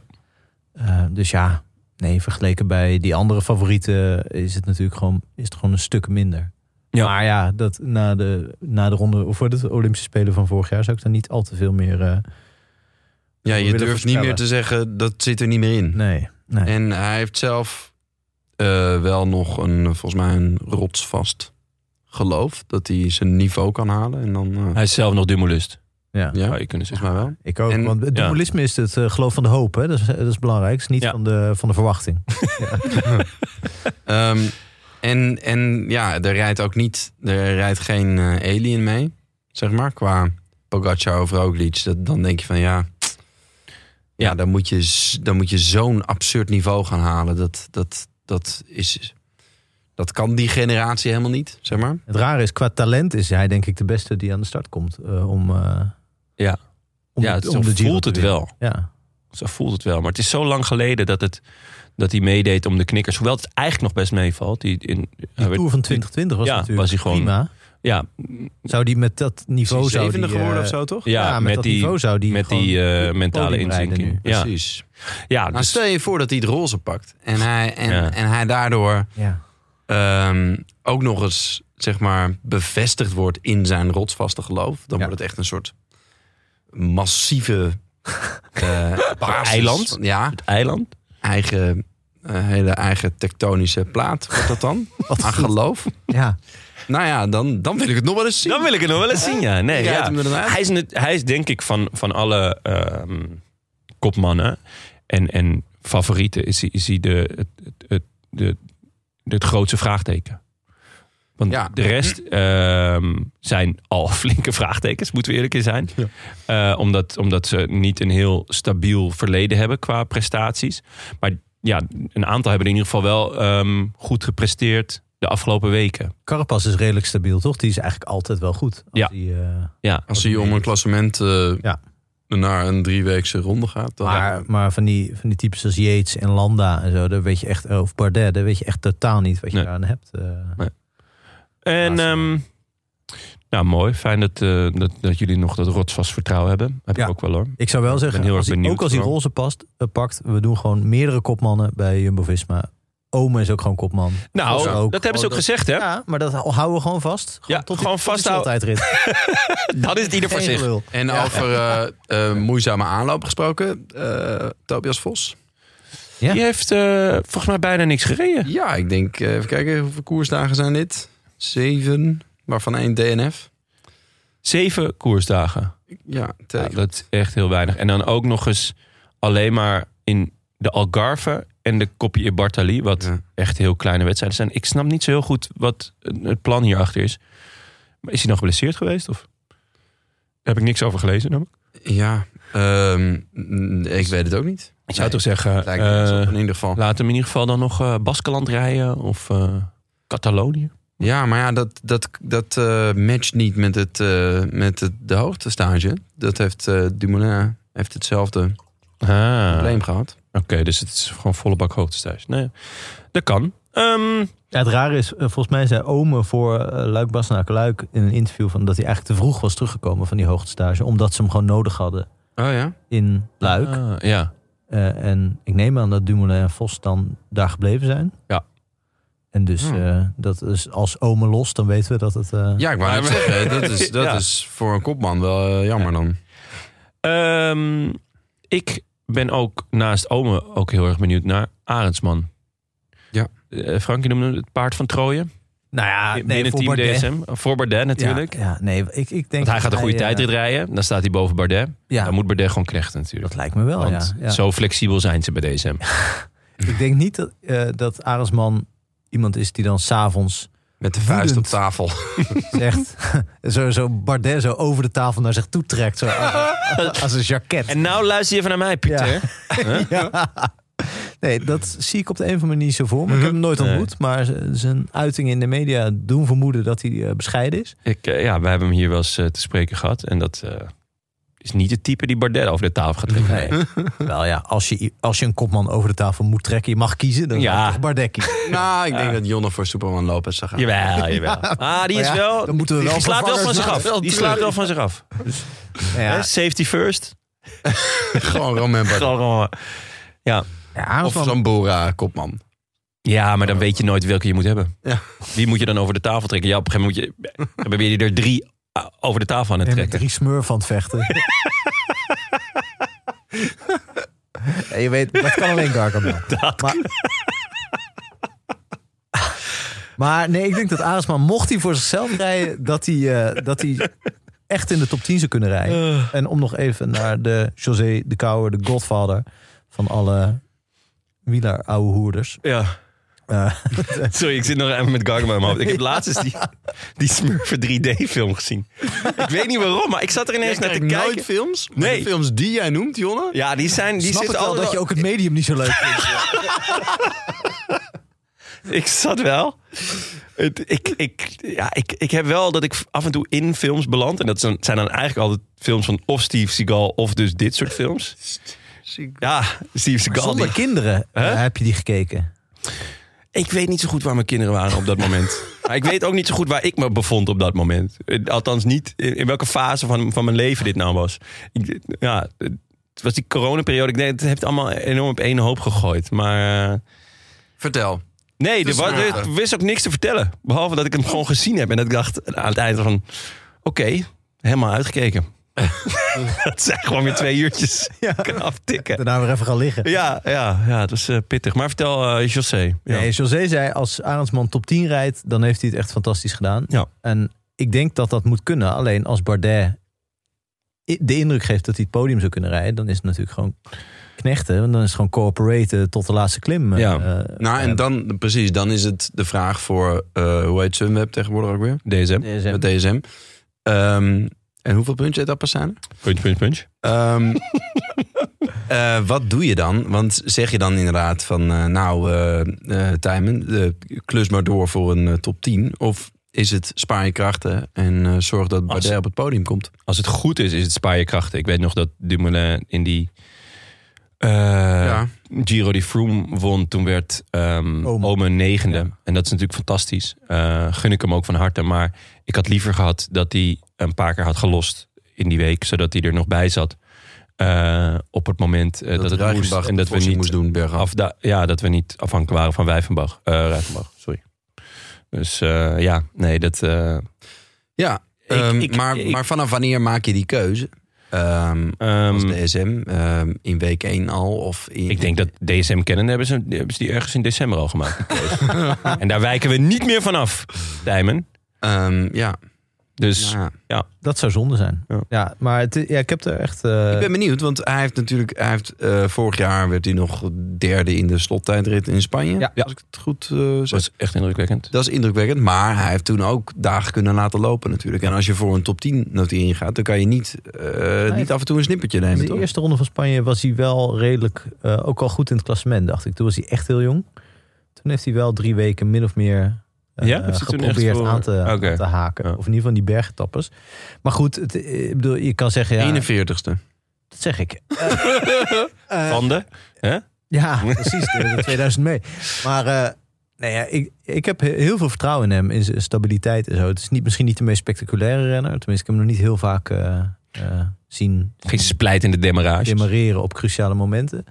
Speaker 2: Eh, dus ja, nee, vergeleken bij die andere favorieten is het natuurlijk gewoon, is het gewoon een stuk minder.
Speaker 3: Ja.
Speaker 2: Maar ja, dat na de, na de ronde of voor de Olympische Spelen van vorig jaar zou ik daar niet al te veel meer. eh,
Speaker 1: Ja,
Speaker 2: We
Speaker 1: je
Speaker 2: willen
Speaker 1: durft niet
Speaker 2: voorspellen.
Speaker 1: meer te zeggen, dat zit er niet meer in.
Speaker 2: nee, nee.
Speaker 1: En hij heeft zelf eh, wel nog een, volgens mij, een rotsvast geloof. Dat hij zijn niveau kan halen. En dan, eh,
Speaker 3: Hij is zelf nog dummelust,
Speaker 2: Ja.
Speaker 1: ja,
Speaker 3: zou je kunnen zeggen.
Speaker 1: volgens mij wel.
Speaker 2: Ik ook,
Speaker 1: En-
Speaker 2: want het
Speaker 3: ja.
Speaker 2: dualisme is het eh, geloof van de hoop. Hè? Dat, is, dat is het belangrijkste, niet
Speaker 3: Ja.
Speaker 2: van, de, van de verwachting.
Speaker 1: Ehm, en, en ja, er rijdt ook niet, er rijdt geen eh, alien mee, zeg maar, qua Pogacar of Roglic. Dat, dan denk je van ja, ja, dan moet je, z- dan moet je zo'n absurd niveau gaan halen. Dat, dat, dat, is, dat kan die generatie helemaal niet, zeg maar.
Speaker 2: Het rare is, qua talent is hij denk ik de beste die aan de start komt. eh, om, eh,
Speaker 3: Ja.
Speaker 2: om
Speaker 3: ja,
Speaker 2: de-
Speaker 3: zo
Speaker 2: om de Giro
Speaker 3: voelt
Speaker 2: te
Speaker 3: het
Speaker 2: winnen.
Speaker 3: wel.
Speaker 2: Ja.
Speaker 3: Zo voelt het wel. Maar het is zo lang geleden dat, het, dat hij meedeed om de knikkers. Hoewel het eigenlijk nog best meevalt. Die in, hij
Speaker 2: De
Speaker 3: werd-
Speaker 2: Tour van 2020 was
Speaker 3: Ja,
Speaker 2: natuurlijk
Speaker 3: was hij gewoon-
Speaker 2: prima.
Speaker 3: ja,
Speaker 2: Zou die met dat niveau...
Speaker 1: Is hij
Speaker 2: zou
Speaker 1: zevende
Speaker 2: die,
Speaker 1: geworden
Speaker 2: eh,
Speaker 1: of zo, toch?
Speaker 3: ja,
Speaker 2: Ja, met
Speaker 3: met,
Speaker 2: dat
Speaker 3: die,
Speaker 2: niveau zou die
Speaker 3: met
Speaker 2: gewoon
Speaker 3: die eh,
Speaker 2: op het
Speaker 3: mentale
Speaker 2: podium rijden
Speaker 3: inzinking.
Speaker 2: nu.
Speaker 3: Ja,
Speaker 1: Precies.
Speaker 3: ja
Speaker 1: Nou,
Speaker 3: dus,
Speaker 1: stel je voor dat hij het roze pakt. En hij, en,
Speaker 3: Ja.
Speaker 1: en hij daardoor
Speaker 2: Ja.
Speaker 1: ehm, ook nog eens zeg maar, bevestigd wordt in zijn rotsvaste geloof. Dan
Speaker 2: Ja.
Speaker 1: wordt het echt een soort massieve [laughs] eh, basis
Speaker 3: eiland?
Speaker 1: van- Ja,
Speaker 3: het eiland.
Speaker 1: eigen, eh, hele eigen tektonische plaat wordt dat
Speaker 2: [laughs]
Speaker 1: dan. aan geloof.
Speaker 2: ja.
Speaker 1: Nou ja, dan, dan wil ik het nog wel eens zien.
Speaker 3: Dan wil ik het nog wel eens zien, ja. Nee,
Speaker 1: Je rijdt
Speaker 3: ja.
Speaker 1: hem er dan uit.
Speaker 3: Hij, is net- hij is denk ik van, van alle ehm, kopmannen en, en favorieten... is, hij- is hij de, het, het, het, de, het grootste vraagteken. Want
Speaker 1: Ja.
Speaker 3: de rest ehm, zijn al [laughs] flinke vraagtekens, moeten we eerlijk in zijn. Eh, omdat, omdat ze niet een heel stabiel verleden hebben qua prestaties. Maar ja, een aantal hebben in ieder geval wel ehm, goed gepresteerd de afgelopen weken.
Speaker 2: Carapaz is redelijk stabiel, toch? Die is eigenlijk altijd wel goed. Als
Speaker 3: Ja.
Speaker 2: die, eh,
Speaker 3: Ja.
Speaker 1: Als hij om een klassement eh,
Speaker 2: Ja.
Speaker 1: naar een drieweekse ronde gaat. Dan
Speaker 2: Maar, maar van, die, van die types als Yates en Landa en zo, daar weet je echt, of Bardet, daar weet je echt totaal niet wat je
Speaker 3: Nee.
Speaker 2: daaraan hebt. eh.
Speaker 3: En
Speaker 2: Laatste.
Speaker 3: ehm, nou, mooi. Fijn dat, eh, dat, dat jullie nog dat rotsvast vertrouwen hebben. Heb
Speaker 2: Ja.
Speaker 3: ik ook wel hoor.
Speaker 2: Ik zou wel
Speaker 3: ben
Speaker 2: zeggen,
Speaker 3: heel erg
Speaker 2: als hij-
Speaker 3: benieuwd
Speaker 2: ook als hij
Speaker 3: vooral.
Speaker 2: roze past, eh, pakt, we doen gewoon meerdere kopmannen bij Jumbo-Visma. Omen is ook gewoon kopman.
Speaker 3: Nou,
Speaker 2: Vos ook.
Speaker 3: dat hebben ze ook
Speaker 2: Oh, dat-
Speaker 3: gezegd hè.
Speaker 2: Ja, maar dat houden we gewoon vast.
Speaker 3: Ja, gewoon vasthouden.
Speaker 2: Altijd rit.
Speaker 3: [laughs] Dat is het ieder voor zich.
Speaker 1: En over eh, eh, moeizame aanloop gesproken, eh, Tobias Vos.
Speaker 2: Ja.
Speaker 3: Die heeft eh, volgens mij bijna niks gereden.
Speaker 1: Ja, ik denk, eh, even kijken, hoeveel koersdagen zijn dit? Zeven, waarvan één DNF.
Speaker 3: Zeven koersdagen.
Speaker 1: Ja, te-
Speaker 3: Ja, dat is echt heel weinig. En dan ook nog eens alleen maar in de Algarve en de Coppi e Bartali. Wat
Speaker 1: Ja.
Speaker 3: echt heel kleine wedstrijden zijn. Ik snap niet zo heel goed wat het plan hierachter is. Maar is hij nog geblesseerd geweest? Of? Daar heb ik niks over gelezen. namelijk.
Speaker 1: Ja, ehm, n- ik weet het ook niet.
Speaker 3: Ik zou
Speaker 1: Nee,
Speaker 3: toch zeggen,
Speaker 1: Het lijkt me
Speaker 3: eh,
Speaker 1: zo, in ieder geval.
Speaker 3: laat hem in ieder geval dan nog eh Baskeland rijden. Of eh, Catalonië.
Speaker 1: Ja, maar ja, dat, dat, dat eh, matcht niet met, het, eh, met het, de hoogtestage. Dat heeft eh, Dumoulin heeft hetzelfde
Speaker 3: Ah,
Speaker 1: probleem gehad.
Speaker 3: Oké, dus het is gewoon volle bak hoogtes thuis. Nee, dat kan. Ehm,
Speaker 2: Ja, het rare is, eh, volgens mij zei Ome voor eh, Luik Bastenaken Luik in een interview... Van dat hij eigenlijk te vroeg was teruggekomen van die hoogtestage. Omdat ze hem gewoon nodig hadden
Speaker 1: Oh ja?
Speaker 2: in Luik.
Speaker 3: ah, ja.
Speaker 2: Eh, en ik neem aan dat Dumoulin en Vos dan daar gebleven zijn.
Speaker 3: Ja.
Speaker 2: En dus
Speaker 1: Hmm.
Speaker 2: eh, dat is als Ome los, dan weten we dat het... eh,
Speaker 1: Ja, ik wou net
Speaker 3: Maar-
Speaker 1: zeggen, dat, is, dat
Speaker 3: Ja.
Speaker 1: is voor een kopman wel eh, jammer dan.
Speaker 3: Ehm, ik ben ook naast Ome ook heel erg benieuwd naar Arendsman.
Speaker 1: Ja.
Speaker 3: Eh, Frankie noemde het paard van Troje.
Speaker 2: Nou ja, nee,
Speaker 3: binnen
Speaker 2: voor
Speaker 3: Team
Speaker 2: Bardet.
Speaker 3: DSM. Voor Bardet natuurlijk.
Speaker 2: Ja, ja, nee, ik, ik denk...
Speaker 3: Want hij gaat een goede
Speaker 2: tijd
Speaker 3: tijdrit rijden. Dan staat hij boven Bardet.
Speaker 2: Ja,
Speaker 3: Dan moet Bardet gewoon knechten natuurlijk.
Speaker 2: dat lijkt me wel,
Speaker 3: Want
Speaker 2: ja. ja.
Speaker 3: zo flexibel zijn ze bij DSM.
Speaker 2: Ik denk niet dat, eh dat Arendsman iemand is die dan s'avonds
Speaker 1: Met de vuist op
Speaker 2: Woedend.
Speaker 1: tafel.
Speaker 2: zegt... [laughs] zo, zo Bardet zo over de tafel naar zich toe trekt. Zo
Speaker 3: [laughs]
Speaker 2: als, als een jacket.
Speaker 3: En nou luister je even naar mij, Pieter.
Speaker 2: Ja. Nee, dat zie ik op de een of andere manier niet zo voor. me. Ik heb hem nooit
Speaker 3: Nee.
Speaker 2: ontmoet. Maar z- zijn uitingen in de media doen vermoeden dat hij eh, bescheiden is.
Speaker 3: Ik, eh, ja, wij hebben hem hier wel eens eh, te spreken gehad. En dat eh, is niet het type die Bardet over de tafel gaat trekken.
Speaker 2: Nee. Wel ja, als je, als je een kopman over de tafel moet trekken, je mag kiezen, dan
Speaker 3: Ja.
Speaker 2: ja. toch Bardet
Speaker 3: [laughs]
Speaker 2: kiezen.
Speaker 1: nou, ik denk dat Jonne voor Superman Lopez zou gaan.
Speaker 2: [laughs]
Speaker 3: Jawel, jawel. Ah, die
Speaker 2: Maar
Speaker 3: is
Speaker 2: ja,
Speaker 3: wel...
Speaker 2: dan moeten we
Speaker 3: die
Speaker 2: wel
Speaker 3: slaat wel van
Speaker 2: vervangers
Speaker 3: zich af.
Speaker 2: maken.
Speaker 3: Die slaat wel van zich af. Hè,
Speaker 2: Ja,
Speaker 3: Safety first.
Speaker 1: Gewoon Romain Bardet.
Speaker 3: Gewoon, eh,
Speaker 2: ja,
Speaker 1: Of
Speaker 2: Arendsman-
Speaker 1: zo'n Bora kopman.
Speaker 3: Ja, maar dan weet je nooit welke je moet hebben.
Speaker 1: Ja.
Speaker 3: Wie moet je dan over de tafel trekken? Ja, op een gegeven moment moet je, dan ben je er drie ah, over de tafel aan het
Speaker 2: En met
Speaker 3: trekken.
Speaker 2: drie smurf van het [laughs] vechten. Ja, je weet, dat kan alleen [laughs] Gargamel. Maar, maar nee, ik denk dat Aresman, mocht hij voor zichzelf rijden... dat hij, eh, dat hij echt in de top 10 zou kunnen rijden. En om nog even naar de José de Kouwer, de godfather... van alle wieler ouwe hoerders.
Speaker 3: Ja.
Speaker 2: Eh,
Speaker 3: [laughs] Sorry, ik zit nog even met Gargamel in mijn hoofd. Ik heb laatst eens die, die Smurfen 3D-film gezien. Ik weet niet waarom, maar ik zat er ineens naar te kijken.
Speaker 1: nooit films? Maar
Speaker 3: Nee.
Speaker 1: de films die jij noemt, Jonne?
Speaker 3: Ja, die zijn... Die
Speaker 2: snap ik
Speaker 3: zitten
Speaker 2: wel
Speaker 3: altijd
Speaker 2: dat je ook het medium niet zo leuk vindt.
Speaker 3: Ik zat wel. Het, ik, ik, ja, ik, ik heb wel dat ik af en toe in films beland. En dat zijn zijn dan eigenlijk altijd films van of Steve Seagal of dus dit soort films. Ja, Steve Seagal.
Speaker 2: Zonder
Speaker 3: die-
Speaker 2: kinderen
Speaker 3: Hè?
Speaker 2: eh, heb je die gekeken.
Speaker 3: Ik weet niet zo goed waar mijn kinderen waren op dat
Speaker 2: [laughs]
Speaker 3: moment. maar ik weet ook niet zo goed waar ik me bevond op dat moment. Eh, Althans niet in, in welke fase van, van mijn leven dit nou was. Ik, ja, het was die coronaperiode. Ik denk, het heeft allemaal enorm op één hoop gegooid. Maar... eh,
Speaker 1: Vertel.
Speaker 3: Nee, er,
Speaker 1: Dus
Speaker 3: was,
Speaker 1: maar-
Speaker 3: er wist ook niks te vertellen. Behalve dat ik hem gewoon gezien heb. En dat ik dacht aan het einde van... Oké, helemaal uitgekeken. dat zijn gewoon weer twee uurtjes. Ja. Kan aftikken.
Speaker 2: Daarna weer even gaan liggen.
Speaker 3: Ja, ja, ja, het was eh, pittig. Maar vertel, eh José. Ja.
Speaker 2: Nee, José zei, als Arendsman top 10 rijdt, dan heeft hij het echt fantastisch gedaan.
Speaker 3: Ja.
Speaker 2: En ik denk dat dat moet kunnen. Alleen als Bardet i- de indruk geeft dat hij het podium zou kunnen rijden, dan is het natuurlijk gewoon knechten. Want dan is het gewoon coöperaten tot de laatste klim. eh,
Speaker 3: Ja.
Speaker 2: eh,
Speaker 1: Nou, en
Speaker 2: eh,
Speaker 1: dan, precies, dan is het de vraag voor, eh, hoe heet Sunweb tegenwoordig ook weer?
Speaker 3: DSM.
Speaker 2: DSM.
Speaker 1: Met DSM. Ehm, en hoeveel punch-etappes zijn er?
Speaker 3: Punch, punch, punch.
Speaker 1: [laughs] Ehm, eh, wat doe je dan? Want zeg je dan inderdaad van, eh, nou, eh eh Tijmen, eh, klus maar door voor een eh, top 10? Of is het spaar je krachten en eh, zorg dat Bardet
Speaker 3: Als-
Speaker 1: op het podium komt?
Speaker 3: Als het goed is, is het spaar je krachten. Ik weet nog dat Dumoulin in die... eh,
Speaker 1: ja.
Speaker 3: Giro die Froome won, toen werd ehm
Speaker 2: Omen.
Speaker 3: Omen negende. En dat is natuurlijk fantastisch. Eh, gun ik hem ook van harte. Maar ik had liever gehad dat hij een paar keer had gelost in die week. Zodat hij er nog bij zat. Eh, op het moment eh, dat,
Speaker 1: dat,
Speaker 3: het moest. En dat we niet,
Speaker 1: moest doen, bergaf.
Speaker 3: af, ja, dat we niet afhankelijk waren van Wijvenbach. Eh Rijvenbach, sorry. Dus eh, ja, nee, dat... eh,
Speaker 1: Ja,
Speaker 3: Ik-
Speaker 1: ehm,
Speaker 3: ik-
Speaker 1: maar,
Speaker 3: ik-
Speaker 1: maar vanaf wanneer maak je die keuze? Ehm
Speaker 3: ehm,
Speaker 1: als DSM, ehm, in week 1 al? Of in,
Speaker 3: ik denk dat DSM kennen hebben ze, hebben ze die ergens in december al [laughs] gemaakt. die keuze. en daar wijken we niet meer vanaf, Dijmen.
Speaker 1: Ehm, ja.
Speaker 3: Dus
Speaker 1: Nou ja.
Speaker 2: Dat zou zonde zijn.
Speaker 3: Ja.
Speaker 2: Ja, maar het, ja, ik heb er echt... eh,
Speaker 1: Ik ben benieuwd, want hij heeft natuurlijk, hij heeft, eh, vorig jaar werd hij nog derde in de slottijdrit in Spanje.
Speaker 2: Ja.
Speaker 1: Als ik het goed eh,
Speaker 3: dat
Speaker 1: zeg.
Speaker 3: is echt indrukwekkend.
Speaker 1: Dat is indrukwekkend, maar hij heeft toen ook dagen kunnen laten lopen natuurlijk. En als je voor een top 10 notering gaat, dan kan je niet, eh, niet af en toe een snippertje nemen,
Speaker 2: de
Speaker 1: toch?
Speaker 2: eerste ronde van Spanje was hij wel redelijk, eh, ook al goed in het klassement, dacht ik. Toen was hij echt heel jong. Toen heeft hij wel drie weken min of meer eh,
Speaker 3: Ja, heeft hij toen echt
Speaker 2: geprobeerd
Speaker 3: voor-
Speaker 2: aan te, aan
Speaker 3: Oké.
Speaker 2: te haken.
Speaker 3: Ja.
Speaker 2: Of in ieder geval die bergetappers. Maar goed, het, eh, ik bedoel, je kan zeggen, ja,
Speaker 1: 41ste.
Speaker 2: dat zeg ik.
Speaker 3: Handen. [laughs]
Speaker 2: Ja, precies. er is er 2000 mee. Maar eh, nee, ja, ik, ik heb he- heel veel vertrouwen in hem, in zijn stabiliteit en zo. Het is niet, misschien niet de meest spectaculaire renner. Tenminste, ik heb hem nog niet heel vaak eh, eh, zien
Speaker 3: Geen splijt in de demarage.
Speaker 2: demareren op cruciale momenten.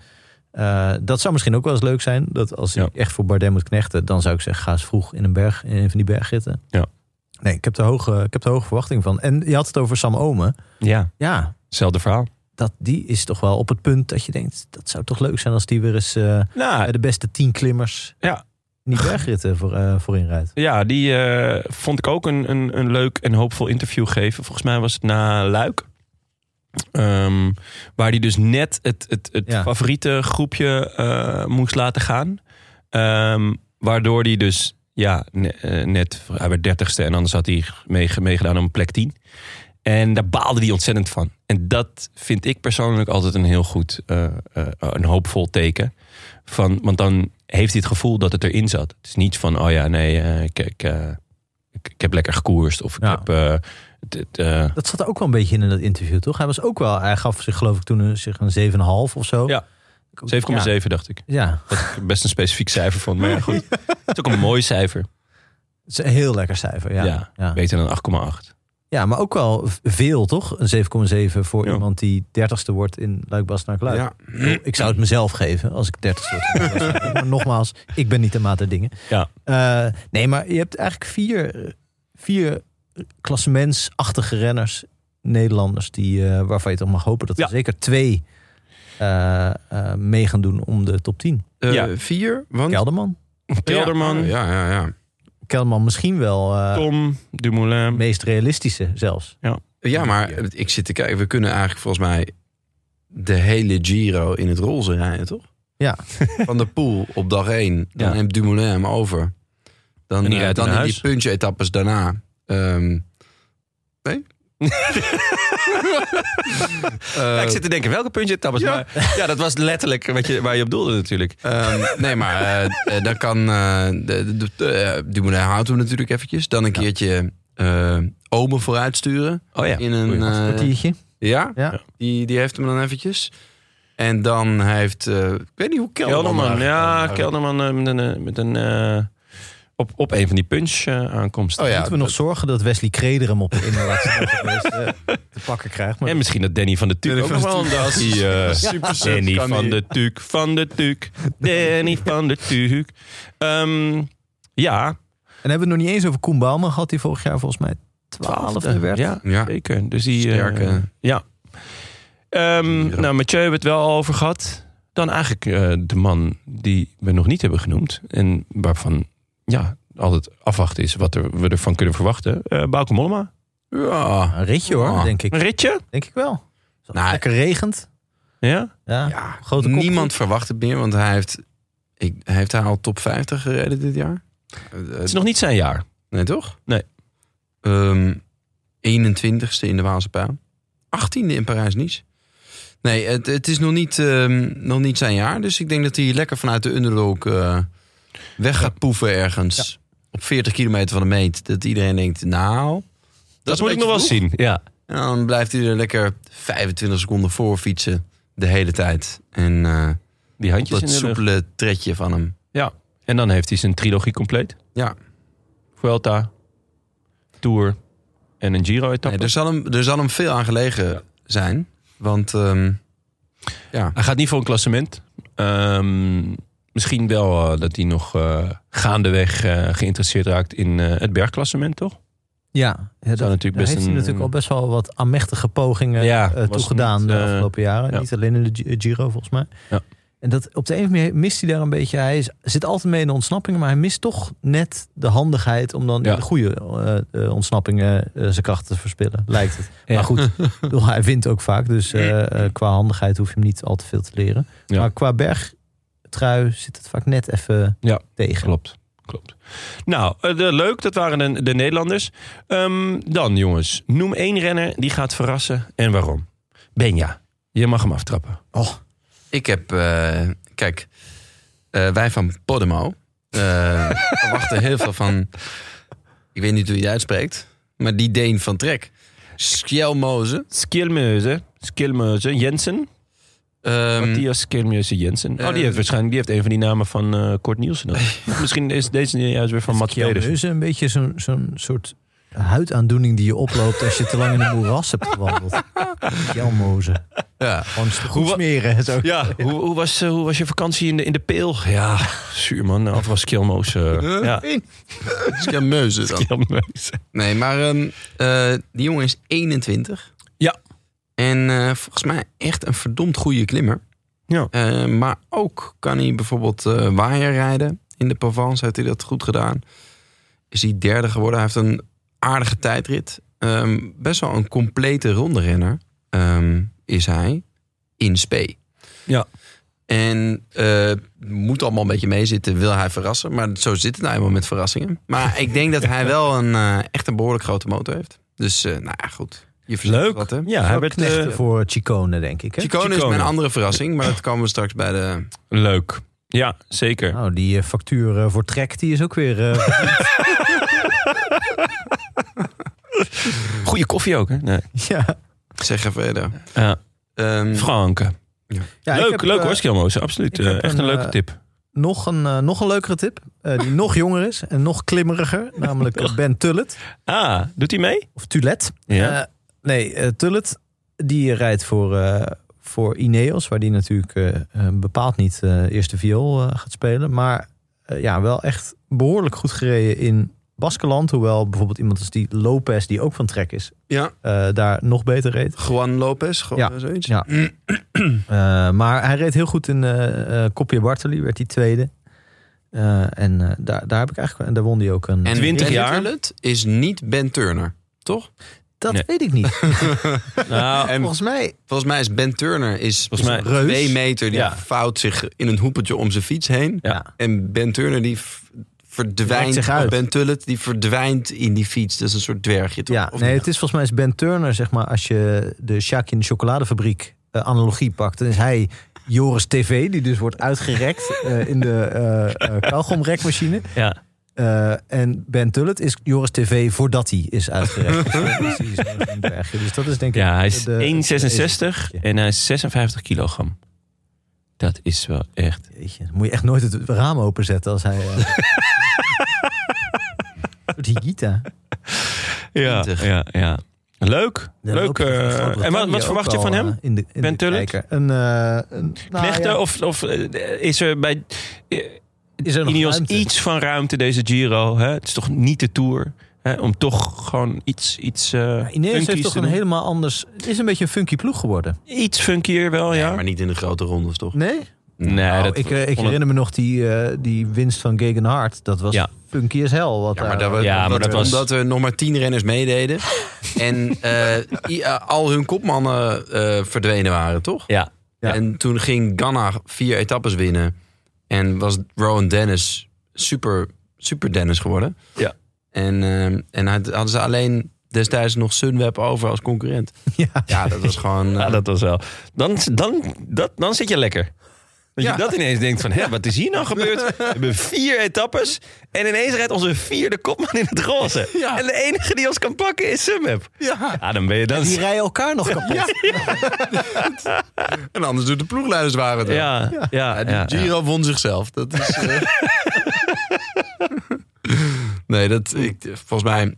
Speaker 2: Eh, dat zou misschien ook wel eens leuk zijn. Dat als
Speaker 3: Ja.
Speaker 2: ik echt voor Bardet moet knechten, dan zou ik zeggen: ga eens vroeg in een berg, in een van die bergritten.
Speaker 3: Ja.
Speaker 2: Nee, ik heb de hoge, ik heb de hoge verwachting van. En je had het over Sam Omen.
Speaker 3: Ja,
Speaker 2: Ja,
Speaker 3: hetzelfde verhaal.
Speaker 2: dat, die is toch wel op het punt dat je denkt: dat zou toch leuk zijn als die weer eens eh, bij
Speaker 3: Nou,
Speaker 2: de beste tien klimmers
Speaker 3: Ja.
Speaker 2: in die bergritten voor, eh, voorin rijdt.
Speaker 3: ja, die eh, vond ik ook een, een, een leuk en hoopvol interview geven. Volgens mij was het na Luik. Ehm, waar hij dus net het, het, het
Speaker 2: Ja.
Speaker 3: favoriete groepje eh, moest laten gaan. Ehm, waardoor hij dus, ja, ne- eh, net, hij werd dertigste en anders had hij mee, meegedaan om plek 10. En daar baalde hij ontzettend van. En dat vind ik persoonlijk altijd een heel goed, eh, eh, een hoopvol teken. Van, want dan heeft hij het gevoel dat het erin zat. Het is niet van, oh ja, nee, eh, ik, ik, eh, ik, ik heb lekker gekoerst. Of ik
Speaker 2: Ja.
Speaker 3: heb... eh, het, het, eh,
Speaker 2: Dat zat er ook wel een beetje in in dat interview, toch? Hij was ook wel, hij gaf zich geloof ik toen een, zich een 7,5 of zo.
Speaker 3: Ja. 7,7 dacht ik.
Speaker 2: Ja,
Speaker 3: Wat ik er best een specifiek cijfer vond. Maar ja, goed. Het is ook een mooi cijfer.
Speaker 2: het is een heel lekker cijfer.
Speaker 3: Ja.
Speaker 2: ja. ja.
Speaker 3: Beter dan 8,8.
Speaker 2: Ja, maar ook wel v- veel, toch? Een 7,7 voor
Speaker 3: Ja.
Speaker 2: iemand die 30ste wordt in Luik naar Kluik.
Speaker 1: Ja.
Speaker 2: Ik zou het mezelf geven als ik 30ste word. in Luik-Bastenaak. maar nogmaals, ik ben niet de maat der dingen.
Speaker 3: Ja.
Speaker 2: Eh, nee, maar je hebt eigenlijk vier, vier klassementsachtige renners, Nederlanders, die, eh, waarvan je toch mag hopen dat er
Speaker 3: Ja.
Speaker 2: zeker twee eh, eh, mee gaan doen om de top 10.
Speaker 1: Eh,
Speaker 3: Ja.
Speaker 1: Vier, want...
Speaker 2: Kelderman.
Speaker 3: Kelderman,
Speaker 1: Ja, ja, ja.
Speaker 2: Kelderman misschien wel eh,
Speaker 3: Tom, Dumoulin.
Speaker 2: het meest realistische zelfs.
Speaker 1: Ja, maar ik zit te kijken. We kunnen eigenlijk volgens mij de hele Giro in het roze rijden, toch?
Speaker 2: Ja.
Speaker 1: [laughs] Van de pool op dag één. Dan
Speaker 3: Ja.
Speaker 1: neemt Dumoulin hem over. Dan,
Speaker 3: En die
Speaker 1: eh,
Speaker 3: rijdt
Speaker 1: dan
Speaker 3: naar
Speaker 1: in
Speaker 3: huis.
Speaker 1: die punch-etappes daarna. Ehm,
Speaker 3: [laughs]
Speaker 1: nee?
Speaker 3: Ja,
Speaker 1: Eh,
Speaker 3: ik zit te denken, welke puntje tabbers? Ja. Maar, ja, dat was letterlijk wat je, waar je op doelde natuurlijk.
Speaker 1: Ehm, nee, maar eh, eh, dan kan eh, de, de, de, eh, Dumoulin houdt hem natuurlijk eventjes. Dan een keertje eh Ome vooruit sturen.
Speaker 3: Oh ja.
Speaker 1: In een,
Speaker 3: Goeie.
Speaker 1: eh,
Speaker 2: Kwartiertje.
Speaker 1: ja,
Speaker 2: Ja.
Speaker 1: Die, die heeft hem dan eventjes. En dan heeft, eh, ik weet niet hoe Kelderman...
Speaker 3: Kelderman,
Speaker 1: eigenlijk-
Speaker 3: ja,
Speaker 1: eh,
Speaker 3: Kelderman eh, met een, eh, met een eh, op, op een van die punch eh, aankomsten.
Speaker 1: Oh ja,
Speaker 2: Moeten we nog zorgen dat Wesley Kreder hem op de inderdaad te pakken krijgt. Maar
Speaker 3: En misschien dat Danny van de Tuuk
Speaker 1: Danny
Speaker 3: ook
Speaker 1: van
Speaker 3: nog
Speaker 1: de
Speaker 3: wel een
Speaker 1: Tuuk.
Speaker 3: dag. Die, eh,
Speaker 1: Super sub
Speaker 3: Danny
Speaker 1: kan
Speaker 3: van
Speaker 1: die.
Speaker 3: de Tuuk, van de Tuuk. Danny van de Tuuk. Ehm, ja,
Speaker 2: En hebben we het nog niet eens over Koen Bouwman gehad, die vorig jaar volgens mij twaalfde werd.
Speaker 3: Ja,
Speaker 1: Ja.
Speaker 3: zeker. Dus die, eh,
Speaker 1: Sterke. eh,
Speaker 3: ja. Ehm,
Speaker 1: Ja.
Speaker 3: Nou, Mathieu hebben we het wel al over gehad. Dan eigenlijk eh, de man die we nog niet hebben genoemd. En waarvan ja, altijd afwachten is wat er, we ervan kunnen verwachten. Eh Bauke Mollema.
Speaker 1: Ja.
Speaker 2: Een ritje hoor,
Speaker 1: Ah.
Speaker 2: denk ik.
Speaker 3: Een ritje.
Speaker 2: Denk ik wel. Zo
Speaker 1: Nou,
Speaker 2: lekker regent.
Speaker 3: Ja?
Speaker 2: Ja.
Speaker 1: ja.
Speaker 2: Grote kop.
Speaker 1: Niemand verwacht het meer, want hij heeft, ik, heeft hij al top 50 gereden dit jaar? Eh, eh,
Speaker 3: Het is nog niet zijn jaar.
Speaker 1: Nee, toch?
Speaker 3: Nee.
Speaker 1: Ehm, 21ste in de Waalse Pijl. 18e in Parijs-Nice. Nee, het, het is nog niet, ehm, nog niet zijn jaar. Dus ik denk dat hij lekker vanuit de underdog eh, weg gaat poeven ergens. Op 40 kilometer van de meet. Dat iedereen denkt, nou... Dat,
Speaker 3: Dat,
Speaker 1: is
Speaker 3: moet
Speaker 1: een
Speaker 3: ik nog wel
Speaker 1: beetje
Speaker 3: zien. Ja.
Speaker 1: en dan blijft hij er lekker 25 seconden voor fietsen de hele tijd. En eh
Speaker 3: Die
Speaker 1: op
Speaker 3: handjes in
Speaker 1: dat
Speaker 3: de lucht.
Speaker 1: soepele tretje van hem.
Speaker 3: Ja. En dan heeft hij zijn trilogie compleet.
Speaker 1: Ja.
Speaker 3: Vuelta, Tour en een Giro-etappe.
Speaker 1: Nee, er, zal hem, er zal hem veel aan gelegen zijn. Want ehm, ja,
Speaker 3: Hij gaat niet voor een klassement. Ehm, misschien wel eh, dat hij nog eh, gaandeweg eh, geïnteresseerd raakt in eh, het bergklassement, toch?
Speaker 2: Ja, ja dat,
Speaker 3: Zou natuurlijk
Speaker 2: daar
Speaker 3: best
Speaker 2: heeft hij
Speaker 3: een-
Speaker 2: natuurlijk al best wel wat amechtige pogingen
Speaker 3: Ja,
Speaker 2: eh,
Speaker 3: was
Speaker 2: toegedaan
Speaker 3: niet,
Speaker 2: de
Speaker 3: eh,
Speaker 2: afgelopen jaren.
Speaker 3: ja.
Speaker 2: Niet alleen in de Gi- Giro volgens mij.
Speaker 3: Ja.
Speaker 2: En dat op de een of andere manier mist hij daar een beetje. Hij is, zit altijd mee in de ontsnappingen, maar hij mist toch net de handigheid om dan
Speaker 3: Ja.
Speaker 2: in de goede eh, eh, ontsnappingen eh, zijn krachten te verspillen, lijkt het.
Speaker 3: Ja.
Speaker 2: Maar
Speaker 3: [laughs]
Speaker 2: goed, ik bedoel, hij wint ook vaak, dus eh, eh, qua handigheid hoef je hem niet al te veel te leren.
Speaker 3: Ja.
Speaker 2: Maar qua bergtrui zit het vaak net even
Speaker 3: Ja,
Speaker 2: tegen.
Speaker 3: Klopt. Klopt. Nou, eh, de- leuk. Dat waren de, de Nederlanders. Ehm, dan, jongens. Noem één renner die gaat verrassen en waarom. Benja, je mag hem aftrappen.
Speaker 1: Ik heb, eh, kijk, eh, wij van Podemo eh, verwachten heel veel van, ik weet niet hoe je het uitspreekt, maar die Deen van Trek. Skjelmoze.
Speaker 3: Skilmeuze. Skilmeuze Jensen.
Speaker 1: Ehm
Speaker 3: Matthias Skilmeuze Jensen. oh, die
Speaker 1: eh,
Speaker 3: heeft waarschijnlijk die heeft een van die namen van eh Kort Nielsen. ook. Misschien is deze juist weer van Mats Pedersen.
Speaker 2: Kjelmeuze, een beetje zo'n zo'n soort huidaandoening die je oploopt als je te lang in een moeras hebt
Speaker 3: [laughs]
Speaker 2: gewandeld. Kjelmozen.
Speaker 1: ja.
Speaker 2: Gewoon goed
Speaker 3: wa-
Speaker 2: smeren. Zo.
Speaker 3: Ja, hoe, hoe, was, eh, hoe was je vakantie in de, in de Peel? Ja, zuur man. Of was Skilmeuze? eh, ja,
Speaker 1: Skjelmoze dan.
Speaker 3: Skilmeuze.
Speaker 1: Nee, maar ehm, eh, die jongen is 21.
Speaker 3: Ja.
Speaker 1: En eh, volgens mij echt een verdomd goede klimmer.
Speaker 3: Ja.
Speaker 1: Eh, maar ook kan hij bijvoorbeeld eh waaier rijden. In de Provence heeft hij dat goed gedaan. Is hij derde geworden. Hij heeft een aardige tijdrit. Ehm, best wel een complete ronderenner ehm is hij in spe.
Speaker 3: Ja.
Speaker 1: En eh, moet allemaal een beetje meezitten, wil hij verrassen. Maar zo zit het nou eenmaal met verrassingen. Maar ik denk dat
Speaker 3: [laughs]
Speaker 1: hij wel een, eh, echt een behoorlijk grote motor heeft. Dus eh, nou ja, goed. Je verzint
Speaker 3: Leuk.
Speaker 1: Wat, hè?
Speaker 3: Ja, hij werd eh,
Speaker 2: Knechten voor Chicone, denk ik. Hè?
Speaker 1: Chicone is
Speaker 3: Chicone.
Speaker 1: mijn andere verrassing, maar dat komen we straks bij de...
Speaker 3: leuk. Ja, zeker.
Speaker 2: Nou, die eh, factuur eh, voor Trek, die is ook weer...
Speaker 3: [laughs]
Speaker 2: eh, [laughs]
Speaker 3: Goeie koffie ook, hè? Nee.
Speaker 2: ja.
Speaker 1: Zeggen verder.
Speaker 3: Ja.
Speaker 1: Ehm,
Speaker 3: Franke.
Speaker 2: Mm. Ja, ik
Speaker 3: leuk,
Speaker 2: heb,
Speaker 3: leuk
Speaker 2: eh,
Speaker 3: hoor, Skjelmozen. Absoluut.
Speaker 2: ik heb
Speaker 3: Eh, echt een,
Speaker 2: een,
Speaker 3: leuke
Speaker 2: eh,
Speaker 3: tip.
Speaker 2: nog, een, eh, nog een leukere tip, eh, die nog jonger is en nog klimmeriger.
Speaker 3: [laughs]
Speaker 2: Namelijk eh, Ben Tullet,
Speaker 3: Ah, doet hij
Speaker 2: [laughs]
Speaker 3: mee?
Speaker 2: of Tulet.
Speaker 3: Ja.
Speaker 2: Eh, nee, eh, Tullet, die rijdt voor, eh, voor Ineos, waar die natuurlijk eh, eh, bepaald niet eh, eerste viool eh, gaat spelen. Maar eh, ja, wel echt behoorlijk goed gereden in Baskeland. Hoewel bijvoorbeeld iemand als die Lopez, die ook van trek is,
Speaker 1: ja,
Speaker 2: eh, daar nog beter reed.
Speaker 1: Juan Lopez, gewoon
Speaker 2: Ja.
Speaker 1: zoiets.
Speaker 2: Ja. Eh, maar hij reed heel goed in eh eh Kopje Bartoli, werd hij tweede. Eh, en eh, daar, daar heb ik eigenlijk en daar won hij ook een.
Speaker 1: En
Speaker 3: 20
Speaker 1: Ben
Speaker 3: jaar.
Speaker 1: Hullet is niet Ben Turner, toch?
Speaker 2: dat
Speaker 3: Nee.
Speaker 2: weet ik
Speaker 3: [laughs]
Speaker 2: niet.
Speaker 3: Nou,
Speaker 1: En
Speaker 2: Volgens mij
Speaker 1: volgens mij is Ben Turner is
Speaker 3: Volgens mij-
Speaker 1: reus. twee meter. Die
Speaker 3: Ja.
Speaker 1: vouwt zich in een hoepeltje om zijn fiets heen.
Speaker 3: Ja.
Speaker 1: En Ben Turner die v- verdwijnt.
Speaker 2: Lijkt zich
Speaker 1: of
Speaker 2: uit.
Speaker 1: Ben Tullet die verdwijnt in die fiets. Dat is een soort dwergje toch?
Speaker 2: Ja,
Speaker 1: Of
Speaker 2: nee,
Speaker 1: niet?
Speaker 2: het is volgens mij is Ben Turner, zeg maar, als je de Sjaak in de chocoladefabriek eh, analogie pakt, dan is hij Joris TV, die dus wordt
Speaker 3: [laughs]
Speaker 2: uitgerekt eh, in de eh eh kauwgomrekmachine.
Speaker 3: ja.
Speaker 2: Eh, en Ben Tullet is Joris TV voordat hij is uitgerekt. Dus
Speaker 3: [laughs]
Speaker 2: dat is- die is ook een bergje. dus dat is denk ik...
Speaker 3: ja, hij is
Speaker 2: de- de-
Speaker 3: 1,66 en hij is 56 kilogram. Dat is wel echt...
Speaker 2: Jeetje, dan moet je echt nooit het raam openzetten als hij... eh,
Speaker 3: [laughs]
Speaker 2: Die Gita.
Speaker 3: Ja,
Speaker 1: 20.
Speaker 3: ja, ja. Leuk.
Speaker 2: Daar
Speaker 3: leuk.
Speaker 2: loop je
Speaker 3: eh,
Speaker 2: van Groot-Brittannië
Speaker 3: en wat, wat
Speaker 2: ook
Speaker 3: verwacht je
Speaker 2: al,
Speaker 3: van
Speaker 2: eh,
Speaker 3: hem?
Speaker 2: In de, in
Speaker 3: Ben
Speaker 2: de
Speaker 3: Tullet?
Speaker 2: kijker. Een, eh een, nou
Speaker 3: Knechten?
Speaker 2: ja,
Speaker 3: Of, of eh, is er bij eh,
Speaker 2: is er nog
Speaker 3: Ineos
Speaker 2: ruimte?
Speaker 3: iets van ruimte deze Giro? Hè? Het is toch niet de Tour? Hè? Om toch gewoon iets... iets eh
Speaker 2: Ja, Ineos
Speaker 3: funkies
Speaker 2: heeft toch
Speaker 3: te
Speaker 2: een
Speaker 3: doen.
Speaker 2: helemaal anders... Het is een beetje een funky ploeg geworden.
Speaker 3: Iets funkier wel, ja.
Speaker 1: Maar niet in de grote rondes toch?
Speaker 2: Nee?
Speaker 3: Nee,
Speaker 2: Nou,
Speaker 3: dat
Speaker 2: ik, eh, ik
Speaker 3: vond ik-
Speaker 2: herinner me nog die, eh, die winst van Gegenhard. Dat was
Speaker 3: Ja.
Speaker 2: funky as hell. Wat eh,
Speaker 1: Ja, maar,
Speaker 2: daar-
Speaker 1: dat we-
Speaker 3: Ja, maar
Speaker 1: omdat,
Speaker 3: dat was-
Speaker 1: omdat er nog maar tien renners
Speaker 3: [laughs]
Speaker 1: meededen. en eh, i- eh, al hun kopmannen eh, verdwenen waren, toch?
Speaker 3: Ja,
Speaker 2: Ja.
Speaker 1: En toen ging Ganna vier etappes winnen. En was Rowan Dennis super, super Dennis geworden.
Speaker 3: Ja.
Speaker 1: En, ehm, en had- hadden ze alleen destijds nog Sunweb over als
Speaker 3: [laughs]
Speaker 1: concurrent.
Speaker 2: Ja.
Speaker 1: Ja, dat was gewoon...
Speaker 3: Ja,
Speaker 1: eh,
Speaker 3: nou,
Speaker 1: [laughs]
Speaker 3: dat was wel. Dan, dan, dat, dan zit je lekker. Dat
Speaker 1: Ja.
Speaker 3: je dat ineens denkt van, hè, wat is hier nou [laughs] gebeurd? We hebben vier etappes en ineens rijdt onze vierde kopman in het roze. En de enige die ons kan pakken is Sunweb. Ja. dan ben je dan...
Speaker 2: Die rijden elkaar nog kapot.
Speaker 1: En anders doet de ploegleiders waren het wel.
Speaker 3: Ja, ja, ja,
Speaker 1: Ja, die Giro won zichzelf. Dat is, eh. [laughs] nee, dat, ik, volgens mij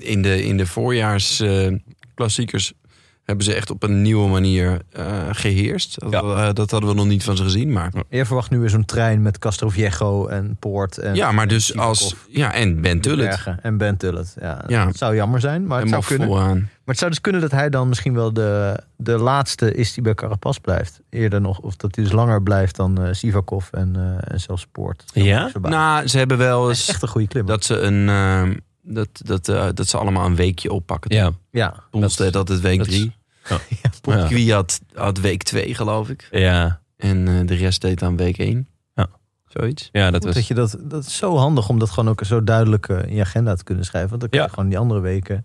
Speaker 1: in de, in de voorjaarsklassiekers eh, hebben ze echt op een nieuwe manier eh, geheerst. Dat, eh, dat hadden we nog niet van ze gezien. Maar
Speaker 2: Je verwacht nu weer zo'n trein met Castroviejo en Poort en
Speaker 1: ja, maar dus als.
Speaker 2: Sivakov.
Speaker 1: Ja, en Ben Tullet.
Speaker 2: Bergen en Ben Tullet. Ja,
Speaker 1: Ja.
Speaker 2: Dat zou jammer zijn, maar
Speaker 1: En
Speaker 2: het, zou
Speaker 1: mag
Speaker 2: kunnen, maar
Speaker 1: vooraan.
Speaker 2: het zou dus kunnen dat hij dan misschien wel de, de laatste is die bij Carapaz blijft. Eerder nog, of dat hij dus langer blijft dan eh, Sivakov en, eh, en zelfs Poort. Zou
Speaker 3: Ja?
Speaker 2: me niet verbazen.
Speaker 1: Nou, ze hebben wel
Speaker 2: Hij is
Speaker 1: eens
Speaker 2: echt een goede klim.
Speaker 1: dat ze een. eh, dat, dat, eh, dat ze allemaal een weekje oppakken.
Speaker 3: Ja.
Speaker 2: ja.
Speaker 1: Poelsted had het week
Speaker 3: dat-
Speaker 1: drie.
Speaker 3: Ja.
Speaker 1: Ja. Wie had, had week twee, geloof ik.
Speaker 3: Ja.
Speaker 1: En eh, de rest deed aan week één.
Speaker 3: Ja.
Speaker 1: Zoiets.
Speaker 3: Ja, dat
Speaker 2: Dat,
Speaker 3: was...
Speaker 2: dat, je dat, dat is zo handig om dat gewoon ook zo duidelijk eh, in je agenda te kunnen schrijven. Want dan kun je
Speaker 3: Ja.
Speaker 2: gewoon die andere weken een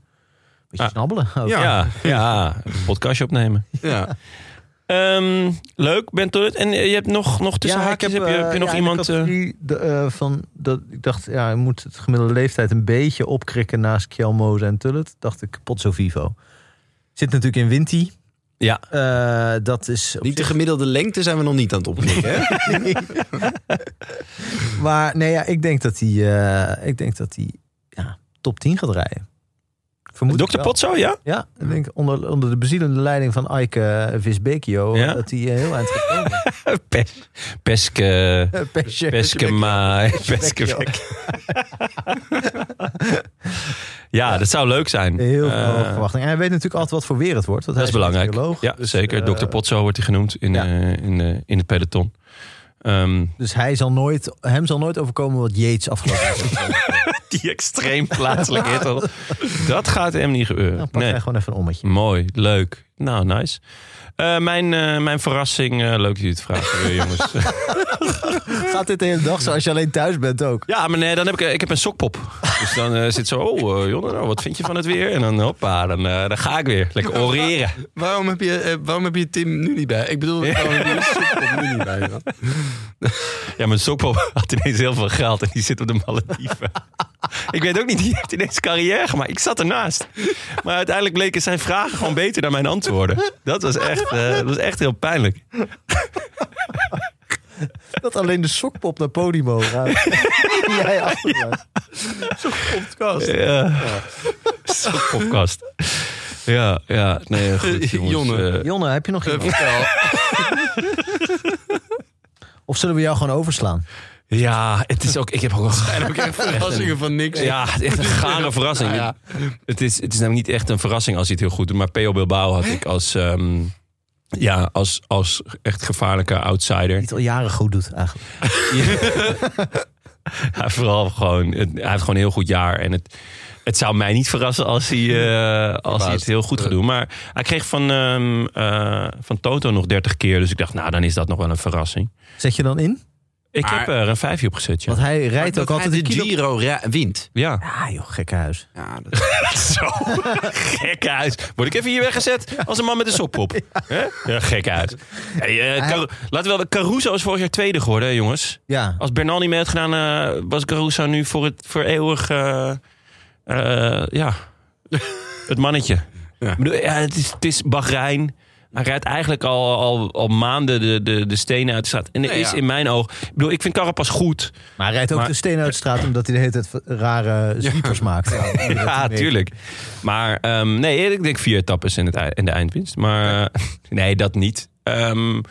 Speaker 2: beetje
Speaker 3: Ah.
Speaker 2: snabbelen. ook.
Speaker 1: Ja.
Speaker 3: Ja, ja, een podcastje opnemen.
Speaker 1: Ja.
Speaker 3: Ehm, leuk, Ben Tullet. En eh, je hebt nog, nog tussen
Speaker 2: Ja, ik
Speaker 3: haakjes, heb, je, heb je
Speaker 2: eh,
Speaker 3: nog
Speaker 2: ja, in de
Speaker 3: iemand... eh,
Speaker 2: categorie de, eh, van, dat, ik dacht, ja, je moet het gemiddelde leeftijd een beetje opkrikken naast Kjelmoze en Tullet. Dacht ik, Pozzo Vivo. Zit natuurlijk in Winti.
Speaker 3: Ja.
Speaker 2: Eh, dat is op
Speaker 1: Niet de gemiddelde lengte zijn we nog niet aan het opknikken. hè?
Speaker 3: [laughs]
Speaker 2: zich- Maar nee, ja, ik denk dat hij eh, ik denk dat hij ja, top 10 gaat rijden. Vermoed ik
Speaker 3: Dr.
Speaker 2: wel.
Speaker 3: Potso, ja?
Speaker 2: [laughs] Ja, ik denk onder, onder de bezielende leiding van Ike Visbekio...
Speaker 3: Ja.
Speaker 2: dat hij eh, heel eind gaat komen.
Speaker 3: [laughs] Pes, peske...
Speaker 2: Eh, Pesje.
Speaker 3: Peske maai, [laughs] peske
Speaker 2: Vecchio.
Speaker 3: vek. Ja, dat zou leuk zijn.
Speaker 2: Heel veel
Speaker 3: Eh,
Speaker 2: hoge verwachtingen. En hij weet natuurlijk altijd wat voor weer het wordt. Want
Speaker 3: Dat is
Speaker 2: hij
Speaker 3: belangrijk.
Speaker 2: meteoroloog.
Speaker 3: Ja,
Speaker 2: Dus,
Speaker 3: zeker.
Speaker 2: eh,
Speaker 3: Dr. Potso wordt hij genoemd in,
Speaker 2: ja.
Speaker 3: eh, in, eh, in het peloton. Ehm,
Speaker 2: [laughs] Dus hij zal nooit, hem zal nooit overkomen wat Yates afgelopen jaar.
Speaker 3: die extreem plaatselijk
Speaker 2: [laughs]
Speaker 3: hitte. Dat gaat hem niet gebeuren.
Speaker 2: Dan Nou, pak
Speaker 3: nee.
Speaker 2: hij gewoon even een ommetje.
Speaker 3: Mooi, leuk. Nou, nice. Eh, mijn, eh, mijn verrassing, eh, leuk dat jullie het vragen weer, jongens.
Speaker 2: Gaat dit de hele dag zo als je alleen thuis bent ook?
Speaker 3: ja, maar nee, dan heb ik, ik heb een sokpop. Dus dan eh, zit zo, oh eh, Jonne, nou, wat vind je van het weer? En dan, hoppa, dan, eh, dan ga ik weer. Lekker oreren.
Speaker 1: waarom, heb je, eh, waarom heb je Tim nu niet bij? Ik bedoel, waarom heb je Sokpop nu niet bij? man?
Speaker 3: Ja, mijn sokpop [laughs] had ineens heel veel geld en die zit op de Malediven. [laughs] ik weet ook niet, die heeft ineens carrière gemaakt. Ik zat ernaast. Maar uiteindelijk bleken zijn vragen gewoon beter dan mijn antwoorden. Dat was echt, eh, dat was echt heel pijnlijk.
Speaker 2: Dat alleen de sokpop naar Podimo gaat. [laughs] Die Jij [laughs] achterblijft. Sokpopkast.
Speaker 3: Ja. [laughs] Podcast. Ja, ja.
Speaker 1: [laughs]
Speaker 3: Nee, goed, jongens.
Speaker 1: Jonne.
Speaker 3: Eh,
Speaker 2: Jonne, heb je nog
Speaker 1: Eh,
Speaker 2: iemand?
Speaker 1: vertel.
Speaker 2: Of zullen we jou gewoon overslaan?
Speaker 3: eh, ja, het is ook... Ik heb ook wel...
Speaker 1: Ik
Speaker 3: [laughs]
Speaker 1: krijg verrassingen van niks.
Speaker 3: Ja, het is echt een gare verrassing.
Speaker 1: Nou ja.
Speaker 3: Het, is, het is namelijk niet echt een verrassing als hij het heel goed doet. Maar Peo Bilbao had ik als... ehm, ja, als, als echt gevaarlijke outsider.
Speaker 2: Die het al jaren goed doet eigenlijk.
Speaker 3: Ja, vooral gewoon, het- hij heeft gewoon een heel goed jaar. En het, het zou mij niet verrassen als hij, eh, als hij het heel goed gaat doen. Maar hij kreeg van, ehm, eh, van Toto nog 30 keer. Dus ik dacht, nou, dan is dat nog wel een verrassing.
Speaker 2: Zet je dan in?
Speaker 3: Ik
Speaker 1: Maar-
Speaker 3: heb er een vijfje op gezet, ja.
Speaker 2: Want hij rijdt
Speaker 1: Dat
Speaker 2: ook
Speaker 1: hij
Speaker 2: altijd een
Speaker 1: de
Speaker 2: kilo...
Speaker 1: Giro ra- wint.
Speaker 3: Ja.
Speaker 2: Ah joh, gekkenhuis.
Speaker 1: Ja, dat-
Speaker 3: [laughs] Zo, gekke uit. Word ik even hier weggezet als een man met een sop op. [laughs] Ja, ja gekke uit. Hey, eh, Car- Laten we wel, Caruso is vorig jaar tweede geworden, hè, jongens.
Speaker 2: Ja.
Speaker 3: Als Bernal niet mee had gedaan, eh, was Caruso nu voor, het, voor eeuwig... eh, eh, ja, [laughs] het mannetje.
Speaker 1: Ja.
Speaker 3: Ik bedoel, ja, het, is, het is Bahrein. Hij rijdt eigenlijk al, al, al maanden de, de, de stenen uit de straat. En er
Speaker 1: Nou ja.
Speaker 3: is in mijn oog... Ik bedoel, ik vind Carapaz goed.
Speaker 2: Maar hij rijdt ook
Speaker 3: Maar-
Speaker 2: de steen uit de straat omdat hij de hele tijd rare sweepers maakt. [laughs]
Speaker 3: Ja, tuurlijk. Maar ehm, nee, ik denk vier etappes in, het, ei- in de eindwinst. Maar eh, [laughs] nee, dat niet. Ehm,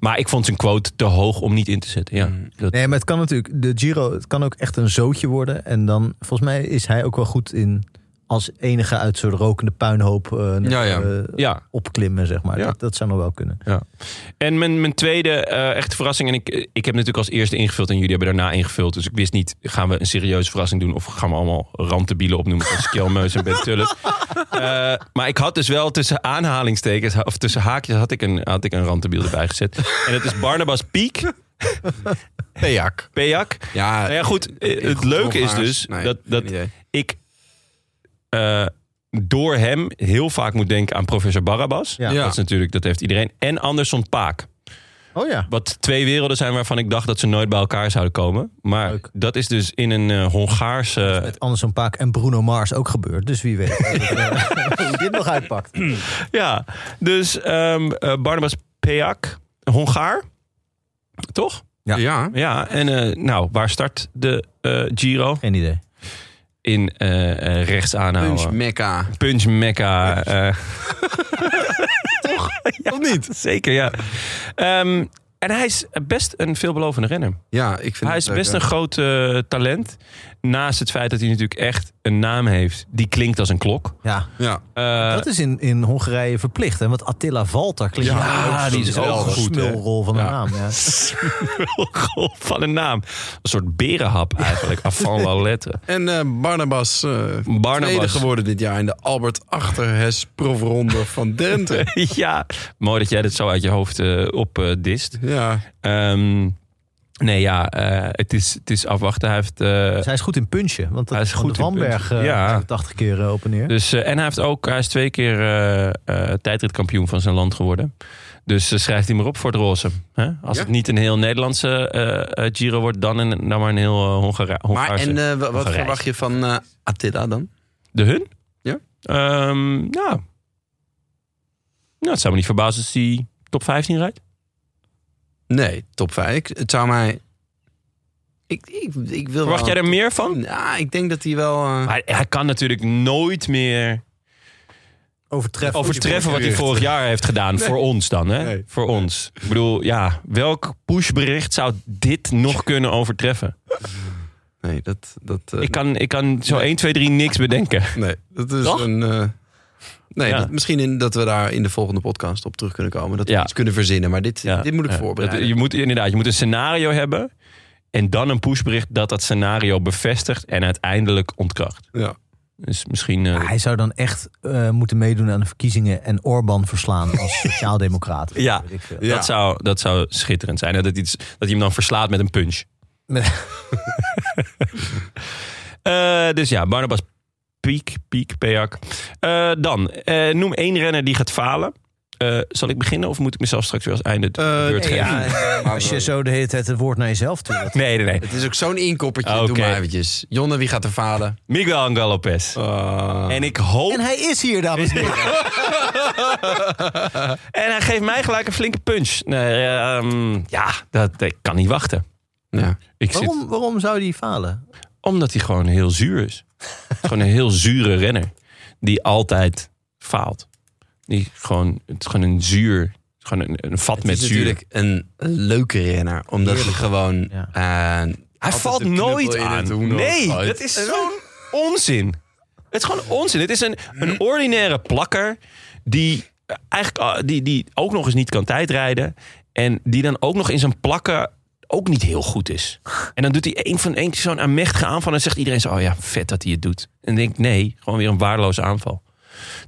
Speaker 3: maar ik vond zijn quote te hoog om niet in te zetten. Ja, dat,
Speaker 2: Nee, maar het kan natuurlijk, de Giro, het kan ook echt een zootje worden. En dan, volgens mij is hij ook wel goed in als enige uit zo'n rokende puinhoop eh, nog,
Speaker 1: Ja, ja.
Speaker 2: eh,
Speaker 3: ja.
Speaker 2: opklimmen, zeg maar.
Speaker 3: Ja.
Speaker 2: Dat, dat zou nog wel kunnen.
Speaker 3: En mijn, mijn tweede eh, echte verrassing. En ik, ik heb natuurlijk als eerste ingevuld en jullie hebben daarna ingevuld. Dus ik wist niet, gaan we een serieuze verrassing doen? Of gaan we allemaal rantebielen opnoemen als Kjelmeus en Ben Tullet? Eh, maar ik had dus wel tussen aanhalingstekens, of tussen haakjes, had ik een, had ik een rantebiel erbij gezet. En dat is Barnabas Piek,
Speaker 1: Peak.
Speaker 3: Pejak.
Speaker 1: Ja,
Speaker 3: Nou ja, goed. eh,
Speaker 1: in
Speaker 3: Het
Speaker 1: goed
Speaker 3: leuke is
Speaker 1: Hongaars.
Speaker 3: dus
Speaker 1: Nee,
Speaker 3: dat, dat
Speaker 1: geen idee.
Speaker 3: ik eh, door hem heel vaak moet denken aan professor Barabas.
Speaker 2: Ja.
Speaker 1: Ja.
Speaker 3: Dat is natuurlijk, dat heeft iedereen. En Anderson Paak.
Speaker 2: Oh ja.
Speaker 3: Wat twee werelden zijn waarvan ik dacht dat ze nooit bij elkaar zouden komen. Maar
Speaker 2: Leuk.
Speaker 3: dat is dus in een eh, Hongaarse...
Speaker 2: Met Anderson Paak en Bruno Mars ook gebeurd. Dus wie
Speaker 3: [laughs]
Speaker 2: weet eh, [laughs] hoe dit nog uitpakt.
Speaker 3: Ja, dus ehm, eh, Barnabas Peak, Hongaar. Toch?
Speaker 2: Ja.
Speaker 1: Ja.
Speaker 3: Ja, en eh, nou, waar start de eh, Giro?
Speaker 2: Geen idee.
Speaker 3: in eh, eh, rechts aanhouden.
Speaker 1: Punch Mecca.
Speaker 3: Punch
Speaker 1: [laughs]
Speaker 3: Mecca. eh.
Speaker 1: Ja. Of niet?
Speaker 3: zeker, ja. Ehm, en hij is best een veelbelovende renner.
Speaker 1: Ja, ik vind
Speaker 3: Hij
Speaker 1: het
Speaker 3: is
Speaker 1: leuk,
Speaker 3: best
Speaker 1: ja.
Speaker 3: een groot eh, talent. Naast het feit dat hij natuurlijk echt een naam heeft die klinkt als een
Speaker 1: [laughs]
Speaker 3: klok.
Speaker 2: Ja,
Speaker 1: Ja,
Speaker 3: Eh,
Speaker 2: dat is in, in Hongarije verplicht. Hè? Want Attila Valter klinkt
Speaker 3: Ja,
Speaker 2: natuurlijk
Speaker 3: die is
Speaker 2: ook
Speaker 3: wel
Speaker 2: een
Speaker 3: goed, hè?
Speaker 2: smulrol van de
Speaker 1: Ja.
Speaker 2: naam. Ja.
Speaker 3: Smulgolf van een naam. Een soort berenhap eigenlijk. Afval la
Speaker 1: [laughs]
Speaker 3: lettre.
Speaker 1: en eh, Barnabas, eh
Speaker 3: Barnabas.
Speaker 1: tweede geworden dit jaar in de Albert Achterhes proefronde van Drenthe.
Speaker 3: [laughs] ja, mooi dat jij dit zo uit je hoofd eh, op opdist. Ehm,
Speaker 1: Ja,
Speaker 3: nee, ja, eh, het, is, het is afwachten. Hij heeft, eh,
Speaker 2: Dus hij is goed in punchen. Want dat
Speaker 3: Hij is
Speaker 2: Van
Speaker 3: goed
Speaker 2: de
Speaker 3: in
Speaker 2: Vanberg
Speaker 3: punchen.
Speaker 2: eh,
Speaker 3: Ja.
Speaker 2: 80 keer eh, op en neer.
Speaker 3: dus, eh, en hij, heeft ook, hij is twee keer eh, eh, tijdritkampioen van zijn land geworden. Dus eh, schrijft hij maar op voor het roze. Hè? Als
Speaker 1: Ja.
Speaker 3: het niet een heel Nederlandse eh, eh, Giro wordt, dan, een, dan maar een heel eh, Hongara
Speaker 1: maar
Speaker 3: Hongaarse.
Speaker 1: en eh, wa- wat
Speaker 3: Hongarijs.
Speaker 1: verwacht je van eh Attila dan?
Speaker 3: De hun?
Speaker 1: Ja.
Speaker 3: Ehm, nou. nou, het zou me niet verbazen als hij top 15 rijdt.
Speaker 1: Nee, top 5. Het zou mij... Ik, ik, ik wil
Speaker 3: Verwacht jij
Speaker 1: wel...
Speaker 3: er meer van?
Speaker 1: Ja, ik denk dat hij wel... eh,
Speaker 3: Hij, hij kan natuurlijk nooit meer
Speaker 2: Overtreffen.
Speaker 3: overtreffen wat hij vorig jaar heeft gedaan. Voor ons dan, hè?
Speaker 1: Nee.
Speaker 3: Voor ons. Ik bedoel, ja, welk pushbericht zou dit nog kunnen overtreffen?
Speaker 1: Nee, dat... dat eh,
Speaker 3: Ik kan, ik kan zo 1, 2, 3 niks bedenken.
Speaker 1: Nee, dat is
Speaker 3: Toch?
Speaker 1: een... eh, nee,
Speaker 3: Ja.
Speaker 1: dat- misschien in, dat we daar in de volgende podcast op terug kunnen komen. Dat we
Speaker 3: Ja.
Speaker 1: iets kunnen verzinnen. Maar dit,
Speaker 3: Ja,
Speaker 1: dit moet ik
Speaker 3: ja.
Speaker 1: voorbereiden.
Speaker 3: Dat- Je moet, inderdaad, je moet een scenario hebben. En dan een pushbericht dat dat scenario bevestigt en uiteindelijk ontkracht.
Speaker 1: Ja.
Speaker 3: Dus misschien... eh,
Speaker 1: Ah,
Speaker 2: Maar Hij zou dan echt eh, moeten meedoen aan de verkiezingen en Orbán verslaan
Speaker 3: [laughs]
Speaker 2: als sociaaldemocraat.
Speaker 3: Ja.
Speaker 2: Weet ik eh, veel.
Speaker 1: Ja.
Speaker 3: Dat, zou, dat zou schitterend zijn. hè, Dat, iets, dat hij hem dan verslaat met een punch.
Speaker 2: Nee.
Speaker 3: [laughs] Eh, dus ja, Barnabas Piek, Piek, Peak. Eh, dan, eh, noem één renner die gaat falen. Eh, zal ik beginnen of moet ik mezelf straks weer als einde de
Speaker 1: Eh,
Speaker 3: beurt
Speaker 2: Nee,
Speaker 3: geven?
Speaker 2: ja, eh,
Speaker 3: [laughs]
Speaker 2: als je zo de hele tijd het woord naar jezelf toe. dat-
Speaker 3: Nee, nee, nee.
Speaker 1: Het is ook zo'n inkoppertje. Doe
Speaker 3: Oké.
Speaker 1: maar eventjes. Jonne, wie gaat er falen? Eh,
Speaker 3: Miguel Angel
Speaker 1: Oh.
Speaker 3: Lopez. En ik hoop...
Speaker 2: En hij is hier, dames en heren.
Speaker 3: En hij geeft mij gelijk een flinke punch. Nee, eh, ehm, ja, dat, ik kan niet wachten.
Speaker 1: Ja.
Speaker 3: Ik zit-
Speaker 2: Waarom, waarom zou die falen?
Speaker 3: Omdat hij gewoon heel zuur is. [laughs] Het is gewoon een heel zure renner. Die altijd faalt. Die gewoon, het is gewoon een zuur. Gewoon een, een vat
Speaker 1: Het
Speaker 3: met
Speaker 1: is
Speaker 3: zuur.
Speaker 1: natuurlijk een leuke renner. Omdat hij gewoon...
Speaker 2: Ja.
Speaker 1: eh,
Speaker 3: Hij
Speaker 1: altijd
Speaker 3: valt
Speaker 1: de knuppel
Speaker 3: nooit
Speaker 1: in het
Speaker 3: aan.
Speaker 1: hoenderhoofd
Speaker 3: Nee,
Speaker 1: gooit.
Speaker 3: dat is zo'n onzin. Het is gewoon onzin. Het is een, een ordinaire plakker die eh, eigenlijk ah, die, die ook nog eens niet kan tijdrijden. En die dan ook nog in zijn plakken ook niet heel goed is. En dan doet hij een van één keer zo'n aanmächtige aanval. En dan zegt iedereen zo, oh ja, vet dat hij het doet. En dan denk ik, nee, gewoon weer een waardeloze aanval.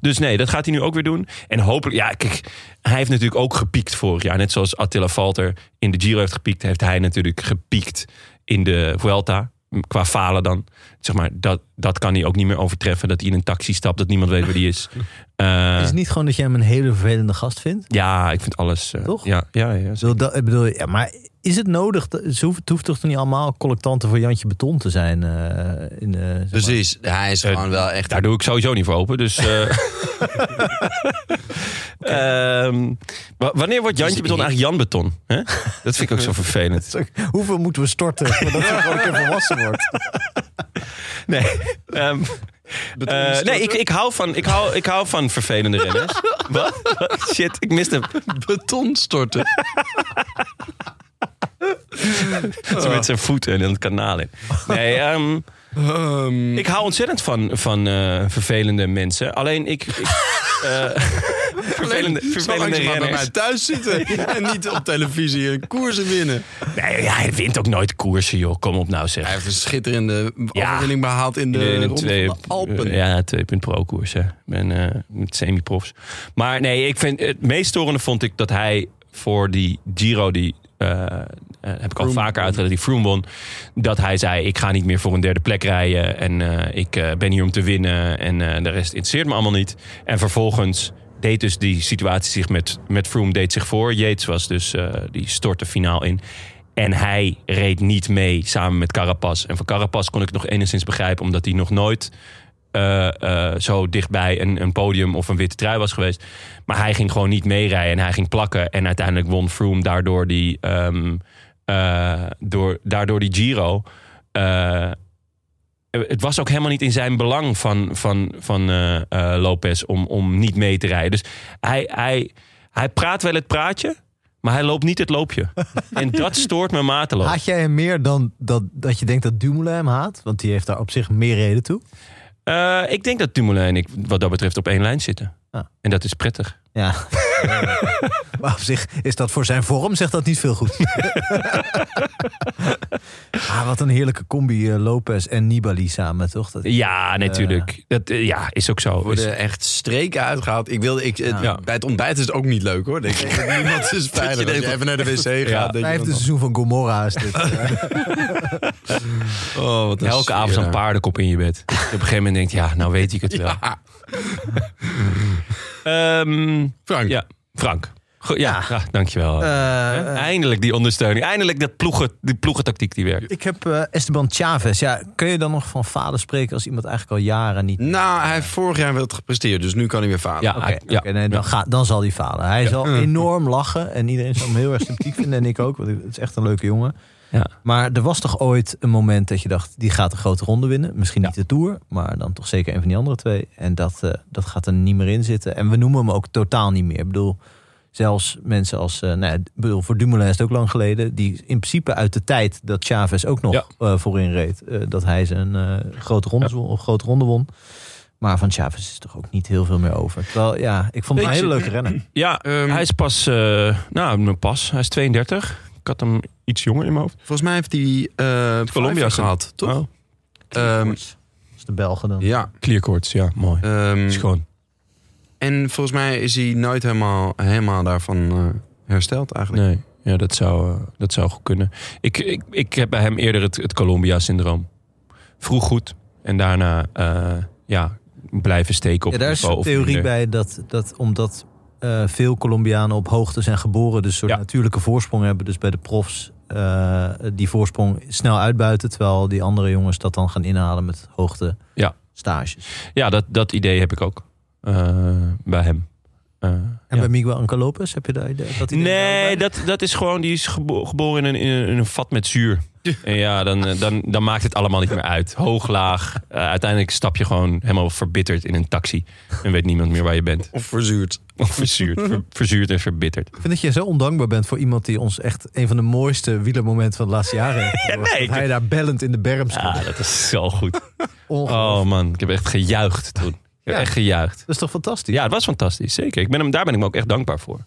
Speaker 3: Dus nee, dat gaat hij nu ook weer doen. En hopelijk, ja, kijk, hij heeft natuurlijk ook gepiekt vorig jaar. Net zoals Attila Valter in de Giro heeft gepiekt, heeft hij natuurlijk gepiekt in de Vuelta. Qua falen dan. Zeg maar, dat, dat kan hij ook niet meer overtreffen. Dat hij in een taxi stapt, dat niemand weet waar die [laughs] is. Eh,
Speaker 2: Is het niet gewoon dat jij hem een hele vervelende gast vindt?
Speaker 3: ja, ik vind alles. eh,
Speaker 2: Toch?
Speaker 3: Ja, ja, ja.
Speaker 2: Ik bedoel, dat- ik bedoel, ja, maar is het nodig? dat- Ze hoeft, het hoeft toch niet allemaal collectanten voor Jantje Beton te zijn? eh, in, eh, zeg maar.
Speaker 1: Precies. Hij is
Speaker 3: Eh,
Speaker 1: gewoon wel echt...
Speaker 3: Daar doe ik sowieso niet voor open. Dus. [laughs] eh, Ehm, wa- wanneer wordt Jantje Beton eigenlijk Jan Beton? Hè? Dat vind ik ook [laughs] zo vervelend.
Speaker 2: Hoeveel moeten we storten voordat
Speaker 3: [laughs]
Speaker 2: ze gewoon een keer volwassen wordt?
Speaker 3: Nee. ehm, eh, nee, ik, ik, hou van, ik, hou, ik hou
Speaker 1: [laughs]
Speaker 3: van vervelende renners. Wat? Shit, ik miste hem.
Speaker 1: beton storten. Oh.
Speaker 3: Zo met zijn voeten en het kanaal in. Nee,
Speaker 1: [laughs]
Speaker 3: ehm,
Speaker 1: [laughs] Ehm,
Speaker 3: ik hou ontzettend van, van eh, vervelende mensen. Alleen ik... ik
Speaker 1: [laughs]
Speaker 3: eh, vervelende
Speaker 1: Zo
Speaker 3: vervelende
Speaker 1: lang ze maar bij
Speaker 3: renners.
Speaker 1: mij thuis zitten. [laughs] En niet op televisie eh, koersen winnen.
Speaker 3: Nee, ja, hij wint ook nooit koersen, joh. Kom op nou, zeg.
Speaker 1: Hij heeft een schitterende
Speaker 3: Ja.
Speaker 1: overwinning behaald in de, eh,
Speaker 3: In een
Speaker 1: Ronde
Speaker 3: twee-
Speaker 1: van de Alpen.
Speaker 3: Ja, twee punt pro koers. hè. Ik ben eh, met semi-profs. Maar nee, ik vind het meest storende vond ik dat hij voor die Giro, die eh, eh, heb ik al vaker uitgelegd, die Froome won, dat hij zei: ik ga niet meer voor een derde plek rijden en eh, ik eh, ben hier om te winnen en eh, de rest interesseert me allemaal niet. En vervolgens deed dus die situatie zich met met Froome deed zich voor. Yates was dus eh, die stortte finaal in. En hij reed niet mee samen met Carapaz. En voor Carapaz kon ik het nog enigszins begrijpen, omdat hij nog nooit eh, eh, zo dichtbij een, een podium of een witte trui was geweest. Maar hij ging gewoon niet meerijden en hij ging plakken. En uiteindelijk won Froome daardoor die, ehm, eh, door, daardoor die Giro. Eh, eh, het was ook helemaal niet in zijn belang van, van, van eh, eh, Lopez om, om niet mee te rijden. Dus hij, hij, hij praat wel het praatje, maar hij loopt niet het loopje. en dat stoort me mateloos.
Speaker 2: Haat jij hem meer dan dat, dat je denkt dat Dumoulin hem haat? Want die heeft daar op zich meer reden toe.
Speaker 3: Eh, ik denk dat Dumoulin en ik wat dat betreft op één lijn zitten.
Speaker 2: Ah.
Speaker 3: En dat is prettig.
Speaker 2: Ja. [laughs] maar op zich is dat voor zijn vorm, zegt dat niet veel goed. [laughs] ah, wat een heerlijke combi eh, Lopez en Nibali samen, toch? Dat,
Speaker 3: Ja, natuurlijk. dat, eh, ja, is ook zo. Is-
Speaker 1: worden echt streken uitgehaald. Ik wilde, ik, het-
Speaker 2: Ja.
Speaker 1: Bij het ontbijt is het ook niet leuk hoor. Denk [laughs] ik. Niemand is
Speaker 3: je
Speaker 1: fijn dat
Speaker 3: denkt
Speaker 1: je even naar de wc gaat.
Speaker 3: Ja.
Speaker 1: dat je
Speaker 2: Hij heeft
Speaker 1: dan-
Speaker 2: een seizoen van Gomorra is dit. eh.
Speaker 1: oh, wat een
Speaker 3: Elke
Speaker 1: sfeer
Speaker 3: avond zo'n
Speaker 1: daar.
Speaker 3: paardenkop in je bed. Op een gegeven moment denkt, ja, nou weet ik het wel.
Speaker 1: [laughs] Ja.
Speaker 3: Ehm,
Speaker 1: Frank,
Speaker 3: ja, Frank. Go- ja, ja,
Speaker 2: [laughs]
Speaker 3: dankjewel.
Speaker 2: Eh,
Speaker 3: Hè? Eindelijk die ondersteuning. Eindelijk dat ploegen, die ploegentactiek die werkt.
Speaker 2: ik heb eh, Esteban Chavez. Ja, kun je dan nog van vader spreken als iemand eigenlijk al jaren niet... Ah,
Speaker 1: nou, hij heeft vorig jaar wel het gepresteerd, dus nu kan hij weer falen.
Speaker 3: Ja,
Speaker 2: Oké,
Speaker 3: hij- ja.
Speaker 2: oké, nee, dan, ga, dan zal hij falen. Hij zal enorm lachen en iedereen zal hem heel erg sympathiek vinden. En ik ook, want het is echt een leuke jongen.
Speaker 3: Ja.
Speaker 2: Maar er was toch ooit een moment dat je dacht, die gaat een grote ronde winnen. Misschien niet de Tour, maar dan toch zeker een van die andere twee. En dat, eh, dat gaat er niet meer in zitten. En we noemen hem ook totaal niet meer. Ik bedoel, zelfs mensen als, eh nou ja, ik bedoel, voor Dumoulin is het ook lang geleden. Die in principe uit de tijd dat Chavez ook nog
Speaker 3: Ja.
Speaker 2: eh, voorin reed. eh, dat hij zijn eh, grote, ronde won, of grote ronde won. Maar van Chavez is toch ook niet heel veel meer over. Terwijl, ja, ik vond het een
Speaker 3: Beetje.
Speaker 2: hele leuke rennen.
Speaker 3: Ja,
Speaker 1: Ehm,
Speaker 3: hij is pas, eh, nou, pas. Hij is 32. Ik had hem iets jonger in mijn hoofd.
Speaker 1: Volgens mij heeft hij eh
Speaker 3: Colombia
Speaker 1: Colombia gehad, toch?
Speaker 3: Oh,
Speaker 1: Ehm,
Speaker 2: Dat is de Belgen dan.
Speaker 1: ja.
Speaker 3: Clearcourts, ja, mooi.
Speaker 1: ehm,
Speaker 3: Schoon.
Speaker 1: en volgens mij is hij nooit helemaal, helemaal daarvan eh, hersteld eigenlijk.
Speaker 3: Nee, ja, dat, zou, eh, dat zou goed kunnen. Ik, ik, ik heb bij hem eerder het, het Columbia-syndroom. Vroeg goed en daarna eh, ja, blijven steken op
Speaker 2: Ja, daar is
Speaker 3: niveau
Speaker 2: een
Speaker 3: of
Speaker 2: theorie
Speaker 3: minder.
Speaker 2: bij dat, dat omdat eh, veel Colombianen op hoogte zijn geboren, dus een soort
Speaker 3: Ja.
Speaker 2: natuurlijke voorsprong hebben, dus bij de profs eh, die voorsprong snel uitbuiten, terwijl die andere jongens dat dan gaan inhalen met hoogte
Speaker 3: Ja.
Speaker 2: stages.
Speaker 3: Ja, dat, dat idee heb ik ook eh, bij hem. Eh,
Speaker 2: En
Speaker 3: ja.
Speaker 2: bij Miguel Anca Lopez heb je daar idee- dat idee? wel
Speaker 3: Nee,
Speaker 2: bij?
Speaker 3: dat, dat is gewoon, die is gebo- geboren in een, in, een, in een vat
Speaker 2: [laughs]
Speaker 3: met zuur. En ja, dan, eh, dan, dan maakt het allemaal niet meer uit. Hoog, laag. Eh, uiteindelijk stap je gewoon helemaal verbitterd in een taxi. En weet niemand meer waar je bent.
Speaker 1: Of verzuurd.
Speaker 3: Of verzuurd, ver- verzuurd en verbitterd.
Speaker 2: Ik vind dat je zo ondankbaar bent voor iemand die ons echt een van de mooiste wielermomenten van de laatste jaren
Speaker 3: [laughs]
Speaker 2: heeft. gebracht.
Speaker 3: nee,
Speaker 2: dat
Speaker 3: ik-
Speaker 2: hij daar bellend in de berm stond.
Speaker 3: Ja, dat is zo goed.
Speaker 2: Ongelooflijk.
Speaker 3: [laughs] Oh man, ik heb echt gejuicht toen. Ik heb
Speaker 2: Ja.
Speaker 3: echt gejuicht.
Speaker 2: Dat is toch fantastisch?
Speaker 3: Ja, het was fantastisch, zeker. Ik ben hem, daar ben ik me ook echt dankbaar voor.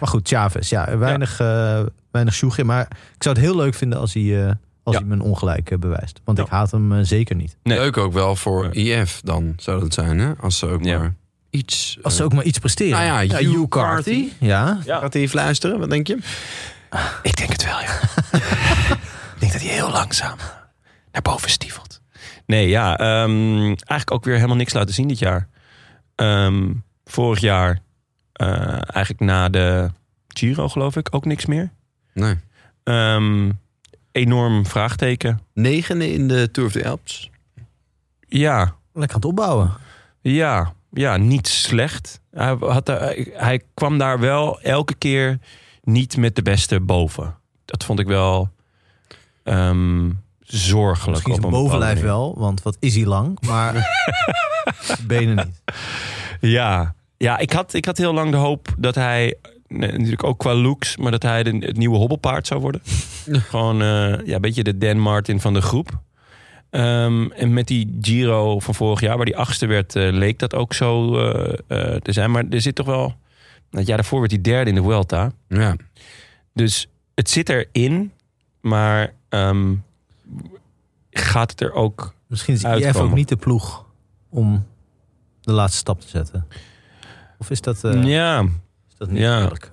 Speaker 2: Maar goed, Chavez, ja, weinig, eh weinig sjoeg in. Maar ik zou het heel leuk vinden als hij, eh, als
Speaker 3: Ja.
Speaker 2: hij mijn ongelijk eh, bewijst. Want
Speaker 3: Ja.
Speaker 2: ik haat hem eh, zeker niet.
Speaker 3: Nee.
Speaker 1: Leuk ook wel voor IF dan, zou dat zijn, hè? Als ze ook
Speaker 3: Ja.
Speaker 1: maar iets... eh,
Speaker 2: Als ze ook maar iets presteren.
Speaker 1: Nou ja, Hugh
Speaker 2: Hugh
Speaker 1: Carthy.
Speaker 2: Ja,
Speaker 1: Gaat hij fluisteren, wat denk je?
Speaker 3: Ik denk het wel, [laughs] ja. ik denk dat hij heel langzaam eh, naar boven stiefelt. Nee, ja. ehm, eigenlijk ook weer helemaal niks laten zien dit jaar. Ehm, vorig jaar, eh, eigenlijk na de Giro geloof ik, ook niks meer.
Speaker 1: Nee.
Speaker 3: Ehm, enorm vraagteken.
Speaker 1: Negende in de Tour of the Alps.
Speaker 3: Ja,
Speaker 2: lekker aan het opbouwen.
Speaker 3: Ja, ja niet slecht. Hij, had, daar- hij kwam daar wel elke keer niet met de beste boven. Dat vond ik wel ehm, zorgelijk.
Speaker 2: Misschien
Speaker 3: op
Speaker 2: zijn
Speaker 3: een bepaalde
Speaker 2: bovenlijf
Speaker 3: manier.
Speaker 2: wel, want wat is hij lang.
Speaker 3: [laughs]
Speaker 2: Maar de benen niet.
Speaker 3: Ja, ja ik, had, ik had heel lang de hoop dat hij, nee, natuurlijk ook qua looks, maar dat hij de- het nieuwe hobbelpaard zou worden. Gewoon eh, ja, een beetje de Dan Martin van de groep. Ehm, en met die Giro van vorig jaar, waar die achtste werd, eh, leek dat ook zo eh, eh, te zijn. Maar er zit toch wel. Het jaar daarvoor werd hij derde in de Vuelta.
Speaker 1: Ja.
Speaker 3: Dus het zit erin, maar ehm, gaat het er ook.
Speaker 2: Misschien is IF
Speaker 3: Uitkomen.
Speaker 2: ook niet de ploeg om de laatste stap te zetten. Of is dat, eh,
Speaker 3: Ja,
Speaker 2: is dat niet
Speaker 3: ja.
Speaker 2: eerlijk?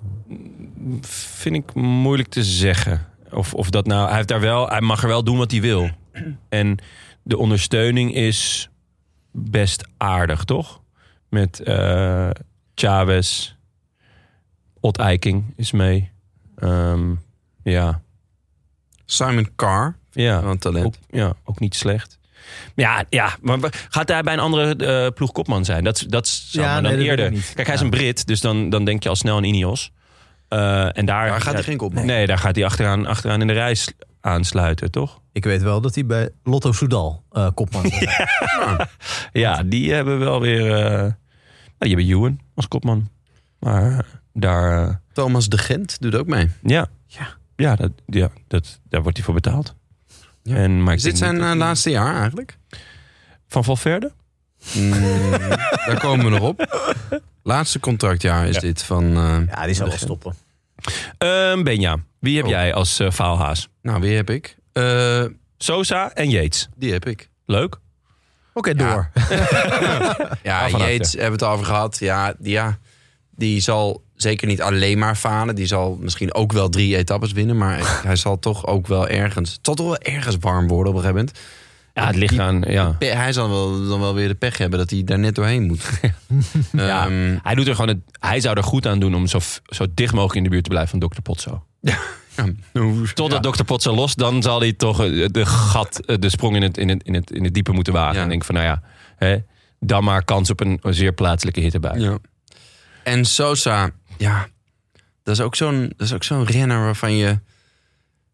Speaker 3: vind ik moeilijk te zeggen. Of, of dat nou, hij, heeft daar wel, hij mag er wel doen wat hij wil. En de ondersteuning is best aardig, toch? Met eh Chavez, Ot Eiking is mee. Ehm, ja,
Speaker 1: Simon Carr,
Speaker 3: ja
Speaker 1: wel een talent.
Speaker 3: ook, ja, ook niet slecht. Ja, ja, maar wa- gaat hij bij een andere eh, ploeg kopman zijn? Dat, dat zou
Speaker 2: Ja,
Speaker 3: me dan
Speaker 2: nee, dat weet
Speaker 3: eerder...
Speaker 2: ik niet.
Speaker 3: Kijk, hij is
Speaker 2: Ja.
Speaker 3: een Brit, dus dan, dan denk je al snel aan Ineos. Eh, en daar,
Speaker 1: Daar gaat hij geen kop
Speaker 3: Nee, daar gaat hij achteraan, achteraan in de reis aansluiten, toch?
Speaker 2: Ik weet wel dat hij bij Lotto Soudal eh, kopman is.
Speaker 3: Ja, die hebben wel weer... eh, nou, die hebben Ewan als kopman. Maar eh, daar... eh,
Speaker 1: Thomas de Gent doet ook mee.
Speaker 3: ja.
Speaker 1: Ja.
Speaker 3: Ja, dat, ja dat, daar wordt hij voor betaald.
Speaker 1: Ja.
Speaker 3: En, maar ik
Speaker 1: Is dit
Speaker 3: denk
Speaker 1: zijn
Speaker 3: niet dat-
Speaker 1: eh, laatste jaar eigenlijk?
Speaker 3: Van Valverde?
Speaker 1: Mm, daar komen we nog op. Laatste contractjaar is
Speaker 3: [laughs] Ja.
Speaker 1: dit van... eh,
Speaker 2: Ja, die zou wel stoppen.
Speaker 3: Ehm Benja, wie heb
Speaker 1: Oh.
Speaker 3: jij als eh, faalhaas?
Speaker 1: Nou, wie heb ik? Eh,
Speaker 3: Sosa en Yates.
Speaker 1: die heb ik.
Speaker 3: Leuk.
Speaker 2: Oké,
Speaker 1: Ja.
Speaker 2: door.
Speaker 1: [laughs] Ja,
Speaker 3: Waarvan
Speaker 1: Yates hebben we het over gehad. Ja, die, ja, die zal zeker niet alleen maar falen. Die zal misschien ook wel drie etappes winnen. Maar
Speaker 3: [laughs]
Speaker 1: ik- hij zal toch ook wel ergens... Het zal toch wel ergens warm worden op een gegeven moment.
Speaker 3: Ja, het ligt aan... Ja.
Speaker 1: Pe- Hij zal wel, dan wel weer de pech hebben dat hij daar net doorheen moet.
Speaker 3: [laughs] Ja.
Speaker 1: Ehm,
Speaker 3: Hij, doet er gewoon het, hij zou er goed aan doen om zo, f- zo dicht mogelijk in de buurt te blijven van Dr. Potso. Totdat Dr. Potso los, dan zal hij toch eh, de gat, eh, de sprong in het, in het, in het, in het diepe moeten wagen.
Speaker 1: Ja.
Speaker 3: En denk van, nou ja, hè, dan maar kans op een zeer plaatselijke hittebui.
Speaker 1: Ja. En Sosa, ja, dat is ook zo'n dat is ook zo'n renner waarvan je.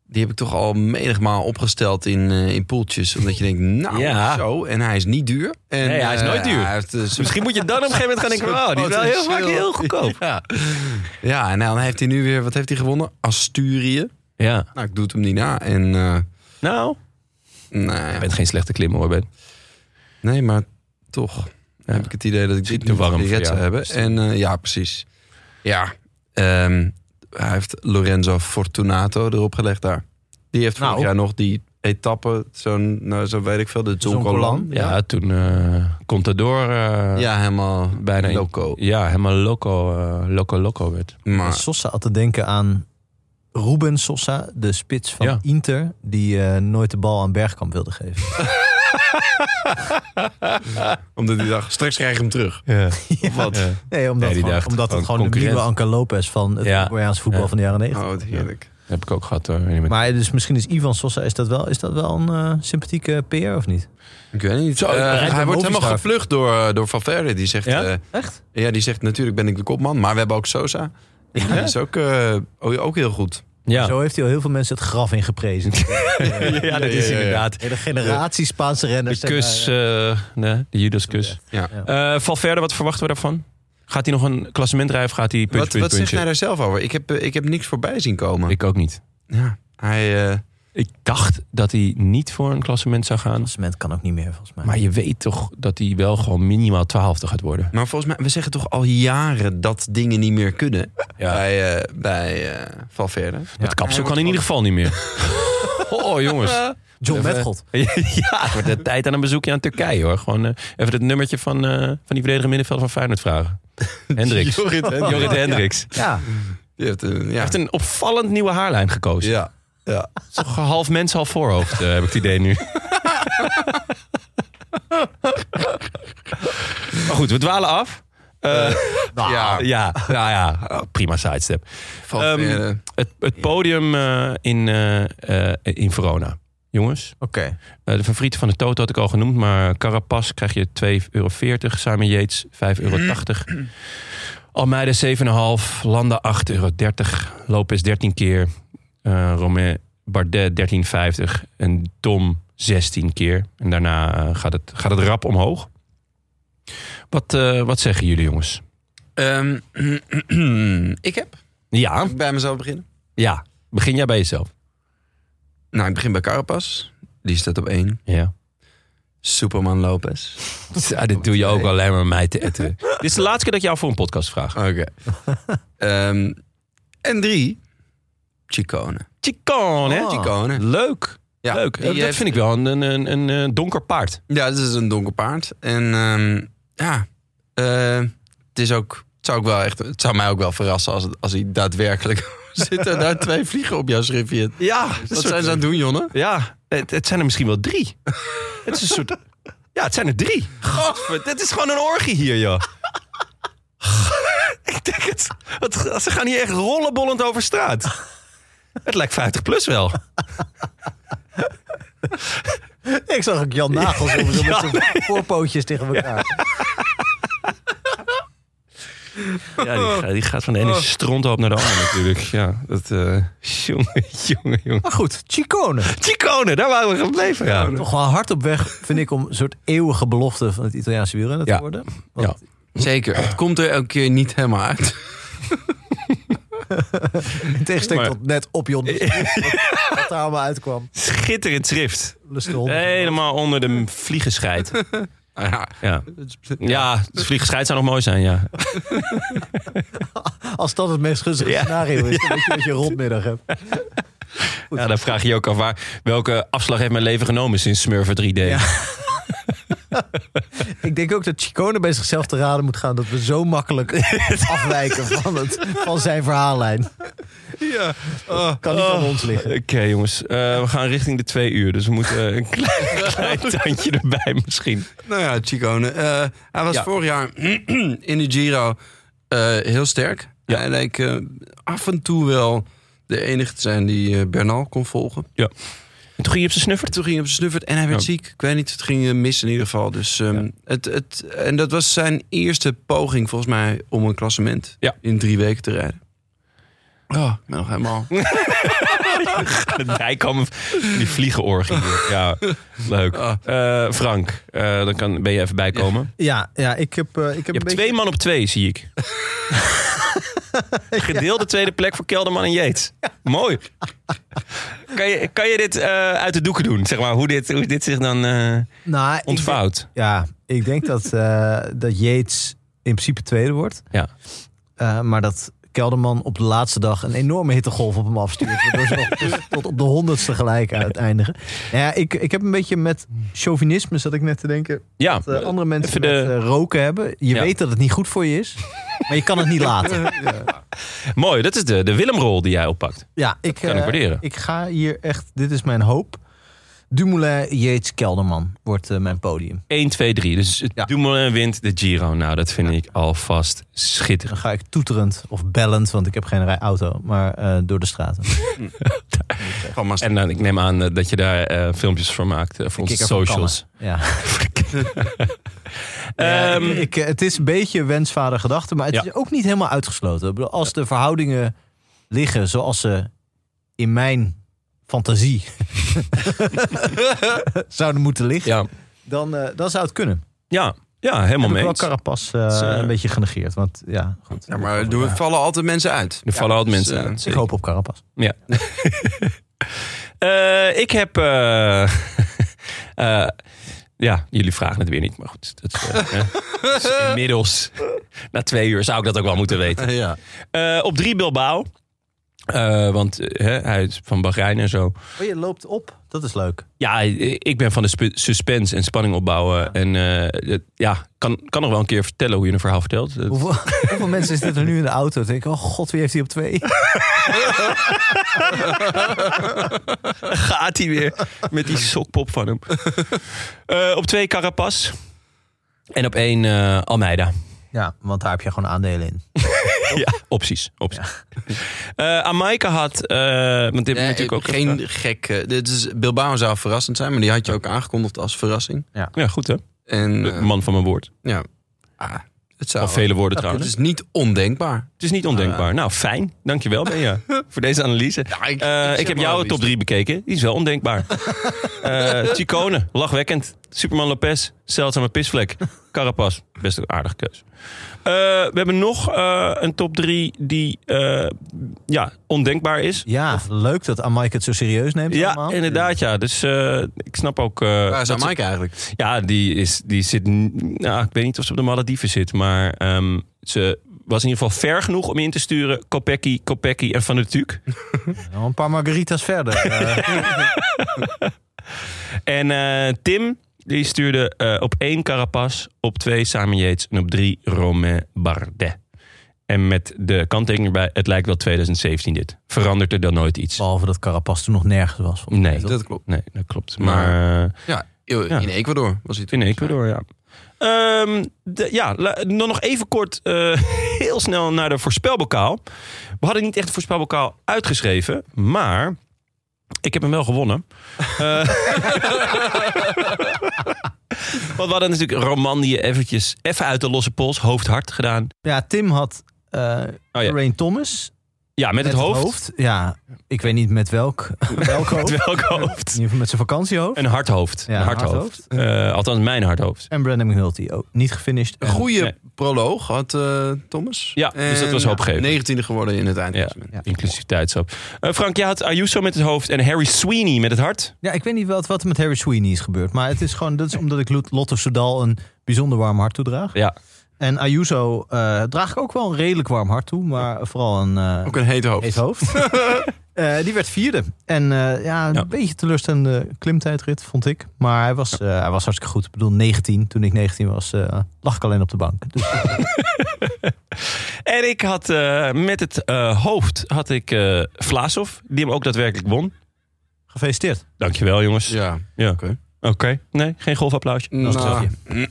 Speaker 1: Die heb ik toch al menigmaal opgesteld in, eh, in poeltjes. Omdat je denkt, nou
Speaker 3: Ja.
Speaker 1: zo. En hij is niet duur. En,
Speaker 3: Nee, hij is
Speaker 1: eh,
Speaker 3: nooit duur.
Speaker 1: heeft, eh, zo'n-
Speaker 3: Misschien moet je dan op een gegeven moment gaan denken, wow, oh, die is wel heel vaak
Speaker 1: Potentieel.
Speaker 3: heel goedkoop.
Speaker 1: Ja. [laughs] ja, en dan heeft hij nu weer, wat heeft hij gewonnen? Asturië.
Speaker 3: Ja,
Speaker 1: Nou, ik doe het hem niet na. En, eh,
Speaker 3: nou, je
Speaker 1: nee,
Speaker 3: bent geen slechte klimmer hoor, Ben.
Speaker 1: nee, maar toch heb ik het idee dat ik
Speaker 3: Misschien
Speaker 1: dit
Speaker 3: te
Speaker 1: niet
Speaker 3: warm
Speaker 1: warm
Speaker 3: voor
Speaker 1: red zou
Speaker 3: jou.
Speaker 1: hebben. En eh, ja, precies. Ja, ehm, hij heeft Lorenzo Fortunato erop gelegd daar. Die heeft vorig
Speaker 2: Nou.
Speaker 1: jaar nog die etappe, zo'n, nou, zo weet ik veel, de Zonkolan.
Speaker 2: Zonkolan,
Speaker 3: Ja, toen eh Contador eh, ja.
Speaker 1: Ja, helemaal
Speaker 3: Bijna in-
Speaker 1: loco.
Speaker 3: helemaal loco, eh, loco, loco werd.
Speaker 1: Maar
Speaker 2: Sosa had te denken aan Ruben Sosa, de spits van
Speaker 3: Ja.
Speaker 2: Inter, die eh, nooit de bal aan Bergkamp wilde geven.
Speaker 1: omdat hij dacht, straks krijg ik hem terug.
Speaker 2: [laughs]
Speaker 1: Of wat?
Speaker 3: Ja.
Speaker 2: Nee, omdat,
Speaker 3: Nee, die
Speaker 2: gewoon,
Speaker 3: dacht
Speaker 2: omdat het
Speaker 3: gewoon
Speaker 2: gewoon de nieuwe
Speaker 3: concurrent.
Speaker 2: Anca Lopez van het
Speaker 3: Ja.
Speaker 2: Koreaans voetbal
Speaker 3: Ja.
Speaker 2: van de jaren 90.
Speaker 1: Oh, wat heerlijk.
Speaker 3: Heb ik ook gehad eh, hoor. Weet niet meer.
Speaker 2: Maar dus misschien is Ivan Sosa, is dat wel, is dat wel een eh, sympathieke PR of niet?
Speaker 1: Ik weet niet.
Speaker 2: ik
Speaker 1: Eh, hij
Speaker 2: begrijp hem
Speaker 1: wordt helemaal
Speaker 2: overschuiven.
Speaker 1: gevlucht door, eh, door Valverde. Die zegt,
Speaker 3: Ja?
Speaker 1: eh,
Speaker 2: Echt?
Speaker 1: ja, die zegt, natuurlijk ben ik de kopman. Maar we hebben ook Sosa. Ja. Die is ook, eh, ook ook heel goed.
Speaker 3: ja.
Speaker 2: Zo heeft hij al heel veel mensen het graf
Speaker 3: [laughs]
Speaker 2: ingeprezen.
Speaker 3: ja, dat is
Speaker 1: ja, ja.
Speaker 3: inderdaad.
Speaker 2: De generatie Spaanse
Speaker 3: De
Speaker 2: renners.
Speaker 3: kus, eh, nee, de Judaskus.
Speaker 1: Ja.
Speaker 3: Eh, Valverde, wat verwachten we daarvan? Gaat hij nog een klassement rijden of gaat hij puntje,
Speaker 1: Wat,
Speaker 3: puntje,
Speaker 1: wat zegt
Speaker 3: puntje?
Speaker 1: hij daar zelf over? Ik heb, eh, ik heb niks voorbij zien komen.
Speaker 3: Ik ook niet.
Speaker 1: ja, hij, eh,
Speaker 3: Ik dacht dat hij niet voor een klassement zou gaan.
Speaker 2: Cement kan ook niet meer volgens mij.
Speaker 3: Maar je weet toch dat hij wel gewoon minimaal twaalfde gaat worden.
Speaker 1: maar volgens mij, we zeggen toch al jaren dat dingen niet meer kunnen
Speaker 3: Ja.
Speaker 1: bij, eh, bij eh Valverde.
Speaker 3: Met
Speaker 1: Hij
Speaker 3: kapsel
Speaker 1: wordt
Speaker 3: kan in ieder geval niet meer. [laughs] Oh jongens.
Speaker 2: John
Speaker 3: Even-
Speaker 2: Metgold.
Speaker 3: ja, het wordt de tijd aan een bezoekje aan Turkije hoor. Gewoon eh, even het nummertje van, eh, van die verdediger middenveld van Feyenoord
Speaker 1: [laughs]
Speaker 3: vragen. Hendricks.
Speaker 1: Jorrit Hendricks.
Speaker 3: Jorrit Hendricks.
Speaker 2: Ja,
Speaker 1: Die heeft een,
Speaker 3: Hij
Speaker 1: eh, ja.
Speaker 3: heeft een opvallend nieuwe haarlijn gekozen.
Speaker 1: ja. Ja.
Speaker 3: Toch half mens, half voorhoofd, eh, heb ik het idee nu. maar goed, we dwalen af. Eh,
Speaker 1: ja.
Speaker 3: ja, ja, ja, Oh, prima sidestep.
Speaker 1: Valverde.
Speaker 3: Het, het podium eh, in, eh, eh, in Verona. Jongens,
Speaker 2: oké.
Speaker 3: eh, de favorieten van de Toto had ik al genoemd. Maar Carapaz krijg je 2,40 euro. Simon Yates 5,80 euro. Mm. Almeida 7,5. Landa 8,30 euro. Lopez 13 keer. eh Romain Bardet 13,50. En Tom 16 keer. En daarna eh, gaat, het, gaat het rap omhoog. Wat, eh, wat zeggen jullie jongens?
Speaker 1: Ehm, [clears throat] ik heb.
Speaker 3: Ja,
Speaker 1: Mag ik bij mezelf beginnen?
Speaker 3: ja. Begin jij bij jezelf.
Speaker 1: Nou, ik begin bij Carapas. Die staat op één.
Speaker 3: Ja.
Speaker 1: Superman Lopez.
Speaker 3: Ja, dit doe je ook alleen maar om mij te Ah. etten. [laughs] Dit is de laatste keer dat ik jou voor een podcast vraag.
Speaker 1: Oké.
Speaker 3: [laughs]
Speaker 1: Ehm, en drie. Chicone.
Speaker 3: Chicone, hè?
Speaker 1: Chicone.
Speaker 3: Leuk.
Speaker 1: Ja,
Speaker 3: Oh. Leuk.
Speaker 1: die
Speaker 3: Dat
Speaker 1: heeft-
Speaker 3: vind ik wel een, een, een, een eh, donker paard.
Speaker 1: Ja, dit is een donker paard. En ehm, ja, eh, het is ook. Het zou, ook wel echt, het zou mij ook wel verrassen als, het- als hij daadwerkelijk. [laughs] Zitten daar twee vliegen op jouw schriftje?
Speaker 3: Ja,
Speaker 1: Wat zijn ze aan het doen, Jonne?
Speaker 3: ja het, het zijn er misschien wel [laughs] drie. het is een soort... Ja, het zijn er drie. Godver, dit is gewoon een orgie hier, joh. [laughs] ik denk het. Wat- Ze gaan hier echt rollenbollend over straat. [laughs] Het lijkt 50 plus wel.
Speaker 2: Ik zag ook Jan [laughs] Nagels over zo met zijn voorpootjes tegen elkaar.
Speaker 3: Ja, die, ga- die gaat van de ene stronthoop naar de andere natuurlijk. Ja, dat... eh jongen, [laughs] jongen, jongen.
Speaker 2: Maar goed, Chicone.
Speaker 3: Chicone, daar waren we gebleven. Ja.
Speaker 2: Toch wel hard op weg, vind ik, om een soort eeuwige belofte van het Italiaanse wielrennen
Speaker 1: Ja.
Speaker 2: te worden.
Speaker 3: Ja.
Speaker 1: Zeker. Het komt er elke keer niet helemaal uit.
Speaker 2: In tegenstelling
Speaker 3: Maar-
Speaker 2: tot net op Jon. de Schroef, Wat daar allemaal uitkwam.
Speaker 3: Schitterend schrift.
Speaker 2: Lustig.
Speaker 3: Helemaal onder de vliegenscheid.
Speaker 1: Nou ja,
Speaker 3: Ja, ja dus vliegenscheid zou nog mooi zijn, ja.
Speaker 2: Als dat het meest gunstige scenario is, dan weet je dat je een rondmiddag hebt.
Speaker 3: Ja, dan vraag je je ook af waar, welke afslag heeft mijn leven genomen sinds Smurfer 3D.
Speaker 2: Ja. Ik denk ook dat Chicone bij zichzelf te raden moet gaan dat we zo makkelijk afwijken van, het, van zijn verhaallijn.
Speaker 1: Oh,
Speaker 2: Ja. Kan niet
Speaker 3: Oh.
Speaker 2: aan ons liggen.
Speaker 3: Oké jongens, Eh, we gaan richting de twee uur, dus we moeten eh, een klein,
Speaker 2: [laughs]
Speaker 3: klein tandje erbij misschien.
Speaker 1: nou ja Chicone. eh, hij was
Speaker 3: Ja.
Speaker 1: vorig jaar [clears throat] in de Giro eh, heel sterk.
Speaker 3: Ja.
Speaker 1: Hij leek eh, af en toe wel de enige te zijn die eh, Bernal kon volgen.
Speaker 3: En toen ging je op zijn
Speaker 2: [laughs]
Speaker 3: snuffert?
Speaker 1: Toen ging hij op snuffert en hij werd
Speaker 3: Ja.
Speaker 1: ziek. Ik weet niet, het ging eh, mis in ieder geval. Dus, ehm, het, het, en dat was zijn eerste poging volgens mij om een klassement
Speaker 3: Ja.
Speaker 1: in drie weken te rijden. Oh, ik ben nog
Speaker 3: [laughs]
Speaker 1: helemaal...
Speaker 3: De bijkamen van die vliegenorgie. hier. Ja, leuk.
Speaker 2: Ah.
Speaker 3: Eh, Frank, eh, dan kan, ben je even bijkomen.
Speaker 2: Ja, ja ik heb, eh, ik heb
Speaker 3: Je hebt twee man op twee,
Speaker 2: [laughs]
Speaker 3: zie ik. [laughs] Gedeelde tweede plek voor Kelderman en Jeets.
Speaker 2: [laughs]
Speaker 3: Mooi. Kan je, kan je dit eh, uit de doeken doen? Zeg maar, hoe dit, hoe dit zich dan eh,
Speaker 2: Nou, ik denk-
Speaker 3: ontvouwt.
Speaker 2: Ja, ik denk dat, eh dat Yates in principe tweede wordt.
Speaker 3: Ja.
Speaker 2: Eh, maar dat Kelderman op de laatste dag een enorme hittegolf op hem afstuurt. Waardoor ze nog
Speaker 3: [laughs]
Speaker 2: tot- tot op de honderdste gelijk uiteindigen. Nou ja, ik, ik heb een beetje met chauvinisme, zat ik net te denken.
Speaker 3: Ja,
Speaker 2: Dat eh, andere mensen
Speaker 3: even de-
Speaker 2: met, eh, roken hebben. Je
Speaker 3: Ja.
Speaker 2: weet dat het niet goed voor je is. Maar je kan
Speaker 3: [laughs]
Speaker 2: het niet laten.
Speaker 3: mooi. Dat is de, de Willemrol die jij oppakt.
Speaker 2: Ja, ik,
Speaker 3: kan ik
Speaker 2: eh,
Speaker 3: waarderen.
Speaker 2: ik ga hier echt... Dit is mijn hoop. Dumoulin, Yates, Kelderman wordt eh, mijn podium.
Speaker 3: 1, 2, 3. Dus het
Speaker 2: Ja.
Speaker 3: Dumoulin wint de Giro. Nou, dat vind ik alvast
Speaker 2: Dan
Speaker 3: schitterend.
Speaker 2: ga ik toeterend of bellend, want ik heb geen rij- auto, maar eh, door de straten.
Speaker 1: Van maar
Speaker 3: En dan, ik neem aan eh, dat je daar eh, filmpjes voor maakt. eh, voor
Speaker 2: De
Speaker 3: onze
Speaker 2: kikker van
Speaker 3: socials.
Speaker 2: Ja.
Speaker 3: [laughs]
Speaker 2: Ja,
Speaker 3: Ehm,
Speaker 2: ik- ik, eh, het is een beetje wensvader gedachte, maar het
Speaker 3: Ja.
Speaker 2: is ook niet helemaal uitgesloten. Ik bedoel, als de verhoudingen liggen zoals ze in mijn fantasie [laughs] zouden moeten liggen,
Speaker 3: Ja,
Speaker 2: dan, eh, dan zou het kunnen.
Speaker 3: ja, ja helemaal
Speaker 2: Heb ik
Speaker 3: mee.
Speaker 2: wel
Speaker 3: eens.
Speaker 2: Carapas eh,
Speaker 3: is, eh,
Speaker 2: een beetje genegeerd, want ja, goed.
Speaker 1: Ja, maar er vallen altijd mensen uit.
Speaker 3: Er vallen altijd mensen
Speaker 1: eh,
Speaker 3: aan.
Speaker 2: dus, Ik hoop op Carapas.
Speaker 3: Eh, ik heb. eh, [laughs] eh, ja, jullie vragen het weer niet, maar goed. Dat, is, eh, hè. Dus inmiddels, na twee uur, zou ik dat ook wel moeten weten.
Speaker 1: Ja.
Speaker 3: Eh, op drie Bilbao. Eh, want eh, hè, hij is van Bahrein en zo.
Speaker 2: Oh, je loopt op. Dat is leuk.
Speaker 3: Ja, ik ben van de spe- suspense en spanning opbouwen. En eh, het- ja, kan, kan nog wel een keer vertellen hoe je een verhaal vertelt. Dat-
Speaker 2: Hoeveel, [laughs] hoeveel mensen zitten er nu in de auto? en Denken, oh god, wie heeft hij op twee?
Speaker 3: gaat hij weer met die sokpop van hem. Eh, op twee Carapaz. En op één eh, Almeida.
Speaker 2: Ja, want daar heb je gewoon aandelen in.
Speaker 3: Ja, opties. opties. [laughs] Eh, Amaika had, eh, want dit
Speaker 1: Nee,
Speaker 3: moet natuurlijk ook
Speaker 1: geen
Speaker 3: even-
Speaker 1: gek. eh, dit is, Bilbao zou verrassend zijn, maar die had je ook aangekondigd als verrassing.
Speaker 3: ja, goed hè?
Speaker 1: En
Speaker 3: De
Speaker 1: eh,
Speaker 3: man van mijn woord.
Speaker 1: ja, ah, het zou.
Speaker 3: Van vele woorden
Speaker 1: het
Speaker 3: trouwens.
Speaker 1: is niet ondenkbaar.
Speaker 3: Het is niet ondenkbaar. Nou, fijn. Dankjewel,
Speaker 1: [laughs]
Speaker 3: Benja, voor deze analyse.
Speaker 1: Ja, ik-
Speaker 3: Eh,
Speaker 1: ik
Speaker 3: ik
Speaker 1: zeg
Speaker 3: heb
Speaker 1: maar
Speaker 3: jouw
Speaker 1: wel
Speaker 3: top
Speaker 1: iets.
Speaker 3: 3 bekeken. Die is wel
Speaker 1: [laughs]
Speaker 3: ondenkbaar. Eh Chicone, lachwekkend. Superman Lopez, zeldzame pisvlek. Carapas, best een aardige keus. Eh, we hebben nog eh, een top 3 die eh, ja, ondenkbaar is.
Speaker 2: Ja, leuk dat Amaike het zo serieus neemt
Speaker 3: Ja,
Speaker 2: allemaal.
Speaker 3: inderdaad, ja. Dus eh, ik snap ook... eh,
Speaker 1: Waar is
Speaker 3: dat ze-
Speaker 1: Mike eigenlijk?
Speaker 3: Ja, die, is, die zit. n- Nou, ik weet niet of ze op de Malediven zit. Maar ehm, ze was in ieder geval ver genoeg om in te sturen. Kopecky, Kopecky en Van der
Speaker 1: [laughs]
Speaker 3: Tuuk.
Speaker 2: Nou, een paar margaritas verder. eh.
Speaker 3: [laughs] En eh, Tim, die stuurde eh, op één Carapaz. Op twee Samen Yates. En op drie Romain Bardet. En met de kanttekening erbij. Het lijkt wel 2017 dit. Verandert er dan nooit iets?
Speaker 2: behalve dat Carapas toen nog nergens was. volgens mij,
Speaker 3: Nee,
Speaker 2: toch?
Speaker 1: Dat klopt.
Speaker 3: Nee, dat klopt.
Speaker 1: Maar-
Speaker 3: Maar eh,
Speaker 1: Ja, in
Speaker 3: Ja.
Speaker 1: Ecuador was hij toen.
Speaker 3: in Ecuador, ja. Ehm, de- ja, la- dan nog even kort eh, [laughs] heel snel naar de voorspelbokaal. We hadden niet echt de voorspelbokaal uitgeschreven, maar Ik heb hem wel gewonnen. Eh, [laughs] Want we hadden natuurlijk Romandie eventjes even uit de losse pols, hoofd hard gedaan.
Speaker 2: Ja, Tim had eh
Speaker 3: Oh ja.
Speaker 2: Rain Thomas.
Speaker 3: Ja, met, het, hoofd.
Speaker 2: Ja, ik weet niet met welk. [laughs] welk hoofd. In
Speaker 3: [laughs] Met welk hoofd?
Speaker 2: ieder geval met zijn vakantiehoofd.
Speaker 3: Een hard hoofd.
Speaker 2: Ja,
Speaker 3: een hard,
Speaker 2: hard
Speaker 3: hoofd. Eh, althans, mijn hard hoofd.
Speaker 2: En Brandon McNulty ook. Niet gefinished.
Speaker 1: Een goede
Speaker 3: Nee.
Speaker 1: proloog had eh, Thomas.
Speaker 3: Ja, dus
Speaker 1: Eh,
Speaker 3: dat was hoopgevend.
Speaker 1: 19e geworden in het eindklassement.
Speaker 2: Ja.
Speaker 3: Inclusiviteitsop. Eh, Frank, jij had Ayuso met het hoofd en Harry Sweeney met het hart.
Speaker 2: Ja, ik weet niet wat, wat er met Harry Sweeney is gebeurd. Maar het is gewoon, dat is omdat ik Lot- Lotte Soudal een bijzonder warm hart toedraag.
Speaker 3: Ja.
Speaker 2: En Ayuso eh, draag ik ook wel een redelijk warm hart toe. Maar vooral een eh,
Speaker 1: Ook een heet hoofd.
Speaker 2: heet hoofd. Eh, die werd vierde. En eh, ja, een
Speaker 3: Ja.
Speaker 2: beetje teleurstellende klimtijdrit, vond ik. Maar hij was, eh, hij was hartstikke goed. Ik bedoel, 19. Toen ik 19 was, eh, lag ik alleen op de bank. Dus
Speaker 3: En ik had eh, met het eh, hoofd had ik eh Vlaasov, die hem ook daadwerkelijk won.
Speaker 2: gefeliciteerd.
Speaker 3: Dankjewel, jongens.
Speaker 1: Ja.
Speaker 3: Ja.
Speaker 1: Oké.
Speaker 3: Oké. Nee, geen golfapplausje.
Speaker 2: is het
Speaker 1: Nou,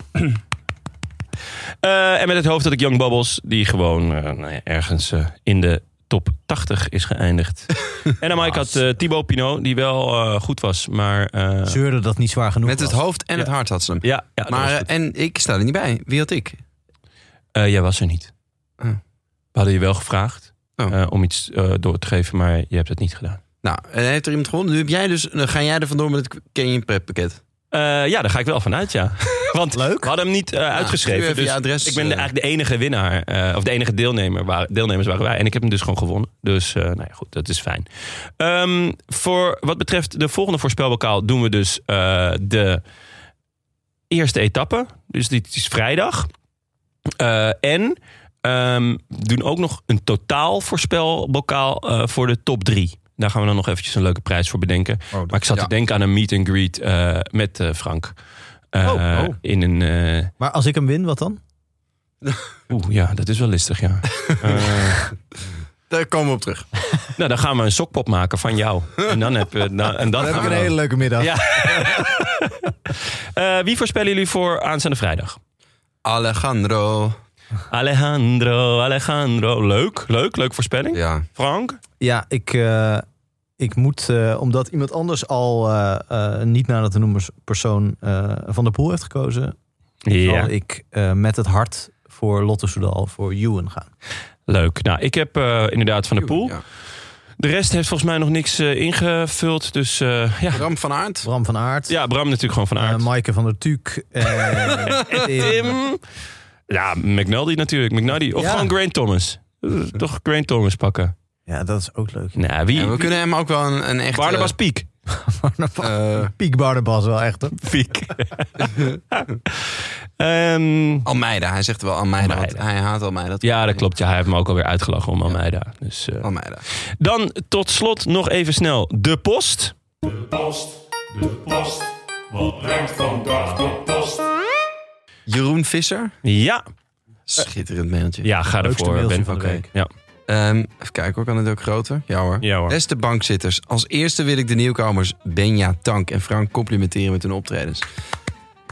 Speaker 3: Eh, en met het hoofd had ik Young Bubbles, die gewoon eh, nou ja, ergens eh, in de top 80 is
Speaker 1: [laughs]
Speaker 3: geëindigd. en dan Mike had eh Thibaut Pinot, die wel eh, goed was, maar... eh,
Speaker 2: Zeurde dat niet zwaar genoeg
Speaker 1: met het
Speaker 2: was.
Speaker 1: hoofd en het hart had ze hem.
Speaker 3: ja, ja, dat was
Speaker 1: maar,
Speaker 3: goed.
Speaker 1: eh, en ik sta er niet bij. Wie had ik?
Speaker 3: Eh, jij was er niet.
Speaker 1: Ah.
Speaker 3: We hadden je wel gevraagd
Speaker 1: Oh.
Speaker 3: eh, om iets eh, door te geven, maar je hebt het niet gedaan.
Speaker 1: Nou, en heeft er iemand gewonnen. Nu heb jij dus, dan ga jij er vandoor met het Canyon Prep pakket.
Speaker 3: Eh, ja, daar ga ik wel van
Speaker 1: [laughs]
Speaker 3: uit, ja. Want
Speaker 2: Leuk.
Speaker 3: we hadden hem niet eh,
Speaker 1: stuur
Speaker 3: uitgeschreven.
Speaker 1: even
Speaker 3: Dus
Speaker 1: je adres,
Speaker 3: ik ben de,
Speaker 1: eh.
Speaker 3: eigenlijk de enige winnaar, eh, of de enige deelnemer waren, deelnemers waren wij. En ik heb hem dus gewoon gewonnen. Dus eh, nou ja, goed, dat is fijn. Ehm, voor wat betreft de volgende voorspelbokaal doen we dus eh, de eerste etappe. Dus dit is vrijdag. Eh, en ehm, we doen ook nog een totaal voorspelbokaal eh, voor de top drie. Daar gaan we dan nog eventjes een leuke prijs voor bedenken. Maar ik zat
Speaker 1: ja.
Speaker 3: te denken aan een meet and greet eh, met eh, Frank. Eh,
Speaker 2: Oh, oh.
Speaker 3: In een. eh,
Speaker 2: Maar als ik hem win, wat dan?
Speaker 3: Oeh, ja, dat is wel listig, ja. Eh,
Speaker 1: Daar komen we op terug.
Speaker 3: nou, dan gaan we een sokpop maken van jou. En dan heb je. nou, en dan gaan we dan-
Speaker 2: leuke middag.
Speaker 3: Ja. Eh, wie voorspellen jullie voor aanstaande vrijdag?
Speaker 1: Alejandro.
Speaker 3: Alejandro, Alejandro. Leuk, leuk, leuk voorspelling.
Speaker 1: Ja.
Speaker 3: Frank?
Speaker 2: Ja, ik, eh, ik moet, eh, omdat iemand anders al eh, eh, niet naar de noemers persoon eh, van de pool heeft gekozen, zal ik eh, met het hart voor Lotte Soudal, voor Ewan gaan.
Speaker 3: Leuk. Nou, ik heb eh, inderdaad van de pool.
Speaker 1: Ja.
Speaker 3: De rest heeft volgens mij nog niks eh, ingevuld. Dus eh, ja.
Speaker 1: Bram van Aert.
Speaker 2: Bram van Aert,
Speaker 3: ja, Bram natuurlijk gewoon van
Speaker 2: eh,
Speaker 3: aard.
Speaker 2: Maaike van der Tuuk, eh, Tim.
Speaker 3: Tim. Ja, McNulty natuurlijk. McNulty. Of
Speaker 2: Ja.
Speaker 3: gewoon Grant Thomas. Eh, Toch Grant Thomas pakken.
Speaker 2: Ja, dat is ook leuk.
Speaker 3: Nou, wie?
Speaker 1: Ja, we kunnen hem ook wel een, een echte...
Speaker 3: Barnabas Piek.
Speaker 1: eh,
Speaker 2: Piek Barnabas wel echt, hè?
Speaker 3: [laughs] Piek. Ehm,
Speaker 1: Almeida. Hij zegt wel Almeida. want
Speaker 3: Almeida.
Speaker 1: Hij haat Almeida.
Speaker 3: ja, dat klopt. Ja, hij heeft me ook alweer uitgelachen om Almeida. Dus, eh.
Speaker 1: Almeida.
Speaker 3: Dan tot slot nog even snel de post.
Speaker 1: Jeroen Visser.
Speaker 3: Ja,
Speaker 1: Schitterend mailtje.
Speaker 3: ja ga
Speaker 2: Leukste
Speaker 3: ervoor.
Speaker 2: mailtje
Speaker 3: Ben.
Speaker 2: van de week.
Speaker 3: Ja.
Speaker 1: Ehm, even kijken hoor, kan het ook groter? Ja hoor.
Speaker 3: Ja, hoor.
Speaker 1: Beste bankzitters, als eerste wil ik de nieuwkomers Benja Tank en Frank complimenteren met hun optredens.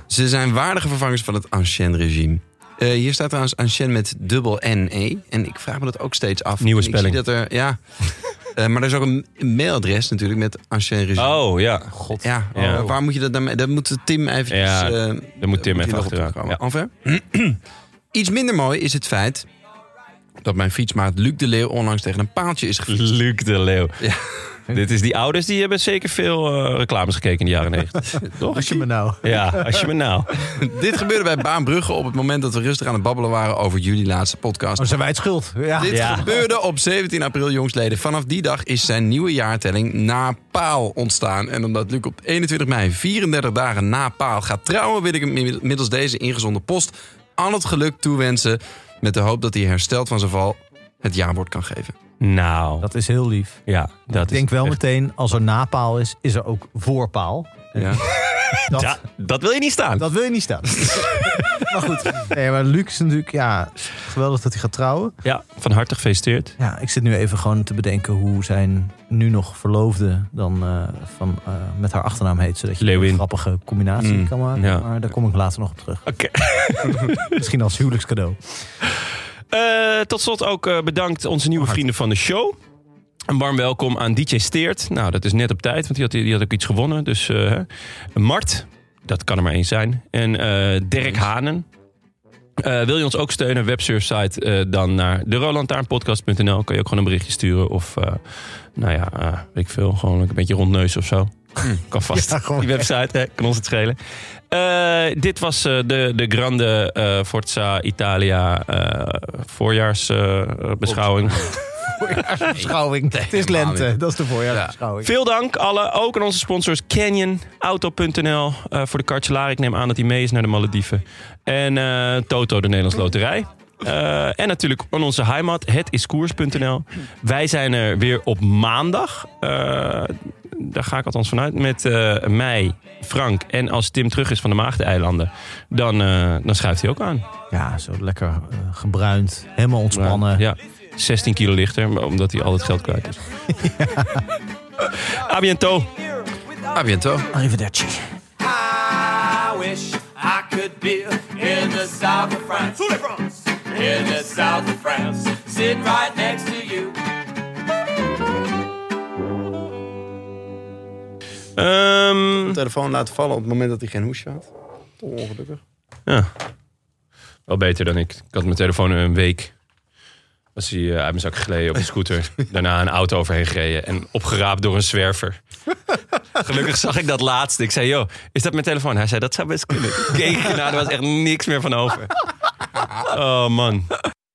Speaker 1: Ze zijn waardige vervangers van het ancien regime. Eh, hier staat trouwens ancien met dubbel N-E. En ik vraag me dat ook steeds af.
Speaker 3: Nieuwe
Speaker 1: En ik zie
Speaker 3: spelling.
Speaker 1: dat er,
Speaker 3: [laughs]
Speaker 1: ja. Eh, maar er is ook een mailadres natuurlijk met ancien regime.
Speaker 3: Oh ja. God.
Speaker 1: Ja,
Speaker 3: Ja.
Speaker 1: eh, waar moet je dat dan mee? Dat moet Tim even.
Speaker 3: Ja,
Speaker 1: eh,
Speaker 3: Daar moet Tim
Speaker 1: moet je
Speaker 3: even
Speaker 1: nog op
Speaker 3: achteraan.
Speaker 1: terugkomen.
Speaker 3: Ja.
Speaker 1: Alver? [clears throat] Iets minder mooi is het feit dat mijn fietsmaat Luc de Leeuw onlangs tegen een paaltje is
Speaker 3: [laughs]
Speaker 1: gefietst.
Speaker 3: Luc de Leeuw.
Speaker 1: Ja.
Speaker 3: [laughs] Dit is die ouders die hebben zeker veel eh, reclames gekeken in de jaren 90. Toch?
Speaker 2: Als je me nou...
Speaker 3: Ja, als je me nou.
Speaker 1: Dit gebeurde bij Baanbrugge op het moment dat we rustig aan het babbelen waren over jullie laatste podcast.
Speaker 2: Oh, zijn wij het schuld? Ja.
Speaker 1: Dit
Speaker 3: Ja.
Speaker 1: gebeurde op 17 april, jongsleden. Vanaf die dag is zijn nieuwe jaartelling na paal ontstaan. En omdat Luc op 21 mei, 34 dagen na paal, gaat trouwen... wil ik hem inmiddels- middels deze ingezonde post al het geluk toewensen... met de hoop dat hij hersteld van zijn val het jaarwoord kan geven.
Speaker 3: Nou,
Speaker 2: Dat is heel lief.
Speaker 3: ja, dat
Speaker 2: Ik denk
Speaker 3: is
Speaker 2: wel
Speaker 3: echt-
Speaker 2: meteen, als er napaal is, is er ook voorpaal. Eh,
Speaker 1: Ja.
Speaker 2: Dat,
Speaker 3: Ja, dat wil je niet staan.
Speaker 2: Dat wil je niet staan. maar goed. Nee, maar Luc is natuurlijk, ja, geweldig dat hij gaat trouwen.
Speaker 3: Ja, van harte gefeliciteerd.
Speaker 2: Ja, ik zit nu even gewoon te bedenken hoe zijn nu nog verloofde dan eh, van, eh, met haar achternaam heet. Zodat je
Speaker 3: Leeuwin.
Speaker 2: een grappige combinatie
Speaker 1: Mm,
Speaker 2: kan maken.
Speaker 3: ja.
Speaker 2: Maar daar kom ik later nog op terug.
Speaker 3: Oké.
Speaker 2: Misschien als huwelijkscadeau.
Speaker 3: Eh, tot slot ook eh, bedankt onze nieuwe vrienden van de show. Een warm welkom aan DJ Steert. Nou, dat is net op tijd, want die had, die had ook iets gewonnen. Dus eh, Mart, dat kan er maar één zijn. En eh, Dirk Hanen. Eh, wil je ons ook steunen, websurfsite, eh dan naar derolantaarnpodcast.nl. Kan je ook gewoon een berichtje sturen of, eh, nou ja, eh, weet ik veel, gewoon een beetje rondneus of zo. [laughs] Kan vast.
Speaker 2: Hm. Ja, gewoon.
Speaker 3: Die website, hè, kan ons het schelen. Eh, dit was eh, de, de Grande eh, Forza Italia eh, voorjaarsbeschouwing.
Speaker 2: Beschouwing. het is lente, dat is de voorjaarsbeschouwing.
Speaker 3: Veel dank alle, ook aan onze sponsors Canyon, Auto.nl eh, voor de kartjelaar. Ik neem aan dat hij mee is naar de Malediven. En eh, Toto, de Nederlands Loterij. Eh, en natuurlijk aan onze heimat, hetiskoers.nl. Wij zijn er weer op maandag. Eh, daar ga ik althans vanuit. Met eh, mij, Frank en als Tim terug is van de Maagdeilanden, dan, eh, dan schuift hij ook aan.
Speaker 2: Ja, zo lekker eh, gebruind, helemaal ontspannen.
Speaker 3: Ja, 16 kilo lichter, maar omdat hij al het geld kwijt is. [laughs] A bientôt.
Speaker 1: A bientôt.
Speaker 2: Arrivederci.
Speaker 4: I wish I could be in the south of France. In the south of France. Sit right next to you.
Speaker 3: Ehm,
Speaker 1: Telefoon laten vallen op het moment dat hij geen hoesje had. Ongelukkig.
Speaker 3: Ja. Wel beter dan ik. Ik had mijn telefoon een week. Was hij eh, uit mijn zak gegleden op een scooter. Daarna een auto overheen gereden. En opgeraapt door een zwerver. Gelukkig zag ik dat laatste. Ik zei, joh, is dat mijn telefoon? Hij zei, dat zou best kunnen. Ik Keek ernaar, er was echt niks meer van over. Oh man.